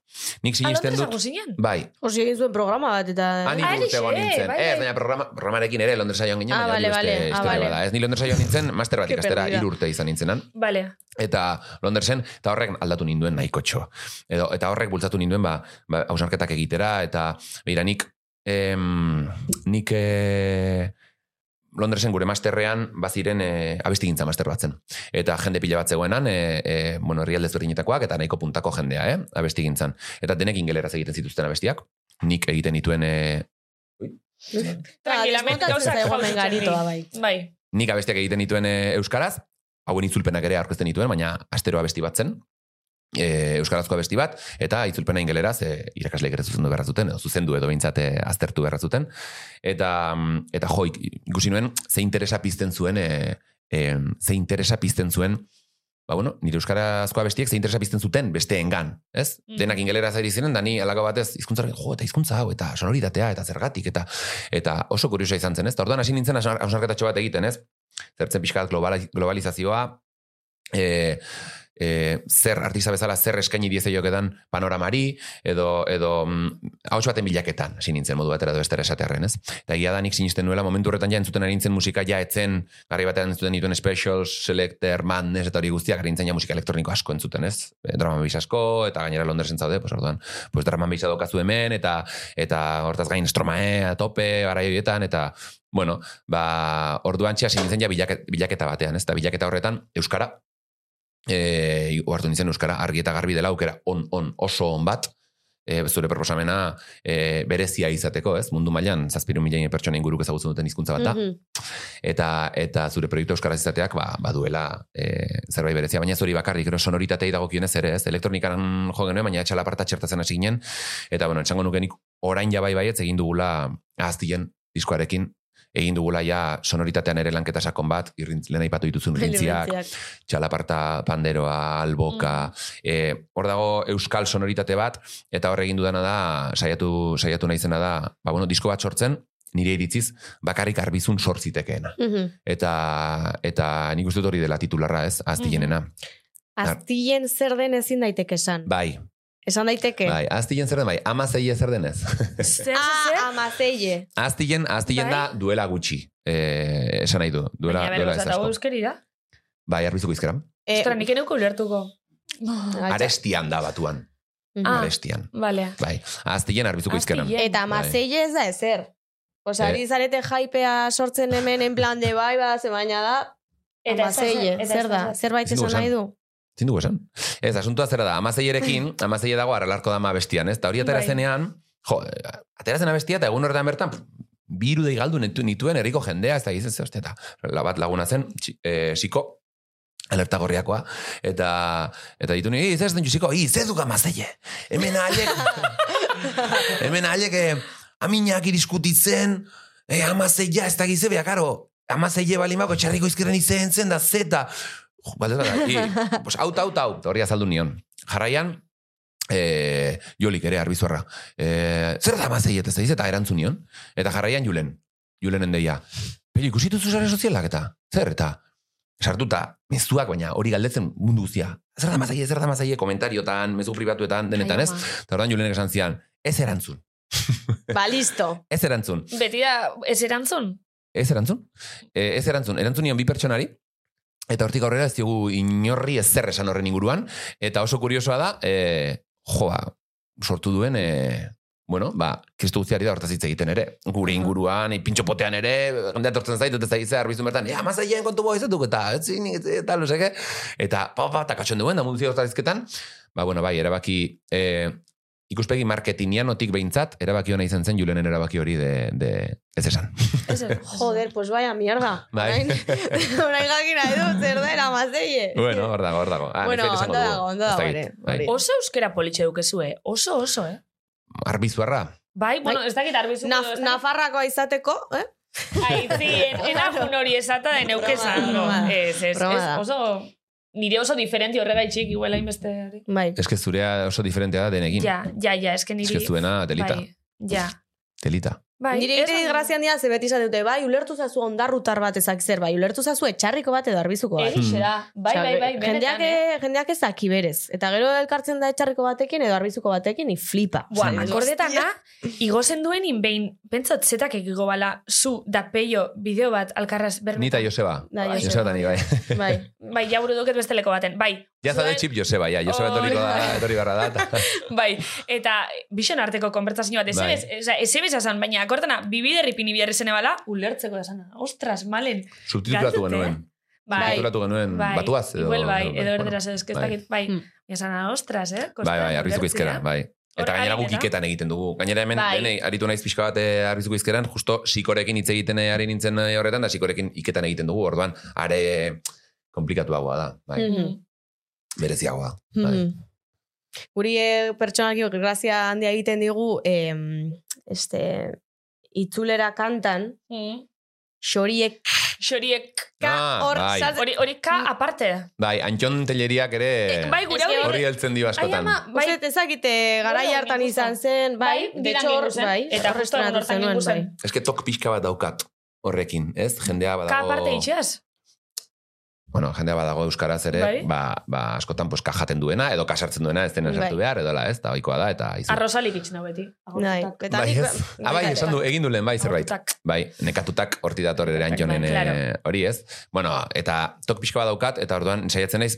F: Nik
B: Ah,
F: sinisten
B: Londres
F: dut,
B: zinen?
F: bai,
D: Osi egin zuen programa bat eta...
F: Han
B: Ah,
F: hiru urte
B: erixe,
F: egon nintzen.
B: bai,
F: ez,
B: bai.
F: baina programa, programarekin ere Londresa joan ginen,
D: Ah,
F: baina hori
D: vale,
F: beste
D: vale. Ah,
F: historia
D: vale.
F: bada. Ez, ni Londresa joan nintzen, master bat
D: Ke
F: ikastera,
D: perdida.
F: hiru urte izan nintzenan.
B: Vale.
F: Eta Londresen, eta horrek aldatu ninduen nahiko txo. Edo, eta horrek bultzatu ninduen, ba, ba hausnarketak egitera, eta begira, nik, em, nik eh, Londresen gure masterrean baziren e, abestigintza master batzen. Eta jende pila bat zegoenan, e, e, bueno, herri aldezberdinetakoak, eta nahiko puntako jendea, eh, abestigintzan. Eta denek ingeleraz egiten zituzten abestiak. Nik egiten dituen e,
B: Tranquilamente, gauzak
D: Egomen
B: jasotzen
D: garitoa
B: dira.
D: bai.
B: Bai.
F: nik abestiak egiten dituen e, euskaraz, hauen itzulpenak ere aurkezten dituen, baina astero abesti bat zen, e, euskarazko abesti bat, eta itzulpena ingeleraz e, irakasleik ere zuzendu behar zuten, edo zuzendu edo behintzate aztertu behar zuten. Eta, mm, eta jo, ik- ikusi nuen, ze interesa pizten zuen, e, e, ze interesa pizten zuen, ba bueno, nire euskarazko abestiek ze interesa pizten zuten besteengan, ez?
B: Mm.
F: Denak ingeleraz ari ziren, da ni alako batez hizkuntzaren jo, eta hizkuntza hau, eta sonoritatea, eta zergatik, eta eta oso kuriosa izan zen, ez? Ta orduan hasi nintzen hausnar- hausnarketatxo bat egiten, ez? Zertzen pixkat globali- globalizazioa, e, e, zer artista bezala zer eskaini diezeioketan panoramari, edo, edo mm, hauts baten bilaketan, hasi nintzen modu batera edo bestera esatearren, ez? Eta egia da nik sinisten nuela, momentu horretan ja entzuten ari nintzen musika ja etzen, garri batean entzuten dituen specials, selecter, madness, eta hori guztiak, ari nintzen ja musika elektroniko asko entzuten, ez? E, Drama bis asko, eta gainera Londresen zaude, pues orduan, pues drama bisa daukazu hemen, eta eta hortaz gain estromae, tope, garai horietan, eta Bueno, ba, orduan txea nintzen ja bilaketa, bilaketa batean, ez? Eta bilaketa horretan, Euskara, e, hartu nintzen euskara argi eta garbi dela aukera on, on, oso on bat, e, zure proposamena e, berezia izateko, ez? Mundu mailan zazpiru milioi pertsona inguruk ezagutzen duten hizkuntza bat da,
D: Mhm.
F: eta eta zure proiektu euskaraz izateak ba, baduela e, zerbait berezia, baina zori bakarrik, gero sonoritatei dagokionez ere, ez? Elektronikan jo genuen, baina etxalaparta txertatzen hasi ginen, eta bueno, etxango nukenik orain ja bai baietz egin dugula ahaztien diskoarekin egin dugula ja sonoritatean ere lanketa sakon bat, irrintz, lehen aipatu dituzun irrintziak, txalaparta panderoa, alboka, eh, hor dago euskal sonoritate bat, eta hor egin dudana da, saiatu, saiatu naizena da, ba, bueno, disko bat sortzen, nire iritziz, bakarrik arbizun sortzitekeena.
D: Mhm.
F: Eta, eta nik uste dut hori dela titularra ez, aztilenena.
B: Mhm.
D: Aztilen zer den ezin daiteke esan.
F: Bai,
D: Esan daiteke.
F: bai, aztilen zer den, bai, ama zeie zer denez.
B: Zer, zer,
D: Ah,
B: zer?
D: amazeie.
F: aztilen, aztilen da duela gutxi, eh, esan nahi du, duela,
B: Bai. Baina, bera,
F: duela
B: gauza,
F: ez
B: eta hau
F: asko.
B: euskeri da.
F: Bai, arbizuko izkeran.
D: Eh,
B: Ostra, nik eneuko ulertuko.
D: gaitza.
F: Arestian da batuan,
D: Mhm.
B: Bai. Ah.
F: arestian.
B: Balea.
F: Bai, aztilen arbizuko izkeran.
B: Aztilen.
D: Eta amazeie ez da ezer. Osa,
F: Bai. Eh.
D: ari zarete jaipea sortzen hemen en plan de bai, badaze baina da,
B: Eta ez da
D: amazeie,
B: eta ez
D: zer da, zerbait
F: Ezin dugu
D: esan nahi du?
F: Zin dugu esan? Ez, asuntua zera da, amazeierekin, amazeie dago aralarko dama bestian, ez? Eta hori atera
B: Bai.
F: zenean, jo, atera zena bestia, eta egun horretan bertan, pff, bi irudei galdu netu- nituen herriko jendea, ez da gizen ze, ostia, eta la bat laguna zen, txi- eh, siko, alerta gorriakoa, eta, eta ditu ni, "Iz, ez den jusiko, iz, ez duk amazeie, hemen haiek, hemen haiek, eh, aminak iriskutitzen, eh, amazeia, ez da gize, bea, karo, amazeie balimako, txarriko izkeren izen zen, da zeta, Jo, Baldez bada, i, pues, aut, aut, aut, hori azaldu nion. Jarraian, e, jolik ere, arbizorra. E, zer da mazei eta zeiz, eta erantzun nion. Eta jarraian julen, julenen deia. Pero ikusitu zuzare sozialak eta, zer eta, sartuta, mezuak baina hori galdetzen mundu guztia. Zer da mazai, zer da mazai, komentariotan, mezu pribatuetan, denetan ez. Eta ordan julenek esan zian, ez erantzun,
D: Ba, listo.
F: ez erantzun,
B: Beti da, ez erantzun?
F: ez erantzun, e, ez erantzun. Erantzun nion bi pertsonari, eta hortik aurrera ez diogu inorri ezer esan horren inguruan, eta oso kuriosoa da, e, jo, ba, sortu duen, e, bueno, ba, kristu guztiari da hortaz hitz egiten ere. Gure inguruan, e, pintxo potean ere, jendea tortzen zait, eta zaitzea arbizun bertan, ea, mazaien kontu boi zetuk, eta etzin, eta luzeke, eta pa, pa, eta katxon duen, da mundu zio hortazizketan, ba, bueno, bai, erabaki, e, ikuspegi marketingianotik behintzat, erabaki hona izan zen, julenen erabaki hori de, de ez esan.
B: Ez ez.
D: Joder, pues vaya mierda.
F: Bai.
D: Orain, orain jakin nahi du, zer da, eramazeie.
F: Bueno, hor dago, hor dago. Ah,
D: Bueno,
F: nik esango
D: ondo
F: dugu.
D: dago, ondo dago
F: Ez dakit,
D: ere,
F: bai.
D: hori.
B: Oso euskera politxe dukezu, eh? Oso, oso, eh?
F: Arbizuarra.
B: Bai, bueno, ez dakit arbizu.
D: Naf Nafarrakoa izateko, eh?
B: Aitzi, erafun hori esata den
D: Broma da,
B: eukesan. No,
D: broma da.
B: ez, ez,
D: Broma
B: ez,
D: da.
B: oso... Nire oso diferenti horregaitxik, iguela inbesteari.
D: Bai.
F: Ez que zurea oso diferentea da denekin.
B: Ja, ja, ja, eske
F: Ez
B: niri...
F: que zuena, telita.
B: Bai, ja.
F: Telita.
B: Bai,
D: Nire
B: ez-
D: ere grazian dira, ze beti esaten dute, bai, ulertu zazu ondarrutar bat ezak zer, bai, ulertu zazu etxarriko bat edo arbizoko bat.
B: Egixe da. Bai, bai, bai, benetan,
D: jendeak,
B: eh?
D: eh? jendeak ez daki berez. Eta gero elkartzen da etxarriko batekin edo arbizuko batekin, ni flipa.
B: Bua,
D: Osea,
B: akordetan da, igozen duen inbein, pentsat zetak egigo bala, zu da peio bideo bat alkarraz bermetan.
F: Ni eta Joseba.
D: Da,
F: Joseba.
D: Joseba.
F: eta ni bai.
D: Bai.
B: Bai, ja buru duket besteleko baten. Bai,
F: Ja zade
B: zuen-
F: txip Joseba, ja. Joseba
B: Oi.
F: etorriko da, etorri barra da. eta-
B: Bai, eta bixen arteko konbertsazio bat,
F: Bai.
B: ezebez, oza, ezebez esan, baina akortana, bibiderri pini biherri zene bala, ulertzeko da sana. Ostras, malen. Galtzete.
F: Subtitulatu genuen.
B: Bai,
F: Subtitulatu genuen batuaz.
B: Edo, igual, bai, edo
F: bueno,
B: erderaz ez, ez
F: bai.
B: dakit, bai.
D: Hmm.
B: Esan, ostras, eh?
F: Bai, bai, arbizuko izkera, bai. Eta
B: Hor
F: gainera guk
B: ari dena.
F: iketan egiten dugu. Gainera hemen,
B: Bai.
F: bai. aritu naiz pixka bat eh, arbizuko izkeran, justo sikorekin hitz egiten eh, ari nintzen eh, horretan, da sikorekin iketan egiten dugu, orduan, are komplikatuagoa da,
B: Hmm.
F: bai,
B: Mm,
D: Mhm.
F: bereziagoa. Bai.
D: Mhm. Guri eh, pertsonalki grazia handia egiten digu, em, este, itzulera kantan,
B: Mm.
D: xoriek
B: Xoriek,
F: Ah,
D: hor
F: bai.
D: sartzen-
B: hori, hori ka aparte.
F: Bai, Antxon Telleriak ere
B: Bai, gure
D: Hmm. Ez que
B: hori,
F: horri heltzen dio
B: ai
F: askotan.
B: ama,
D: Bai,
B: bai,
D: Uste, dut ezakite garai
B: Bueno,
D: hartan
B: nik uste.
D: izan zen, bai, de
B: Bai, biran
D: hecho,
B: gindu zen,
D: bai,
B: eta
D: horre
B: justo egun
D: estrenatu
B: hortan
D: zenuen,
B: gindu zen.
F: Ez que tok pixka bat daukat horrekin, ez? Jendea
B: ka
F: badago...
B: aparte itxeaz.
F: Bueno, jendea badago euskaraz ere,
B: Bai.
F: ba, ba askotan pues, kajaten duena, edo kasartzen duena, ez dena sartu
D: Bai.
F: behar, edo la, ez, eta oikoa da, eta izu.
B: Arrozalik itxina beti.
D: Bai, eta
F: bai,
D: nik-
F: ez? Ah, bai, esan du, egin du lehen, bai, zerbait.
B: Agortutak.
F: Bai, nekatutak horti dator ere antxonen
B: Bai, claro.
F: eh, hori ez. Bueno, eta tok pixka bat daukat, eta orduan saiatzen naiz,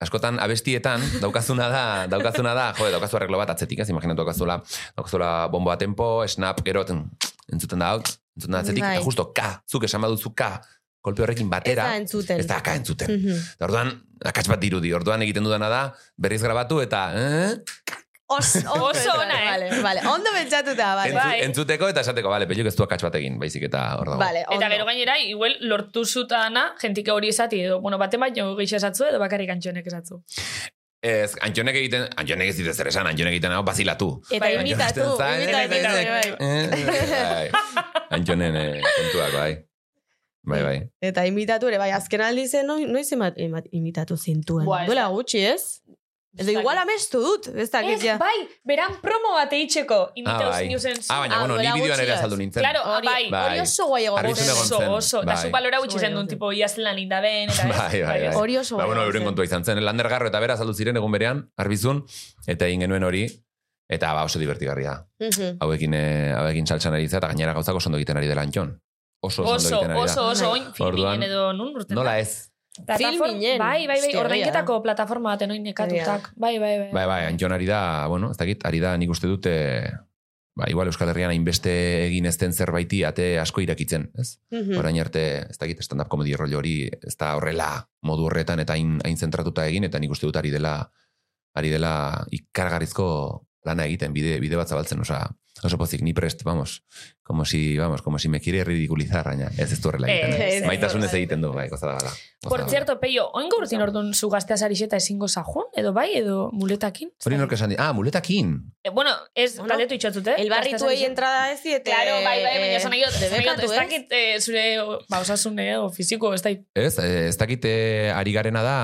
F: askotan abestietan daukazuna da, daukazuna da, jode, daukazu arreglo bat atzetik, ez, imaginatu daukazula, daukazula bombo bat tempo, snap, gero, ten- entzuten da, hau, entzuten da atzetik,
D: Bai.
F: eta justo, ka, zuk esan baduzu, ka, kolpe horrekin
D: Bai, Ez
F: batera,
D: da entzuten.
F: ez da, ka entzuten.
D: Mhm.
F: Eta Orduan, akats bat dirudi, orduan egiten dudana da, berriz grabatu eta eh?
D: Os, ondo
B: Oso
D: entzuten,
B: ona, eh?
D: Vale, vale, ondo pentsatuta, vale.
F: Entzu-
B: Bai.
F: entzuteko eta esateko, bale, peluk ez du akats bat egin, baizik eta hor dago.
D: Vale, ondo.
B: Eta gero gainera, igual lortu zutana, jentik hori esati, edo, bueno, baten baino gehiago esatzu, edo bakarrik antxonek esatzu.
F: Ez, antxonek egiten, antxonek ez dit ezer esan, antxonek egiten hau bazilatu.
D: Eta
B: Bai, bai.
D: imitatu,
F: Antxonen zain,
D: imitatu,
F: eh,
D: bai, bai.
F: eh, eh, bai. Antxonen eh, kontuak, bai. Bai, bai.
D: Eta imitatu ere, bai, azken aldi zen, noi- noiz emat, emat, imitatu zintuen.
B: Buah, ez
D: Duela gutxi, ez? Edo igual amestu dut, ez dakit,
B: Ez,
D: ja.
B: bai, beran promo bat eitzeko imitau
F: bai.
B: zinuzen zu.
F: Ah, baina,
D: Ah,
F: bueno, ni
D: duela
F: bideoan ere
D: gutxi,
F: azaldu
D: ez.
F: nintzen.
B: Claro, ah,
D: Hori-
B: bai.
F: Bai.
D: Hori oso guai egon
F: Harrizun
D: zen.
F: egon
B: eh, Oso,
F: zen,
B: oso. Eta
F: bai.
B: zu balora gutxi zen duen,
D: Bai,
B: tipo, iaztelan indaben, eta ez.
F: Bai, bai, bai.
D: Hori oso
F: Ba,
D: guai
F: bueno,
D: egon
F: euren
D: zen.
F: kontua izan zen. Landergarro eta bera azaldu ziren egun berean, arbizun, eta egin genuen hori, eta ba, oso divertigarria.
D: Mhm.
F: Hauekin, eh, hauekin saltsan ari za, eta gainera gauzak oso ondo egiten ari dela antxon. Oso, oso, ondo
B: Oso,
F: egiten ari da.
B: oso, oso, oin
F: Orduan,
B: filminen edo nun urten.
F: Nola ez?
B: Plataform-
D: Filminen.
B: Bai, bai, bai,
D: Hostia,
B: ordainketako plataforma baten oin nekatutak. Bai, bai, bai.
F: Bai, bai, antxon ari da, bueno, ez dakit, ari da nik uste dute, ba, igual Euskal Herrian hainbeste egin ezten zerbaiti ate asko irakitzen, ez?
B: Hmm.
D: Mhm.
F: Orain arte, ez dakit, stand-up komedi rollo hori, ez da horrela modu horretan eta hain, hain zentratuta egin, eta nik uste dut ari dela, ari dela ikargarrizko lana egiten, bide, bide bat zabaltzen, oza, oso pozik, ni prest, vamos, como si, vamos, como si me quiere ridiculizar, baina ez ez du horrela egiten.
B: Eh,
F: eh.
B: Ez, ez,
F: Maitasunez
B: ez.
F: egiten du, bai, goza da bada. Goza
B: Por
F: da bada.
B: cierto, Peio, oingo urtin orduan zu gaztea sarixeta ezingo zajun, edo bai, edo muletakin?
F: Hori nork esan di, ah, muletakin,
B: Eh, bueno, ez
D: Bueno,
B: galdetu itxotzut, eh?
D: El barritu
B: Gaztea
D: egin
B: sarixeta.
D: entrada ez diete...
B: Claro, bai, bai, baina esan nahi dut, esan nahi dut,
D: debekatu,
B: ez
D: ez?
B: dakit eh, zure, o, ba, osasune, o fiziko, ez dakit.
F: Ez, eh, ez dakit eh, ari garena da,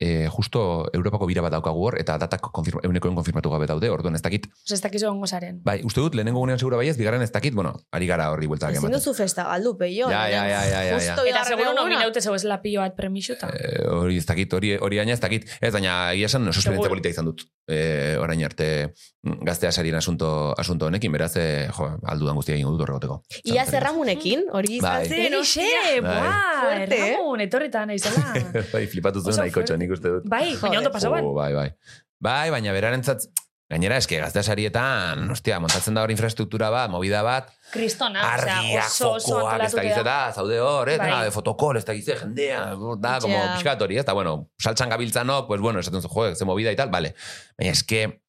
F: eh, justo Europako bira bat daukagu hor, eta datak konfirma, eunekoen konfirmatu gabe daude, orduan ez dakit.
B: Osa, ez dakizu ongo zaren.
F: Bai, uste dut, lehenengo gunean segura baiez, bigarren ez dakit, bueno, ari gara horri bueltak
D: Ezin
F: ematen.
D: duzu festa galdu, peio.
F: Ja, ja, ja, ja, ja, ja.
D: Justo
B: Eta
D: bigarren
B: seguro no
D: eguna.
B: mineute zeu ez lapillo bat premixuta.
F: Eh, hori ez dakit, hori, hori aina ez dakit. Ez, baina egia esan oso esperientzia
B: Segur.
F: polita izan dut. Eh, orain arte mm, gaztea sarien asunto, asunto honekin, beraz, eh, jo, aldudan guztia egingo dut horregoteko.
D: Ia zerramunekin, hori izan
F: Bai.
D: zen,
B: Horixe,
D: hostia.
F: Bai.
B: buah,
D: Fuerte, eh?
B: Ramon, etorrita naizela.
F: bai, flipatu zuen
B: Oso
F: nahiko
B: fuerte.
F: nik uste dut.
B: Bai, baina ondo pasaban.
F: Oh, bai, bai. Bai, baina berarentzat, gainera, eske gaztea sarietan, ostia, montatzen da hor infrastruktura bat, movida bat,
B: Kristona, osea,
F: argia,
B: Ah, oso, oso
F: fokoak, ez da
B: antolatuta.
F: gizeta, zaude hor, ez,
B: Bai.
F: da, de fotokol, ez da gizeta, jendea, da,
D: Ja.
F: como pixkat hori, ez da, bueno, saltsan gabiltzanok, pues bueno, esaten zu, jo, ze movida y tal, vale. Baina eske,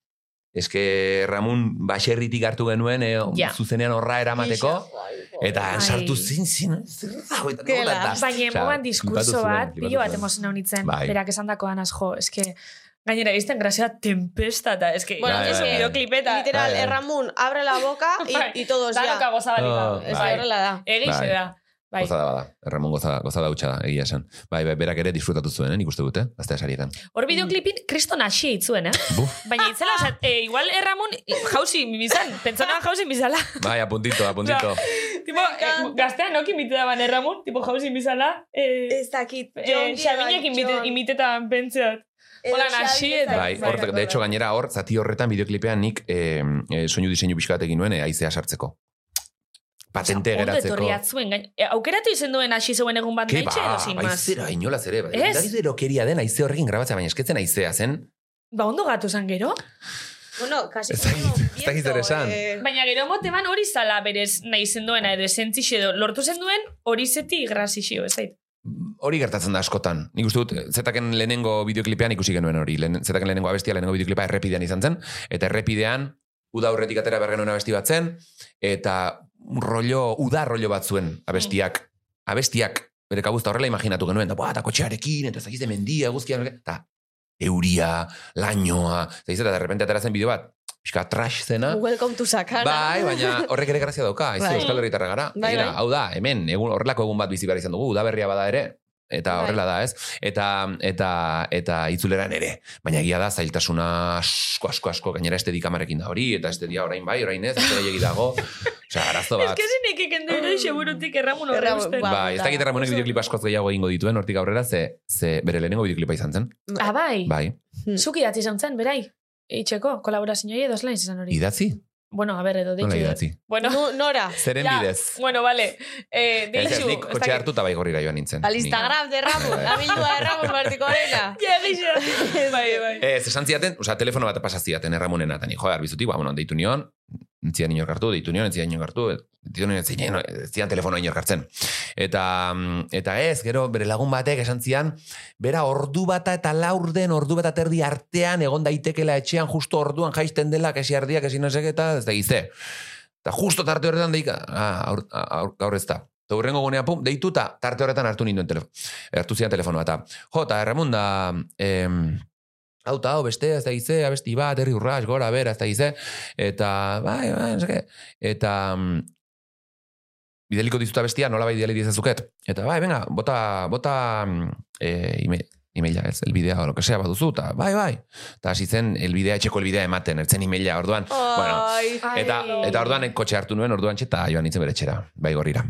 F: eske Ramon baserritik hartu genuen, eh,
B: Ja.
F: zuzenean horra eramateko, eta
B: Ai.
F: sartu zin, zin, zer dago, eta
D: Kela.
F: nola, eta-
B: Baina
F: Osea,
B: emoan diskurso
F: flipatu zuen,
B: bat,
F: flipatu
B: pilo bat
F: zuen.
B: emozio nintzen,
F: Bai.
B: berak esan dakoan asko, eske, gainera izten grazia tempesta, eta eske,
D: Bueno,
F: Bai,
B: ez
F: bai, bai.
B: bideoklipeta,
D: eh, Literal,
F: Bai, bai.
D: erramun, abre la boca y, y todos
B: danok
D: ya.
F: Oh,
B: agozabalik.
D: Ez
F: Bai.
D: horrela da.
B: Egixe
F: Bai.
B: da. Bai.
F: Gozada bada, Ramon gozada, gozada hutsa da, egia esan. Bai, bai, berak ere disfrutatu zuen, eh, nik uste dute, gaztea sarietan.
B: Hor bideoklipin kriston hasi itzuen, eh?
F: Buf.
B: Baina itzela, oza, e, igual erramon e, jauzi mizan, pentsonan jauzi mizala.
F: Bai, apuntito, apuntito.
B: tipo, e, gaztean ok imitedaban erramon, eh, tipo jauzi mizala, e,
D: Ez
F: Eh,
D: dakit.
B: e, xabinek imite, imitetan pentseat. Hola, nasi eta-
F: Bai, hor, de hecho, gainera hor, zati horretan bideoklipean nik eh, eh, soinu diseinu pixka bat egin nuen eh, aizea sartzeko. Patente
B: Ondo
F: geratzeko.
B: etorri atzuen, gain, e, aukeratu izen duen hasi zeuen egun bat
F: Ke
B: naitxe
F: ba,
B: edo sin maz.
F: aizera, inolaz ere. Bai.
B: Ez.
F: Ez. erokeria den aize horrekin grabatzea, baina esketzen aizea zen.
B: Ba, ondo gatu zan gero?
D: Bueno, kasi.
F: Ez dakit- ez dakit zer esan.
D: eh.
B: Baina gero moteban hori zala berez nahi zenduena edo esentzixe edo lortu zenduen hori zeti grazixio, ez zait.
F: Hori gertatzen da askotan. Nik uste dut, eh, zetaken lehenengo bideoklipean ikusi genuen hori. Lehen, zetaken lehenengo abestia, lehenengo bideoklipa errepidean izan zen. Eta errepidean, uda aurretik atera behar genuen abesti bat zen. Eta rollo, uda rollo bat zuen abestiak. Abestiak, bere kabuzta horrela imaginatu genuen. Da, "Buah, eta kotxearekin, eta zakiz de mendia, guzkia. Eta euria, lainoa. Zakiz, eta de repente atera zen bideo bat. Pixka trash zena.
D: Welcome to Sakana.
F: Bai, baina horrek ere grazia dauka, ez
D: Bai.
F: Euskal Herritarra gara.
D: Bai,
F: Begira,
D: bai.
F: Hau da, hemen, egun, horrelako egun bat bizi behar izan dugu, udaberria bada ere, eta
D: Bai.
F: horrela da, ez? Eta, eta, eta itzuleran ere. Baina egia da, zailtasuna asko, asko, asko, gainera este dikamarekin da hori, eta este dia orain bai, orain ez, eta egi dago. Osea, arazo
B: Ez
F: bat.
B: que zinek ikende ere xeburutik erramun horre
D: Erramun,
B: usten.
D: ba.
F: Ba, ez dakit Ramonek bideoklip askoz gehiago egingo dituen, hortik aurrera, ze, ze bere lehenengo bideoklipa izan zen.
B: Ah, bai.
F: Bai,
B: Zuki idatzi izan zen, berai. Itxeko, kolaborazioi edo eslan izan hori.
F: Bai. idatzi?
B: Bueno, a ber, edo
F: Nola
B: deitu.
F: idatzi?
B: Bueno,
D: Nu- Nora.
F: Zeren
B: ja,
F: bidez?
B: Bueno, vale. Eh,
F: Ez, ez,
B: deitu.
F: nik kotxe hartuta bai gorrira joan nintzen.
D: Al
F: Ni.
D: Instagram de Ramon.
F: Bai.
D: Abilua de Ramon Martikorena.
B: Ja, egixe. Bai, bai.
F: Ez, esan zidaten, oza, telefono bat eh, pasaziaten erramonena, eta ni, jo, arbizuti, ba, bueno, deitu nion, entzidan inor hartu, deitu nion, entzidan inor hartu, deitu nion, entzidan, entzidan telefono inor hartzen. Eta, mm, eta ez, gero, bere lagun batek esan zian, bera ordu bata eta laurden ordu bata terdi artean, egon daitekela etxean, justo orduan jaisten dela, kesi ardiak, kesi nosek eta, ez da gize. Eta justo tarte horretan deika, ah, aur, aur, gaur ez da. Eta hurrengo gunea, pum, deituta, tarte horretan hartu ninduen telefono, hartu zidan telefonoa, eta, jo, eta erramun da, em, hau eta hau, beste, ez da gize, abesti bat, herri urras, gora, bera, ez da gize, eta, bai, bai, ez dakit. eta, mm, bidaliko dizuta bestia, nola bai bidali diezazuket. Eta, bai, venga, bota, bota, mm, e, email, emaila, ez, elbidea, o lo que sea, baduzu, eta, bai, bai. Eta hasi zen, elbidea, etxeko elbidea ematen, ertzen emaila, orduan, bueno,
D: Ai,
F: Eta, eta orduan eh, kotxe hartu nuen, orduan txeta joan nintzen bere etxera, bai gorrira.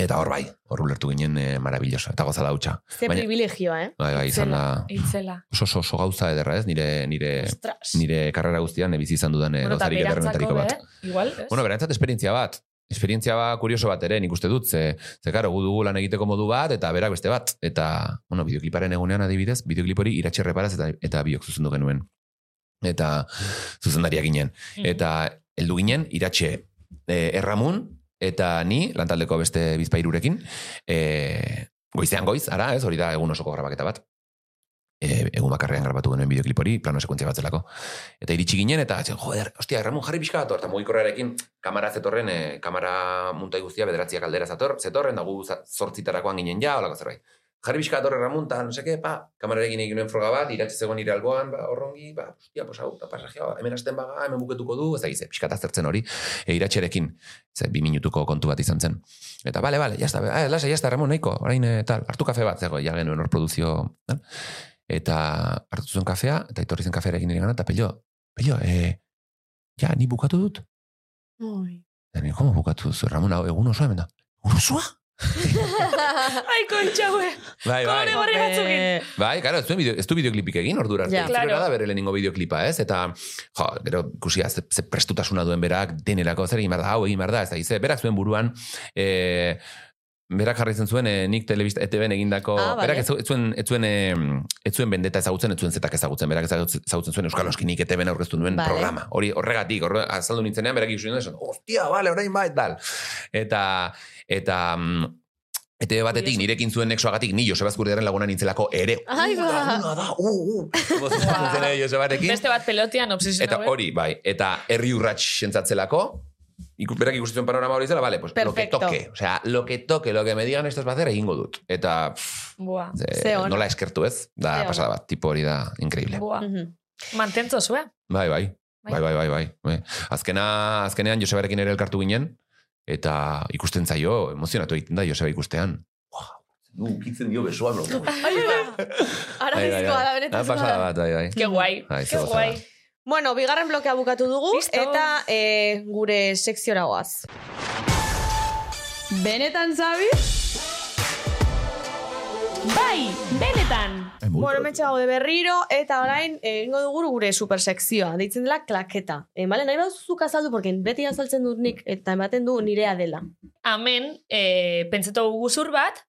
F: Eta hor bai, hor ulertu ginen e, maravilloso, eta gozada hutsa.
D: ze
F: baina-
D: privilegioa, Este eh?
F: Bai, bai, izan da
B: Itzela.
F: oso, oso, oso gauza ederra ez, nire, nire,
D: Ostras.
F: nire karrera guztian e, bizi izan dudan e,
B: Bueno, eta
F: gauzarik
B: berantzako
F: ederrenetariko
B: be,
F: bat.
B: ¿eh? igual, ez?
F: ¿eh? Bueno, berantzat esperientzia bat. Esperientzia ba, kurioso bat ere, nik uste dut, ze, ze karo, gu dugu lan egiteko modu bat, eta berak beste bat. Eta, bueno, bideokliparen egunean adibidez, bideoklip hori iratxerre paraz eta, eta biok zuzendu genuen. Eta zuzendaria ginen. Eta heldu ginen, iratxe e, erramun, eta ni, lantaldeko beste bizpairurekin, e, goizean goiz, ara, ez, hori da egun osoko grabaketa bat. E, egun bakarrean grabatu genuen bideoklip hori, plano sekuentzia bat zelako. Eta iritsi ginen, eta zen, joder, ostia, Ramon jarri pixka bat, hor, eta mugikorrarekin, kamara zetorren, e, kamara muntai guztia, bederatziak aldera zator, zetorren, da gu za- zortzitarakoan ginen ja, olako zerbait. Jarri pixka bat horre Ramon, eta no seke, pa, kamararekin egin nuen froga bat, iratxe zegoen nire alboan, ba, horrongi, ba, ostia, pues hau, eta pasajia, hemen asten baga, hemen buketuko du, ez da gize, pixka bat aztertzen hori, e, iratxerekin, ze, bi minutuko kontu bat izan zen. Eta, bale, bale, jazta, ah, lasa, jazta, Ramon, nahiko, orain, e, tal, hartu kafe bat, zego, ja genuen hor produzio, tal. eta hartu zuen kafea, eta itorri zen kafearekin nire gana, eta pello, Bello, e, ja, ni bukatu dut.
D: Oi.
F: Da, ni, como bukatu duzu? Ramon, hau, egun osoa hemen da. Egun osoa?
B: Ai, kontxaue.
F: Bai,
B: Kolore gorri batzukin.
D: Eh,
F: Bai, claro, ez du, bideo, ez du bideoklipik egin ordura arte.
D: Ja.
F: Itzulera
B: Claro.
F: da bere lehenengo bideoklipa, ez? Eta, jo, gero, ikusia, ze, ze prestutasuna duen berak, denerako zer egin behar da, hau egin behar da, ez da, gize, berak zuen buruan, e, berak jarraitzen zuen e, nik telebista ETB-en egindako
D: Ah, bale.
F: berak ez, ez zuen ez zuen eh, ez zuen bendeta ezagutzen ez zuen zetak ezagutzen berak ezagutzen ezagutzen zuen Euskal Oskinik ETB-en aurkeztu nuen
D: Bale.
F: programa hori horregatik horre, azaldu nintzenean berak ikusi nuen esan ostia vale orain bai tal eta eta mm, ETB batetik nirekin zuen nexoagatik ni Joseba Azkurdiaren laguna nintzelako ere
D: Ai, ba.
F: "Uh, laguna da u u Nintzen, eh, Josebarekin
B: Beste bat pelotean obsesionau.
F: Eta
D: eh?
F: hori, bai, eta herri urrats sentzatzelako, iku- berak ikusten panorama hori zela, vale, pues lo que
D: Perfecto.
F: toque, o sea, lo que toque, lo que me digan esto es hacer egingo dut. Eta pff,
B: Boa.
F: ze-
D: Ze ona.
F: nola eskertu ez, da
D: Ze ona.
F: pasada bat, tipo hori da increíble.
B: Boa.
D: mhm.
B: Mantentzo zue.
F: Bai, bai. Bai, bai, bai, bai. bai. Azkena, azkenean Josebarekin ere elkartu ginen, eta ikusten zaio, emozionatu egiten da Joseba ikustean. Wow, du, kitzen dio besoan. lo-
D: Ai, ba. Ara
F: Bai, bai,
D: bizkoa da
F: bai. Ah,
D: benetan.
F: pasada bat, bai, bai.
B: Ke guai.
F: Ai, ze
B: Ke
F: gozada.
B: guai.
D: Bueno, bigarren blokea bukatu dugu
B: Listo.
D: eta eh, gure sekziora goaz.
H: Benetan zabi? Bai, benetan.
F: Ai, muy
D: Bueno,
F: pro-
D: metxe gaude berriro, eta orain eh, egingo dugu gure supersekzioa, deitzen dela klaketa. E, bale, nahi baduzu azaldu, porque beti azaltzen dut nik, eta ematen du nirea dela.
B: Amen, e, pentsatugu guzur bat,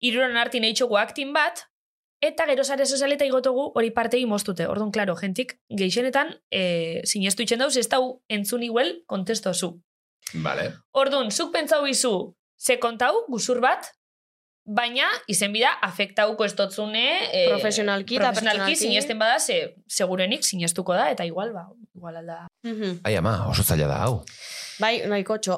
B: iruron artin eitxogu aktin bat, eta gero sare sozialeta igotogu hori partei moztute. Orduan, klaro, jentik geixenetan e, sinestu itxen dauz, ez dau entzun iguel kontesto zu.
F: Vale.
B: Orduan, zuk pentsau izu, ze kontau guzur bat, baina izenbida afektauko estotzune e,
D: Profesionalki eta pertsonalki.
B: profesionalki sinesten bada, ze, segurenik sinestuko da, eta igual, ba, igual alda.
D: Mhm.
F: Ai, ama, oso zaila da, hau.
D: Bai, nahiko txo.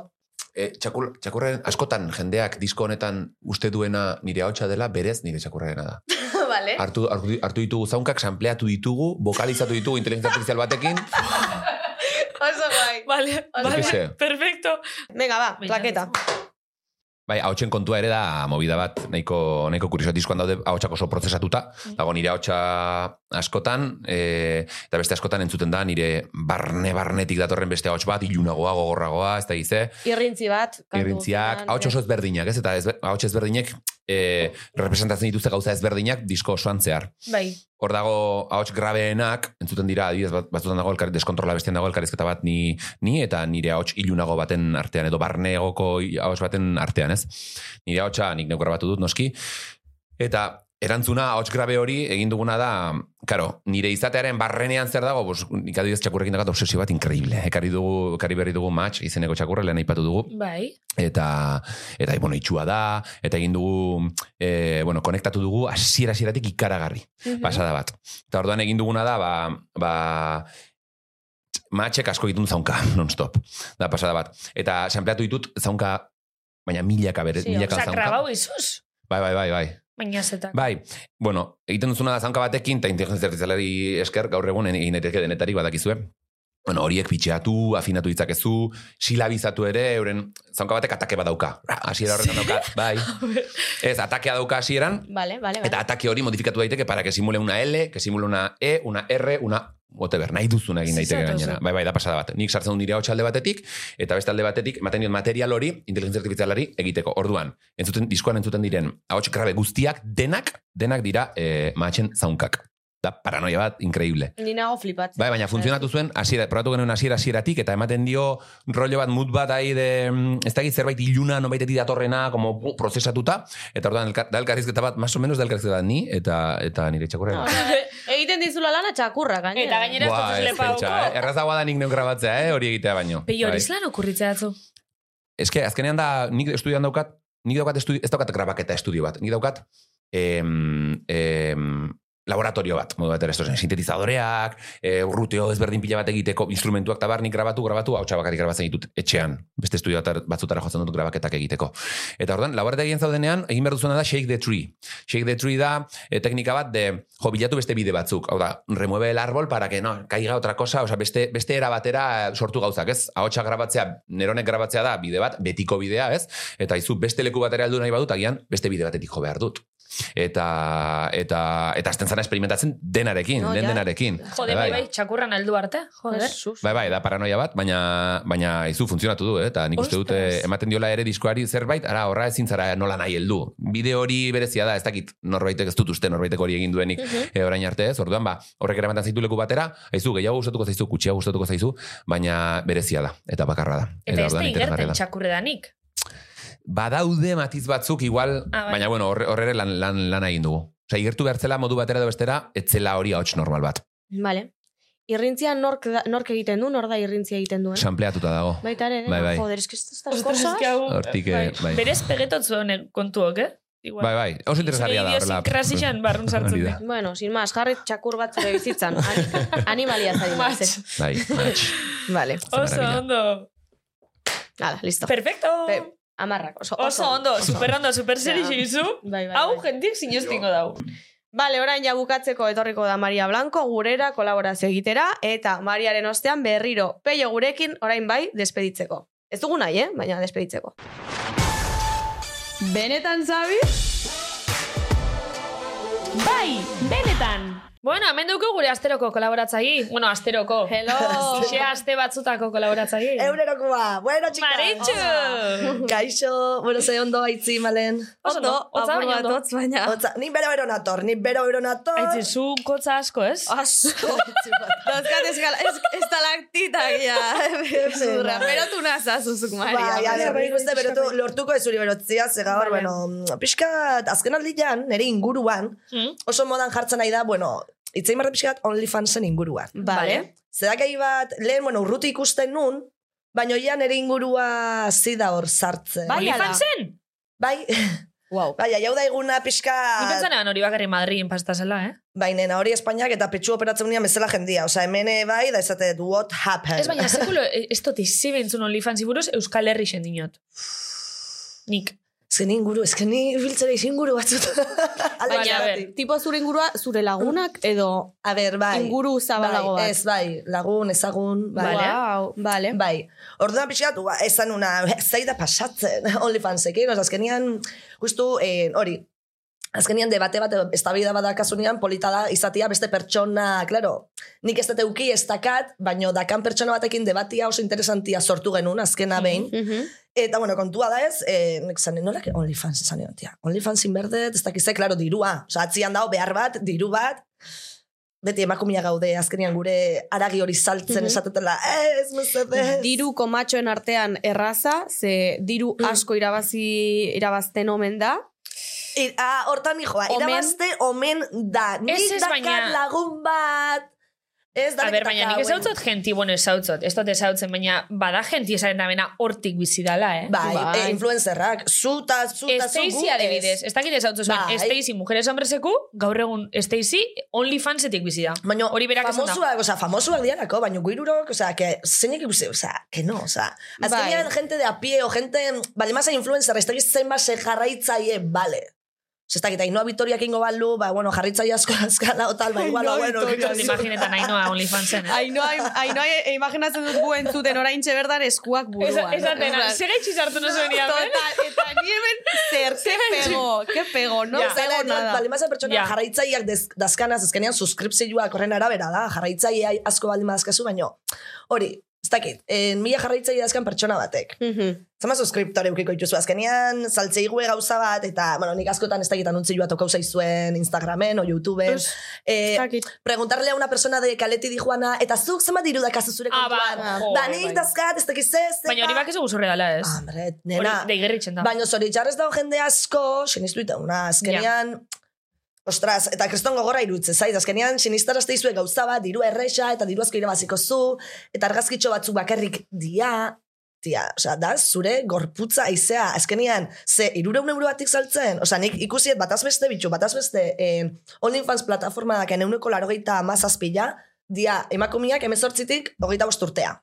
F: e, txakur, txakurraren askotan jendeak disko honetan uste duena nire ahotsa dela, berez nire txakurrarena da.
D: vale.
F: Hartu, hartu, hartu ditugu zaunkak, sampleatu ditugu, vokalizatu ditugu inteligentzia artifizial batekin.
D: Oso bai.
B: Vale,
F: Ikese.
B: vale, perfecto.
D: Venga, ba, klaketa.
F: Bai, ahotsen kontua ere da movida bat, nahiko, nahiko kurioso diskoan daude ahotsak oso prozesatuta. Dago nire ahotsa askotan, e, eta beste askotan entzuten da nire barne-barnetik datorren beste ahots bat, ilunagoa, gogorragoa, ez da gize.
D: Irrintzi bat. kantu
F: Irrintziak,
D: guztietan,
F: ahots
D: eh.
F: oso ezberdinak, ez? Eta ezber, ahots ezberdinek e, representatzen dituzte gauza ezberdinak disko osoan zehar.
B: Bai,
F: hor dago ahots grabeenak, entzuten dira, adibidez, bat- batzutan dago elkar deskontrola bestean dago elkarrizketa bat ni, ni eta nire ahots ilunago baten artean edo barneegoko i- ahots baten artean, ez? Nire ahotsa nik neuk grabatu dut noski eta erantzuna ahots grabe hori egin duguna da, karo, nire izatearen barrenean zer dago, bos, nik adibidez txakurrekin dakat obsesio bat inkreible. Ekarri dugu, ekarri berri dugu match, izeneko txakurra lehen aipatu dugu
B: bai.
F: eta eta bueno, itxua da, eta egin dugu, e, bueno, konektatu dugu hasiera hasieratik ikaragarri, pasada bat. Eta orduan egin duguna da, ba, ba matxek asko ditun zaunka, non-stop, da pasada bat. Eta sampleatu ditut zaunka, baina milaka bere,
D: Sí,
F: milaka
B: Osa,
F: zaunka.
B: grabau izuz.
F: Bai, bai, bai, bai.
B: baina zetak.
F: Bai, bueno, egiten duzuna da zanka batekin, eta inteligentzia artifizialari esker gaur egun egin daiteke denetarik badakizue. Bueno, horiek pitxeatu, afinatu ditzakezu, silabizatu ere, euren zanka batek atake badauka. Hasiera horretan dauka, bai. Ez, atakea dauka hasieran,
D: Vale, vale, vale.
F: eta atake hori modifikatu daiteke para que simule una L, que simule una E, una R, una whatever, nahi duzuna egin daiteke
B: Zuzatu
F: gainera.
B: zu.
F: Bai, bai, da pasada bat. Nik sartzen dut nire hau alde batetik, eta beste alde batetik, ematen diot material hori, inteligentzia artifizialari egiteko. Orduan, entzuten, diskoan entzuten diren, hau grabe guztiak, denak, denak dira eh, mahatxen zaunkak. Da, paranoia bat, inkreible.
D: Ni nago flipatzen.
F: Bai, baina funtzionatu zuen, hasiera, probatu genuen hasiera hasieratik eta ematen dio rollo bat mut bat ahi de, mm, ez dakit zerbait iluna, nobaitetik datorrena, como bu, prozesatuta, eta orduan, elkar, da elkarrizketa bat, más o menos da elkarrizketa bat ni, eta, eta nire bai. txakurrera.
D: Ah, Egiten dizula lana txakurra, gainera.
B: Eta gainera ez dut lepauko.
F: eh? Errazagoa da nik neuk grabatzea, eh? hori egitea baino.
B: Peio hori
F: Bai.
B: zelan okurritzea atzu.
F: Ez que, azkenean da, nik estudioan daukat, nik daukat, estudio, ez daukat grabaketa estudio bat, nik daukat em, em, laboratorio bat, modu batera, esto zen, sintetizadoreak, e, urruteo ezberdin pila bat egiteko, instrumentuak eta bar, nik grabatu, grabatu, hau bakarrik grabatzen ditut etxean, beste estudio atar- batzutara jotzen dut grabaketak egiteko. Eta ordan laborategian zaudenean, egin behar duzuna da Shake the Tree. Shake the Tree da e, teknika bat de jo, bilatu beste bide batzuk. Hau da, remueve el árbol para que no, caiga otra cosa, osea, beste, beste era batera eh, sortu gauzak, ez? Ahotsa grabatzea, neronek grabatzea da bide bat, betiko bidea, ez? Eta izu beste leku batera heldu nahi badut, agian beste bide batetik jo behar dut. Eta eta eta hasten zara experimentatzen denarekin,
D: No,
F: den
D: ja.
F: denarekin.
B: Jode, bai, bai, txakurran aldu arte, joder.
F: Bai, bai, da paranoia bat, baina, baina izu funtzionatu du, eh? eta nik uste dute
B: Ostras.
F: ematen diola ere diskoari zerbait, ara horra ezin zara nola nahi heldu. Bide hori berezia da, ez dakit norbaitek ez dut uste norbaitek hori egin duenik eh, orain arte ez, orduan ba, horrek eramaten zaitu leku batera, aizu gehiago gustatuko zaizu, gutxiago gustatuko zaizu, baina berezia da, eta bakarra da.
B: Eta ez da
F: orduan interesgarria
B: igerten
F: da.
B: txakurredanik.
F: Badaude matiz batzuk igual,
B: Ah, bai.
F: baina bueno, horre, horre lan, lan, lan egin dugu. Osea, igertu behar zela modu batera edo bestera, etzela hori ahots normal bat.
D: Vale. Irrintzia nork, da- nork egiten du, nor da irrintzia egiten duen.
F: Sampleatuta dago.
D: Baita ere,
F: Bai, bai.
D: joder, eski ez da
B: Ostras,
D: cosa.
B: ez que hau-
F: Hortik, eh, bai.
B: Berez pegetotzu honek kontuok, eh? Igual.
F: Bai, bai, oso interesgarria da horrela.
B: Krasixan barrun
F: Hori
B: sartzen
F: da.
B: dut.
D: Bueno, sin más, jarri txakur bat zure bizitzan. Ani- Animalia zari
B: Mats.
F: Bai, match.
D: Vale.
B: Oso
F: maravilla.
B: ondo.
D: Hala, listo.
B: Perfecto.
D: Pe- Amarrak, oso,
B: Oso ondo, super ondo, super zeri
D: Ja.
B: segizu.
D: Bai, bai,
B: Hau
D: bai.
B: jentik sinestingo dau.
D: Vale, orain ja bukatzeko etorriko da Maria Blanco gurera kolaborazio egitera eta Mariaren ostean berriro peio gurekin orain bai despeditzeko. Ez dugu nahi, eh? Baina despeditzeko.
H: Benetan zabi? Bai, benetan.
B: Bueno, hemen duko gure asteroko kolaboratzai. Bueno, asteroko.
D: Hello!
B: Xe aste batzutako kolaboratzai.
G: Eurerokua, bueno, chicas.
B: Maritxu!
K: Kaixo, bueno, ze ondo aitzi, malen.
B: Oso ondo, hotza
D: apur
B: baina
D: bat
B: ondo.
D: hotz, baina...
K: Otza, ni bero bero nator, ni bero bero nator.
B: Aitzi, zu kotza asko, ez?
K: Ah, Asko.
D: Dauzkat eskala, ez, ez talaktitak, ja. Zurra, berotu nazazuzuk, Maria.
K: Bai, ja, ja, nik uste berotu, lortuko ez zuri berotzia, ze gaur,
B: Vale.
K: bueno, mm, pixkat, azken aldian, nire inguruan,
B: Mm.
K: oso modan jartzen nahi da, bueno, itzein barra pixkat OnlyFansen inguruan.
D: Vale.
K: Zedakai bat, lehen, bueno, urruti ikusten nun, baina ja nire ingurua zida hor sartzen.
D: Bai, ala.
B: Olifan zen?
K: Bai,
D: Wow.
K: bai, jau da eguna pixka...
B: Ni pentsan eban hori bakarri Madridin pastasela, eh?
K: Baina Bai, hori Espainiak eta petxu operatzen unian bezala jendia. Osa, hemen eh, bai, da esate, what happened?
B: Ez baina, sekulo, e- ez dut izi behintzun OnlyFans buruz Euskal Herri xendinot. Nik.
K: Ezken inguru, ezken ni biltzera izin inguru batzut.
B: Baina,
K: Alde
B: a
K: batzutatik.
D: Tipo zure ingurua, zure lagunak edo
K: a ber, bai.
D: inguru zabalago
K: bai,
D: bat.
K: Ez, bai, lagun, ezagun, bai.
B: Vale.
D: Wow, vale.
K: Bai, orduan pixkatu, ba, ez zanuna, zei da pasatzen, OnlyFansekin, oza, azkenian, justu, eh, hori, azkenian debate bat, estabida bat dakasunean, polita da, izatia beste pertsona, claro, nik ez dut euki ez dakat, baino dakan pertsona batekin debatia oso interesantia sortu genuen, azkena behin, Eta, bueno, kontua da ez, eh, nek zanen, nola, que OnlyFans esan egon, tia. OnlyFans inberdet, ez dakize, klaro, dirua. Osa, atzian dago behar bat, diru bat, beti emakumia gaude, azkenean gure aragi hori saltzen
D: Mhm.
K: esatetela, ez, mesedez.
D: Bai. Diru komatxoen artean erraza, ze diru asko irabazi irabazten omen da.
K: I, ah, hortan nijoa,
D: Omen.
K: irabazte omen da. Nik
B: Ez, ez,
K: dakar
B: baina-
K: lagun bat. Ez,
B: A
K: danek
B: ber, baina
K: daka,
B: nik ez
K: bueno.
B: hautzot genti, bueno, ez hautzot, ez dut ez hautzen, baina bada genti esaren nabena hortik bizidala, eh?
K: Bai,
D: Bai.
K: eh, influencerrak, zuta, zuta,
B: Stacy adibidez, ez dakit ez hautzen zuen,
K: Bai.
B: Stacy, mujeres hombreseku, gaur egun Stacy, OnlyFansetik bizi da.
K: Baina
B: hori berak esan da.
K: famosuak, oza, famosuak dianako, baina guirurok, oza, que zeinek ikusi, oza, que no, oza. Azkenean
D: Bai.
K: gente de a pie, o gente, bale, masa influencer, ez tegiz zein base jarraitzaie, bale. ez dakit, Ainhoa Victoriak ingo balu, ba, bueno, jarritzaile asko azkala, o tal, ba, igual, ba, bueno.
B: Imaginetan ainoa OnlyFansen. eh?
D: Ainoa, ainoa e- imaginatzen dut gu entzuten orain bertan eskuak buruan.
B: Ez atena,
D: Orduan,
B: zer gaitxiz hartu no zuen eh?
D: Total, eta ni hemen zer, ke pego, ke pego, no
K: Ja.
D: pego nada.
K: Bale, mazen pertsona
D: Ja.
K: jarraitzaileak dez, dazkanaz, ezkenean suskripzioak horren arabera da, jarraitzailea asko baldin badazkazu, baino, hori, ez dakit, eh, mila jarraitzaile dazkan pertsona batek. Zama suskriptore ukiko dituzu azkenean, saltzeigue gauza bat, eta, bueno, nik askotan ez dakit anuntzi joa tokau zaizuen Instagramen o YouTubeen. Eh, preguntarle a una persona de kaleti dijuana, eta zuk zenbat diru dakazu zure
B: Ah, ba,
K: kontuan.
B: jo,
K: da, Ah, nik
B: bai.
K: dazkat, ez dakit ze, ze,
B: Baina hori
K: ta.
B: bak ez guzurre dala, ez?
K: Hombre, nena.
B: Hori Deigerritzen da.
K: Baina zoritxarrez dago jende asko, sinistuita una, azkenean... Ostras, eta kriston gogorra irutze zaiz, azkenean sinistarazte izue gauza bat, diru erresa, eta diru asko irabaziko zu, eta argazkitxo batzuk bakarrik dia, tia, osea, da, zure gorputza aizea, azkenean, ze, irureun euro batik saltzen, osea, nik ikusiet bataz beste bitxu, bataz beste, eh, OnlyFans plataforma daken euneko larogeita amazazpila, dia, emakumiak emezortzitik hogeita bosturtea.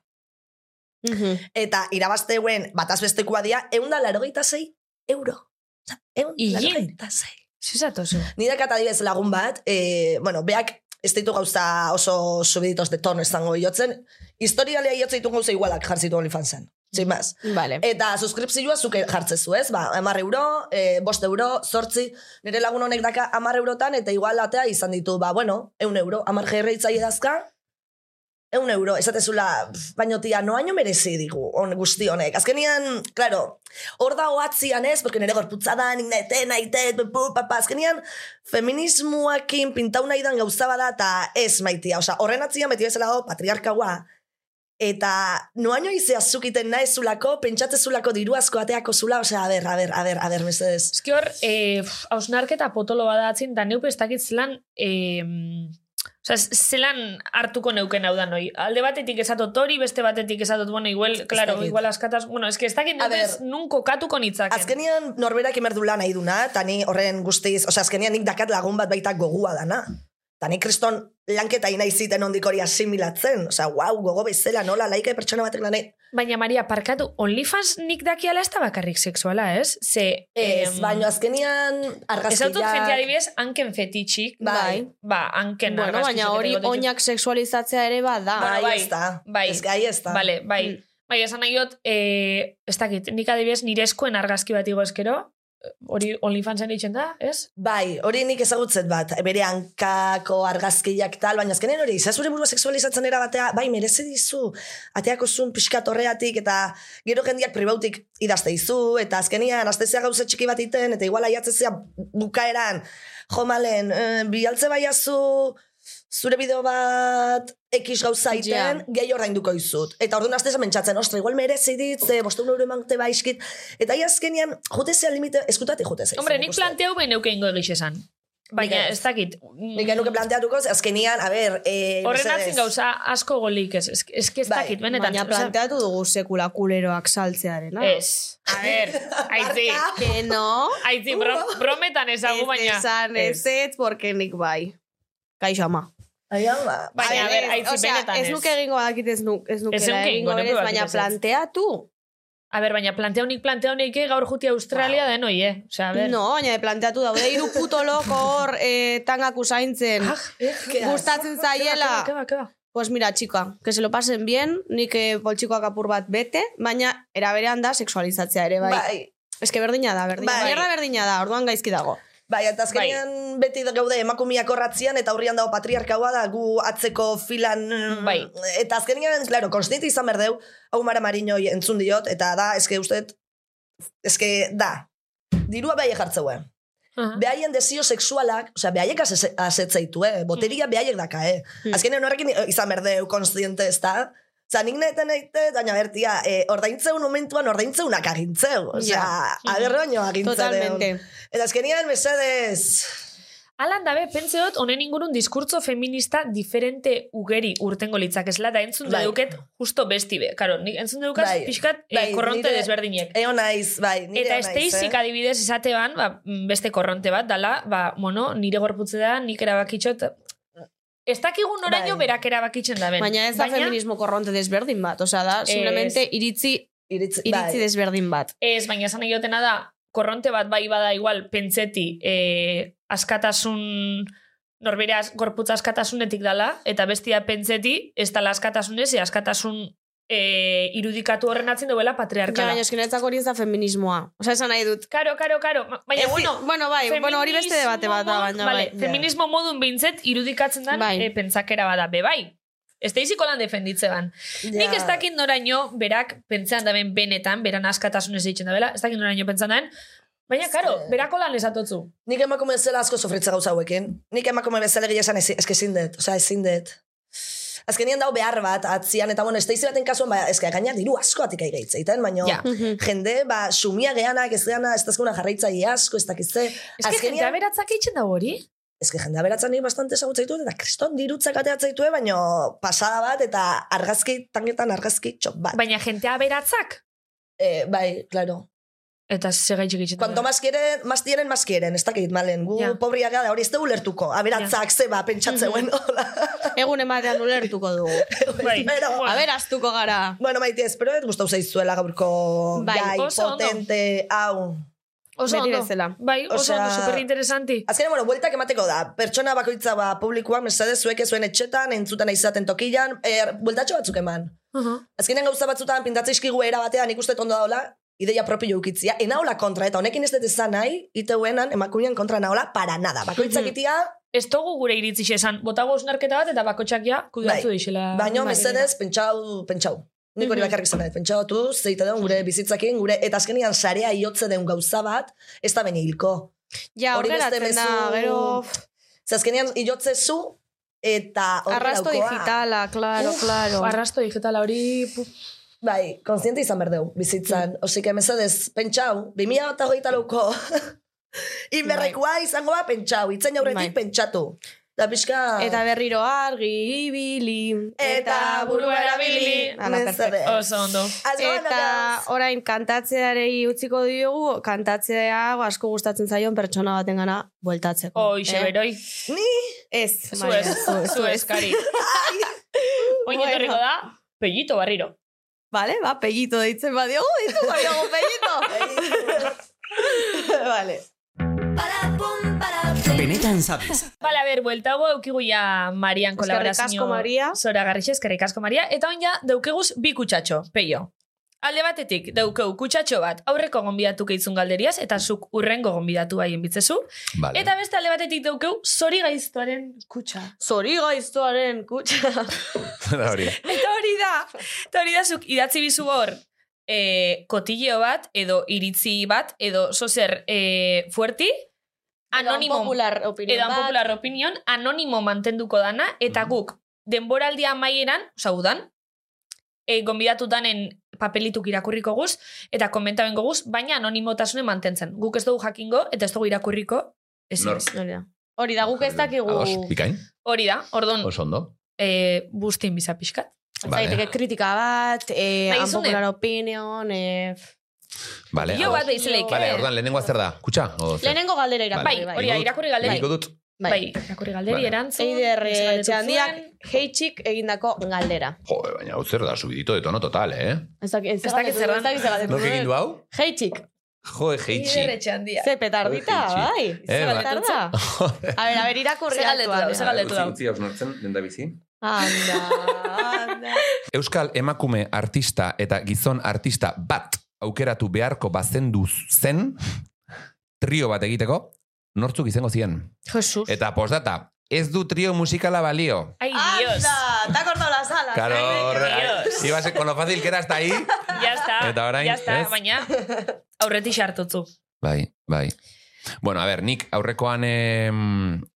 K: Eta irabazteuen bataz bestekoa dia, eunda larogeita zei euro. Osa, Eun
B: Ilin.
K: larogeita zei.
B: Zizatozu.
K: Nire katadibez lagun bat, e, bueno, beak ez ditu gauza oso subiditos de tono esango jotzen, historialea jotzen ditu gauza igualak jartzitu OnlyFansen. Sin más.
D: Vale.
K: Eta suskripzioa zuke jartzezu, ez? Ba, amar euro, e, bost euro, sortzi, nire lagun honek daka amar eurotan, eta igual atea izan ditu, ba, bueno, eun euro, amar jerreitzaile dazka, eun euro, esatezula, pff, baino tia, noaino merezi digu, on, guzti honek. Azkenian, claro, hor da oatzian ez, porque nire gorputza da, nik nete, naite, pupu, papa, azkenian, feminismoakin pintau nahi dan gauza bada, eta ez maitia, osea, horren atzian beti bezala dago patriarkaua, eta noaino izea zukiten naezulako, pentsatzezulako diru asko ateako zula, osea, a ber, a ber, a ber, a ber, mesedez.
B: Eski hor, eh, pf, hausnarketa potolo badatzen, da neupe ez dakit zelan, eh, oza, zelan hartuko neuken hau da noi. Alde batetik esatot hori, beste batetik esatot, bueno, igual, claro,
K: dakit.
B: igual askataz, bueno, eski ez dakit
K: A
B: nubez
K: ber.
B: nun kokatuko nitzaken.
K: Azkenian norberak emerdu lan nahi duna, eta ni horren guztiz, osea, azkenian nik dakat lagun bat baita gogua dana. Eta nik kriston lanketa nahi ziten ondik hori asimilatzen. Osea, guau, gogo bezala, nola, laika pertsona batek lan nahi.
B: Baina, Maria, parkatu, OnlyFans nik dakiala ez da bakarrik sexuala, ez? Ze,
K: Ez,
B: em,
K: baina azkenian
B: Ez dut jente
K: argazkiak...
B: adibidez, hanken fetitxik.
K: Bai.
B: Ba, hanken
D: Bueno, baina hori oinak sexualizatzea ere bada.
K: Bai,
B: bai,
K: ez da.
B: bai.
K: Ez gai, ez da.
B: Bale, bai. Bai, esan nahi dut, eh, ez dakit, nik adibidez nire eskuen argazki bat igo eskero, hori OnlyFansen ditzen da, ez?
K: Bai, hori nik ezagutzen bat, bere hankako argazkiak tal, baina azkenean hori, izan zure burua seksualizatzen era batea, bai, merezi dizu, ateako zun pixkat horreatik, eta gero jendiak pribautik idazte izu, eta azkenean, aztezea gauza txiki bat iten, eta igual aiatzezea bukaeran, jo malen, eh, bialtze baiazu, zure bideo bat ekiz gauza iten, gehi ordainduko izut. Eta orduan azte mentxatzen, ostra, igual merezi dit, ze bosteun euro eman te baizkit. Eta ia azkenean, jutezea limite, eskutati jutezea.
B: Hombre,
K: izan
B: nik
K: ikusten.
B: planteau behin neuke ingo egiz esan. Baina,
K: Nik ez.
B: ez dakit, mm,
K: Nik genuke planteatuko, ze azkenian, a ber... E,
B: horren atzin gauza asko golik, ez, ez, ez, ez
K: Bai,
B: dakit, benetan.
D: Baina
B: osea,
D: planteatu dugu sekula kuleroak saltzearena. Ah,
B: Ez. A ber, aitzi,
D: Que no.
B: aitzi, bro, brometan ezagu, baina.
D: Ez esan ez ez, porque nik bai. Kaixo ama.
K: Aian, ba.
B: Baina, a ber, aitzi,
D: Osea,
B: benetan
D: ez nuke egingo badakit ez nuk, ez
B: Ez
D: nukela
B: nuke egingo,
D: egingo
B: neuke
D: ez, baina
B: badakit ez.
D: planteatu.
B: A ber, baina planteaunik, planteaunik, eh, gaur juti Australia wow. denoi, eh? Osea, a ber.
D: No, baina planteatu daude hiru puto loko hor eh, tangak usaintzen. Gustatzen
B: Ah,
D: zaiela.
B: Keba, keba.
D: Pues mira, chica, que se lo pasen bien, nik eh, poltsikoak apur bat bete, baina eraberean da sexualizatzea ere, bai.
K: Bai,
D: Ez que berdina da, berdina.
K: Bai.
D: Bai. berdina da, orduan gaizki dago.
K: bai, eta azkenean beti gaude emakumiak horratzian, eta horrian dago patriarkaua da, gu atzeko filan... mm,
B: Bai.
K: Eta azkenean, klaro, konstinte izan berdeu, hau mara marinoi entzun diot, eta da, eske uste, eske da, dirua bai jartzeue.
B: Aha.
K: Behaien desio sexualak, osea, behaiek ase- asetzaitu,
B: Hmm.
K: eh? Boteria behaiek daka, eh? Azkenean horrekin eh, izan berdeu, konstiente, ez da? Osa, nik naheten naite, baina bertia, eh, ordaintzeu momentuan ordaintzeunak agintzeu. Osea,
D: Ja.
K: agerre baino agintzeu.
D: Totalmente.
K: Eta azkenean, mesedez...
B: Alan dabe, pentsa dut, honen ingurun diskurtzo feminista diferente ugeri urtengo litzakezela, da entzun
K: Bai.
B: deduket justo bestibe. Karo, nik entzun dedukaz
K: Bai.
B: pixkat eh,
K: Bai,
B: korronte
K: nire-
B: desberdinek.
K: Eo naiz, bai, nire
B: Eta
K: eo naiz,
B: esteizik adibidez esate ban, ba, mm, beste korronte bat, dala, ba, mono, nire gorputze da, nik erabakitxot, ez dakigun oraino
K: Bai.
B: berak erabakitzen da ben.
D: Baina ez da feminismo korronte desberdin bat, osea da,
B: Ez.
D: simplemente iritzi,
K: Iritzi,
D: iritzi
K: bai.
D: desberdin bat.
B: Ez, baina esan nahi dutena da, korronte bat bai bada igual pentseti eh, askatasun norbera az- gorputz askatasunetik dala eta bestia pentseti ez dala askatasunez e askatasun eh, irudikatu horren atzen duela patriarkala.
D: baina eskenetzak hori ez da feminismoa. Osa, esan nahi dut.
B: Karo, karo, karo. Ma- Baina,
D: Ez,
B: bueno,
D: bueno, bai, bueno, hori beste debate bat da,
B: feminismo
D: baina,
B: modun-
D: bai.
B: vale, Feminismo modun bintzet irudikatzen den
D: Bai.
B: eh, pentsakera bada, be bai. Ez da iziko lan defenditzean. Nik ez dakit noraino, berak, pentsean daben benetan, beran askatasunez ditzen da, bela, ez dakit noraino pentsan daben, baina, karo, berako lan lesatotzu.
K: Nik emakume bezala asko sofritza gauza hauekin. Nik emakume bezala gila esan ezi- eske ezin dut, osea ezin dut. Azkenien dau behar bat, atzian, eta bueno, esteizi baten kasuan, ba, eske gaina diru asko atik aigeitzen, baina
B: Ja.
D: bai.
K: jende, ba, sumia geanak, ez geana, ez dazkuna jarraitzaile asko, ez dakitze.
B: Ez que jende aberatzak eitzen da hori?
K: Ez que jende aberatzen nik bastante esagutza dituen, eta kriston dirutzak ateatzen dituen, baina pasada bat, eta argazki, tangetan argazki txop bat.
B: Baina jente aberatzak?
K: Eh, bai, claro.
B: Eta segaitxik eitzen
K: Cuanto más quieren, más tienen, más quieren. Ez dakit, malen, gu
B: Bai. Ja. Mhm.
K: yeah. pobria gara, hori ez dugu lertuko. Aberatzak, zeba, pentsatzen mm
D: Egun ematean ulertuko dugu.
B: Bai,
K: Pero,
D: A ber, astuko gara.
K: Bueno, maite, espero ez gustau zaizuela gaurko
D: Bai,
K: gai
B: oso ondo.
K: potente, hau.
B: Oso
D: Beti
B: ondo.
D: bezala.
B: Bai, oso
K: Osea-
B: ondo, superinteresanti.
K: Azkenean, bueno, bueltak emateko da. Pertsona bakoitza ba, publikoan, mesade zuek zuen etxetan, entzuten izaten tokilan, er, bueltatxo batzuk eman.
B: Aha.
K: Azkenean gauza batzutan pintatzen izkigu era batean ikusten ondo daola, ideia propio ukitzia, enaola kontra, eta honekin ez dut esan nahi, iteuenan emakumean kontra naola, para nada. Bakoitzak
B: Mhm.
K: itia,
B: Ez dugu gure iritzi esan, botago osnarketa bat eta bakotxakia kudatzu
K: Bai.
B: deixela.
D: Ah,
K: baino
B: Bai.
K: mesedez, pentsau, pentsau. Nik hori
B: Mhm.
K: bakarrik izan dut, pentsatu, zeite den gure bizitzakin, gure, eta azkenean sarea iotze den gauza bat, ez da bene hilko.
D: Ja, hor
K: Hori beste
D: geratzen da,
K: mezu-
D: gero...
K: Ze azkenean iotze zu, eta horre
D: Arrasto
K: daukoa.
D: digitala, claro, claro.
B: bai, Arrasto digitala hori... puf.
K: Bai, kontziente izan berdeu, bizitzan.
D: Mhm.
K: Osik, emezadez, pentsau, 2008 lauko inberrekoa izango ba, pentsau, itzen aurretik
D: Bai.
K: pentsatu. Da pixka...
D: Eta berriro argi, ibili,
K: Eta burua erabili.
D: Ala, perfecto.
B: Oso ondo.
K: Azgoan,
D: Eta
K: beraz.
D: orain kantatzearei utziko diogu, kantatzea asko gustatzen zaion pertsona batengana bueltatzeko.
B: Hoxe,
D: Eh?
B: beroi.
K: Ni?
D: Ez,
B: Zu
D: Maria,
B: ez, zu ez, kari. Oin
D: Bueno.
B: etorriko da, pellito barriro.
D: Vale, ba, pellito deitzen badiogu, ditu badiogu pellito. vale.
L: Benetan sabes.
B: Bala, ber, bueltago eukigu ja Marian
D: Eskerrik
B: kolaborazio.
D: asko, Maria.
B: Zora garrixe, eskerrik asko Maria. Eta oin ja, daukeguz bi kutsatxo, peio. Alde batetik, daukeu kutsatxo bat, aurreko gonbidatu keitzun galderiaz, eta zuk urrengo gonbidatu haien bitzezu.
F: Vale.
B: Eta beste alde batetik daukeu, zori gaiztuaren kutsa.
D: Zori gaiztuaren kutsa.
F: Da hori.
B: Eta hori da, eta hori da zuk idatzi bizu hor e, kotileo bat, edo iritzi bat, edo sozer e, fuerti, anonimo,
D: popular opinion
B: edo
D: bat.
B: popular opinion, anonimo mantenduko dana, eta
F: Mm.
B: guk denboraldia amaieran, oza, udan, e, gonbidatu danen papelituk irakurriko guz, eta komentabengo guz, baina anonimotasune mantentzen. Guk ez dugu jakingo, eta ez dugu irakurriko, ez
F: Nor.
B: ez.
D: Hori da. Hori da, guk ez dakigu.
F: Ados, Bai. bikain,
B: Hori da, orduan,
F: oso ondo.
B: e, bustin bizapiskat.
D: Zaiteke
F: Vale,
D: kritika bat, eh,
B: Nahi zune.
D: unpopular opinion, eh...
F: vale.
B: Jo bat behizelek.
F: Vale, ordan lehenengoa zer da? Kutxa? O zer?
D: Lehenengo galdera
B: Bai,
D: irakurri,
B: hori da, irakurri galdera.
F: Egiko dut?
B: Bai, irakurri galderi
F: Vale.
B: erantzun.
D: Eider eh,
B: galdetu
D: txandiak
B: zuen.
D: heitxik egindako galdera.
F: Jo, baina hau zer da, subidito de tono total, eh?
B: Bai.
D: Ez dakit ez
B: Ez
D: dakit
B: dakit
D: zer
B: zer
D: dakit zer galdetu
F: Nork egin
D: duen.
F: du hau?
D: Heitxik.
F: Jo, jeitxi.
B: Eider Etxeandiak.
D: Ze petardita,
F: Heitxik.
D: bai. Ze
F: Eh, ba.
D: petarda. A ber, a ber, irakurri
B: Ze galdetu
D: altuan,
B: dau,
D: eh.
B: ze galdetu dau.
F: hausnartzen, denda bizi.
D: Anda, anda.
F: Euskal emakume artista eta gizon artista bat aukeratu beharko bazendu zen, trio bat egiteko, nortzuk izango ziren.
D: Jesus.
F: Eta postdata, ez du trio musikala balio.
B: Ai, Dios.
D: Anda, te ha cortado las alas.
F: Claro,
D: Ay,
F: horrela. Iba a ser con lo fácil que era hasta ahí.
B: Ya está.
F: Eta orain,
B: ya está,
F: ez?
B: baina aurretik sartutzu.
F: Bai, bai. Bueno, a ver, nik aurrekoan... Eh,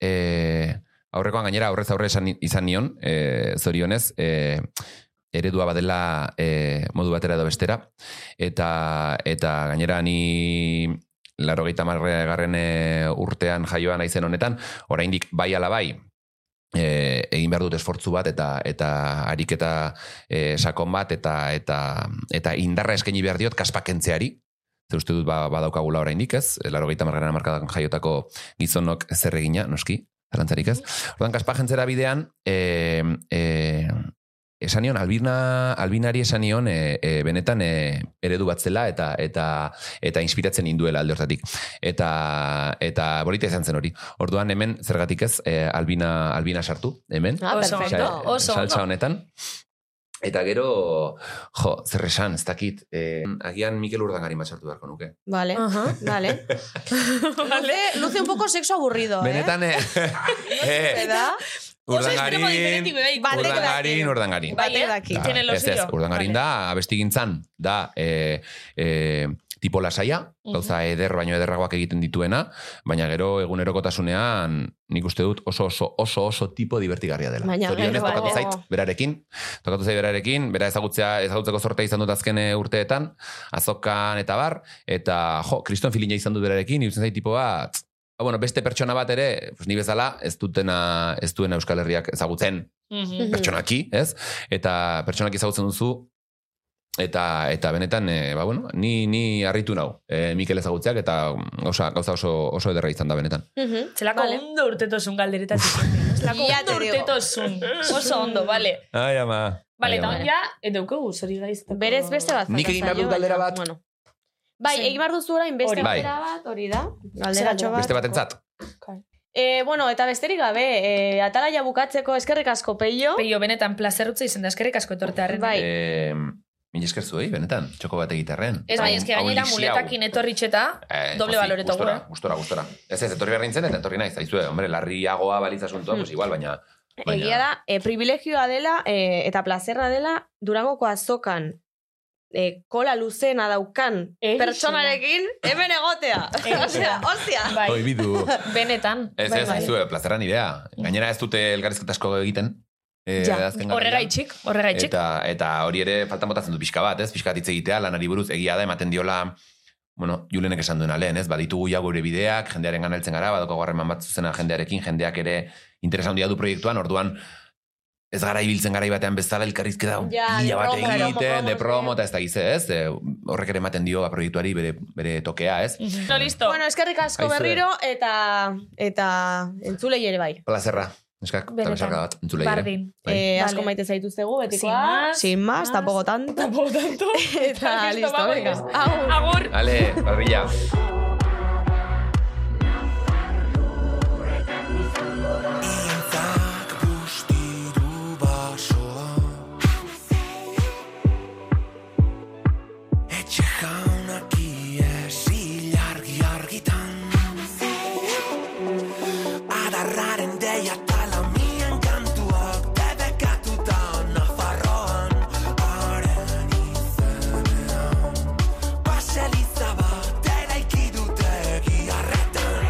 F: eh, aurrekoan gainera aurrez aurre esan, izan nion, eh, zorionez, eh, eredua badela eh, modu batera edo bestera. Eta, eta gainera ni laro gehieta garren eh, urtean jaioan naizen honetan, oraindik bai ala bai, eh, egin behar dut esfortzu bat eta eta ariketa eh, sakon bat eta eta eta indarra eskaini behar diot kaspakentzeari. Ze uste dut ba, badaukagula oraindik ez, laro gehieta margarena markadan jaiotako gizonok zer egina, noski, zarantzarik ez. Ordan kaspa jentzera bidean, e, e, eh, esan nion, albina, albinari esan nion, e, e, benetan e, eredu bat zela eta eta eta inspiratzen induela alde hortatik. Eta, eta borita izan zen hori. Orduan hemen, zergatik ez, e, albina, albina sartu, hemen.
B: Ah, Oso perfecto. ondo, oso
F: saltsa
B: ondo.
F: honetan. Eta gero, jo, zer esan, ez dakit, e, agian Mikel Urdangari bat sartu beharko nuke.
D: Vale, vale. luce, luce un poco sexo aburrido,
F: Benetan, eh,
D: ¿eh?
F: eh,
D: ¿Verdad?
F: Urdangarin,
D: Batek
F: urdangarin, urdangarin.
D: Batek daki.
F: Da,
B: Tiene lo
F: ez, ez,
B: suyo.
F: urdangarin da, abestigintzan, da, e, e, tipo lasaia,
B: Mhm.
F: gauza eder baino ederragoak egiten dituena, baina gero egunerokotasunean nik uste dut oso oso oso oso tipo divertigarria dela.
D: Baina
F: Zorionez
D: gero
F: tokatu
D: baino-
F: zait berarekin, tokatu zait berarekin, bera ezagutzea ezagutzeko sortea izan dut azken eh, urteetan, azokan eta bar, eta jo, kriston filina izan dut berarekin, irutzen zait tipo bat, ba, bueno, beste pertsona bat ere, pues, ni bezala, ez dutena, ez duena Euskal Herriak ezagutzen
B: Mhm.
F: pertsonaki, ez? Eta pertsonaki ezagutzen duzu, eta eta benetan, e, ba, bueno, ni, ni harritu nau, e, Mikel ezagutzeak, eta gauza, gauza oso, oso ederra izan da benetan.
B: Zelako ondo urtetozun galderetatik. Zelako
D: Ya
B: ondo
D: te digo.
B: urtetozun. Oso ondo, vale.
F: Ai, ama.
B: Vale, eta ja, edukugu, zori gaiztako.
D: Berez beste bat.
F: Nik egin behar dut galdera bat.
D: Bueno. Bai, egin behar duzu orain beste
F: Hori.
D: galdera bat, hori da. Galderatxo bat.
F: Beste batentzat.
D: Eh, bueno, eta besterik gabe, eh, atalaia bukatzeko eskerrik asko peio.
B: Peio, benetan plazerutze izan da, eskerrik asko etortearen.
D: Bai.
F: E, Mil esker zuei, benetan, txoko bat egitarren.
B: Ez bai,
F: Hau-
B: ez que
F: hau
B: gainera
F: lixi hau.
B: muletakin etorritxeta,
F: Eh,
B: doble
F: pozik,
B: baloreto
F: gustora,
B: gure.
F: Gustora, gustora. Ez ez, etorri behar nintzen eta etorri naiz. Aizue, hombre, larriagoa balitz asuntua,
B: Hmm.
F: pues igual, baina... baina-
D: Egia da, e, privilegioa dela e, eta plazerra dela Durangoko azokan e, kola luzena daukan
B: Egia.
D: pertsonarekin hemen egotea.
B: Egia.
D: Osea, ostia.
B: Bai.
F: Oi, bidu.
B: Benetan.
F: Ez,
D: Bai,
F: ez, aizue, plazeran idea. Gainera ez dute elgarrizketa asko egiten. Eh,
B: Ja,
F: azken garaian.
B: horrega itxik, horrega itxik.
F: Eta, eta hori ere faltan botatzen du pixka bat, ez? Pixka bat hitz egitea, lanari buruz, egia da, ematen diola, bueno, julenek esan duena lehen, ez? Baditugu ja gure bideak, jendearen ganaltzen gara, badoko garreman bat zuzena jendearekin, jendeak ere interesa handia du proiektuan, orduan, ez gara ibiltzen garai batean bezala elkarrizketa
D: Ja,
F: pila
D: de
F: bat
D: promo, promo,
F: egiten, de
D: promo,
F: promo, eta ez da gize, ez? Eh, horrek ere ematen dio ba, proiektuari bere, bere tokea, ez?
B: No, listo.
D: Bueno, eskerrik asko
F: Aizue.
D: berriro eta eta entzulei ere bai.
F: Plazerra, eskak,
B: Benetan.
F: eta besarka bat, entzulei ere.
B: Bardin.
F: Bai.
D: Eh,
B: Vale.
D: asko maite zaituztegu betikoa.
B: Sin más.
G: Sin más, tampoco tanto.
B: Tampoco tanto.
D: Eta listo,
B: vamos.
D: venga.
B: Agur.
F: Ale, barbilla.
C: Itzak busti du basoa Etxe jaunak iesi largi argitan Adarraren deia talamien kantuak Debekatuta Nafarroan Haren izenean Baseliza bat eraiki dute giarretan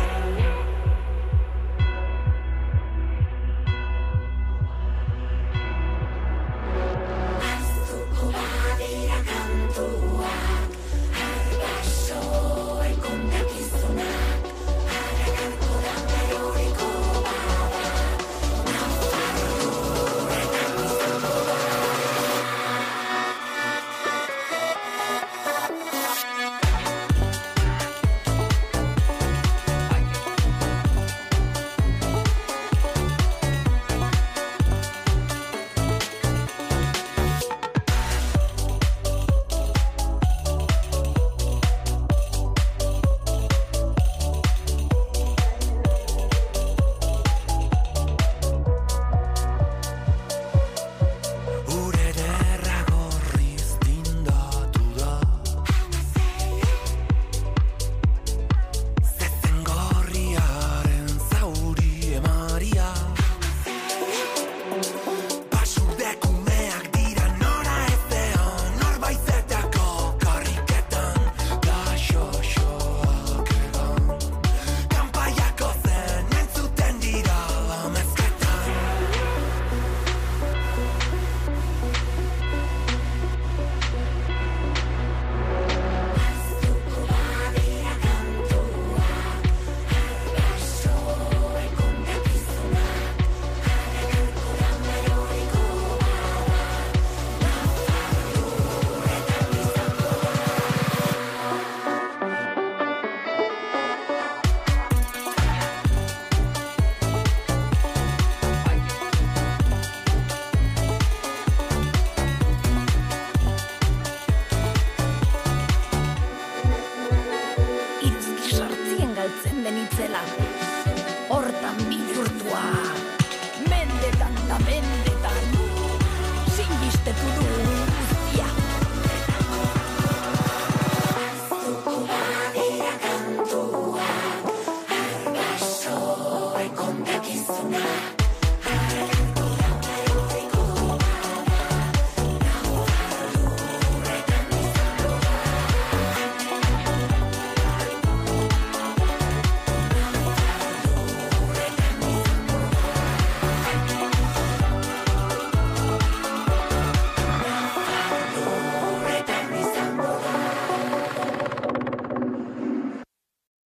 C: Baina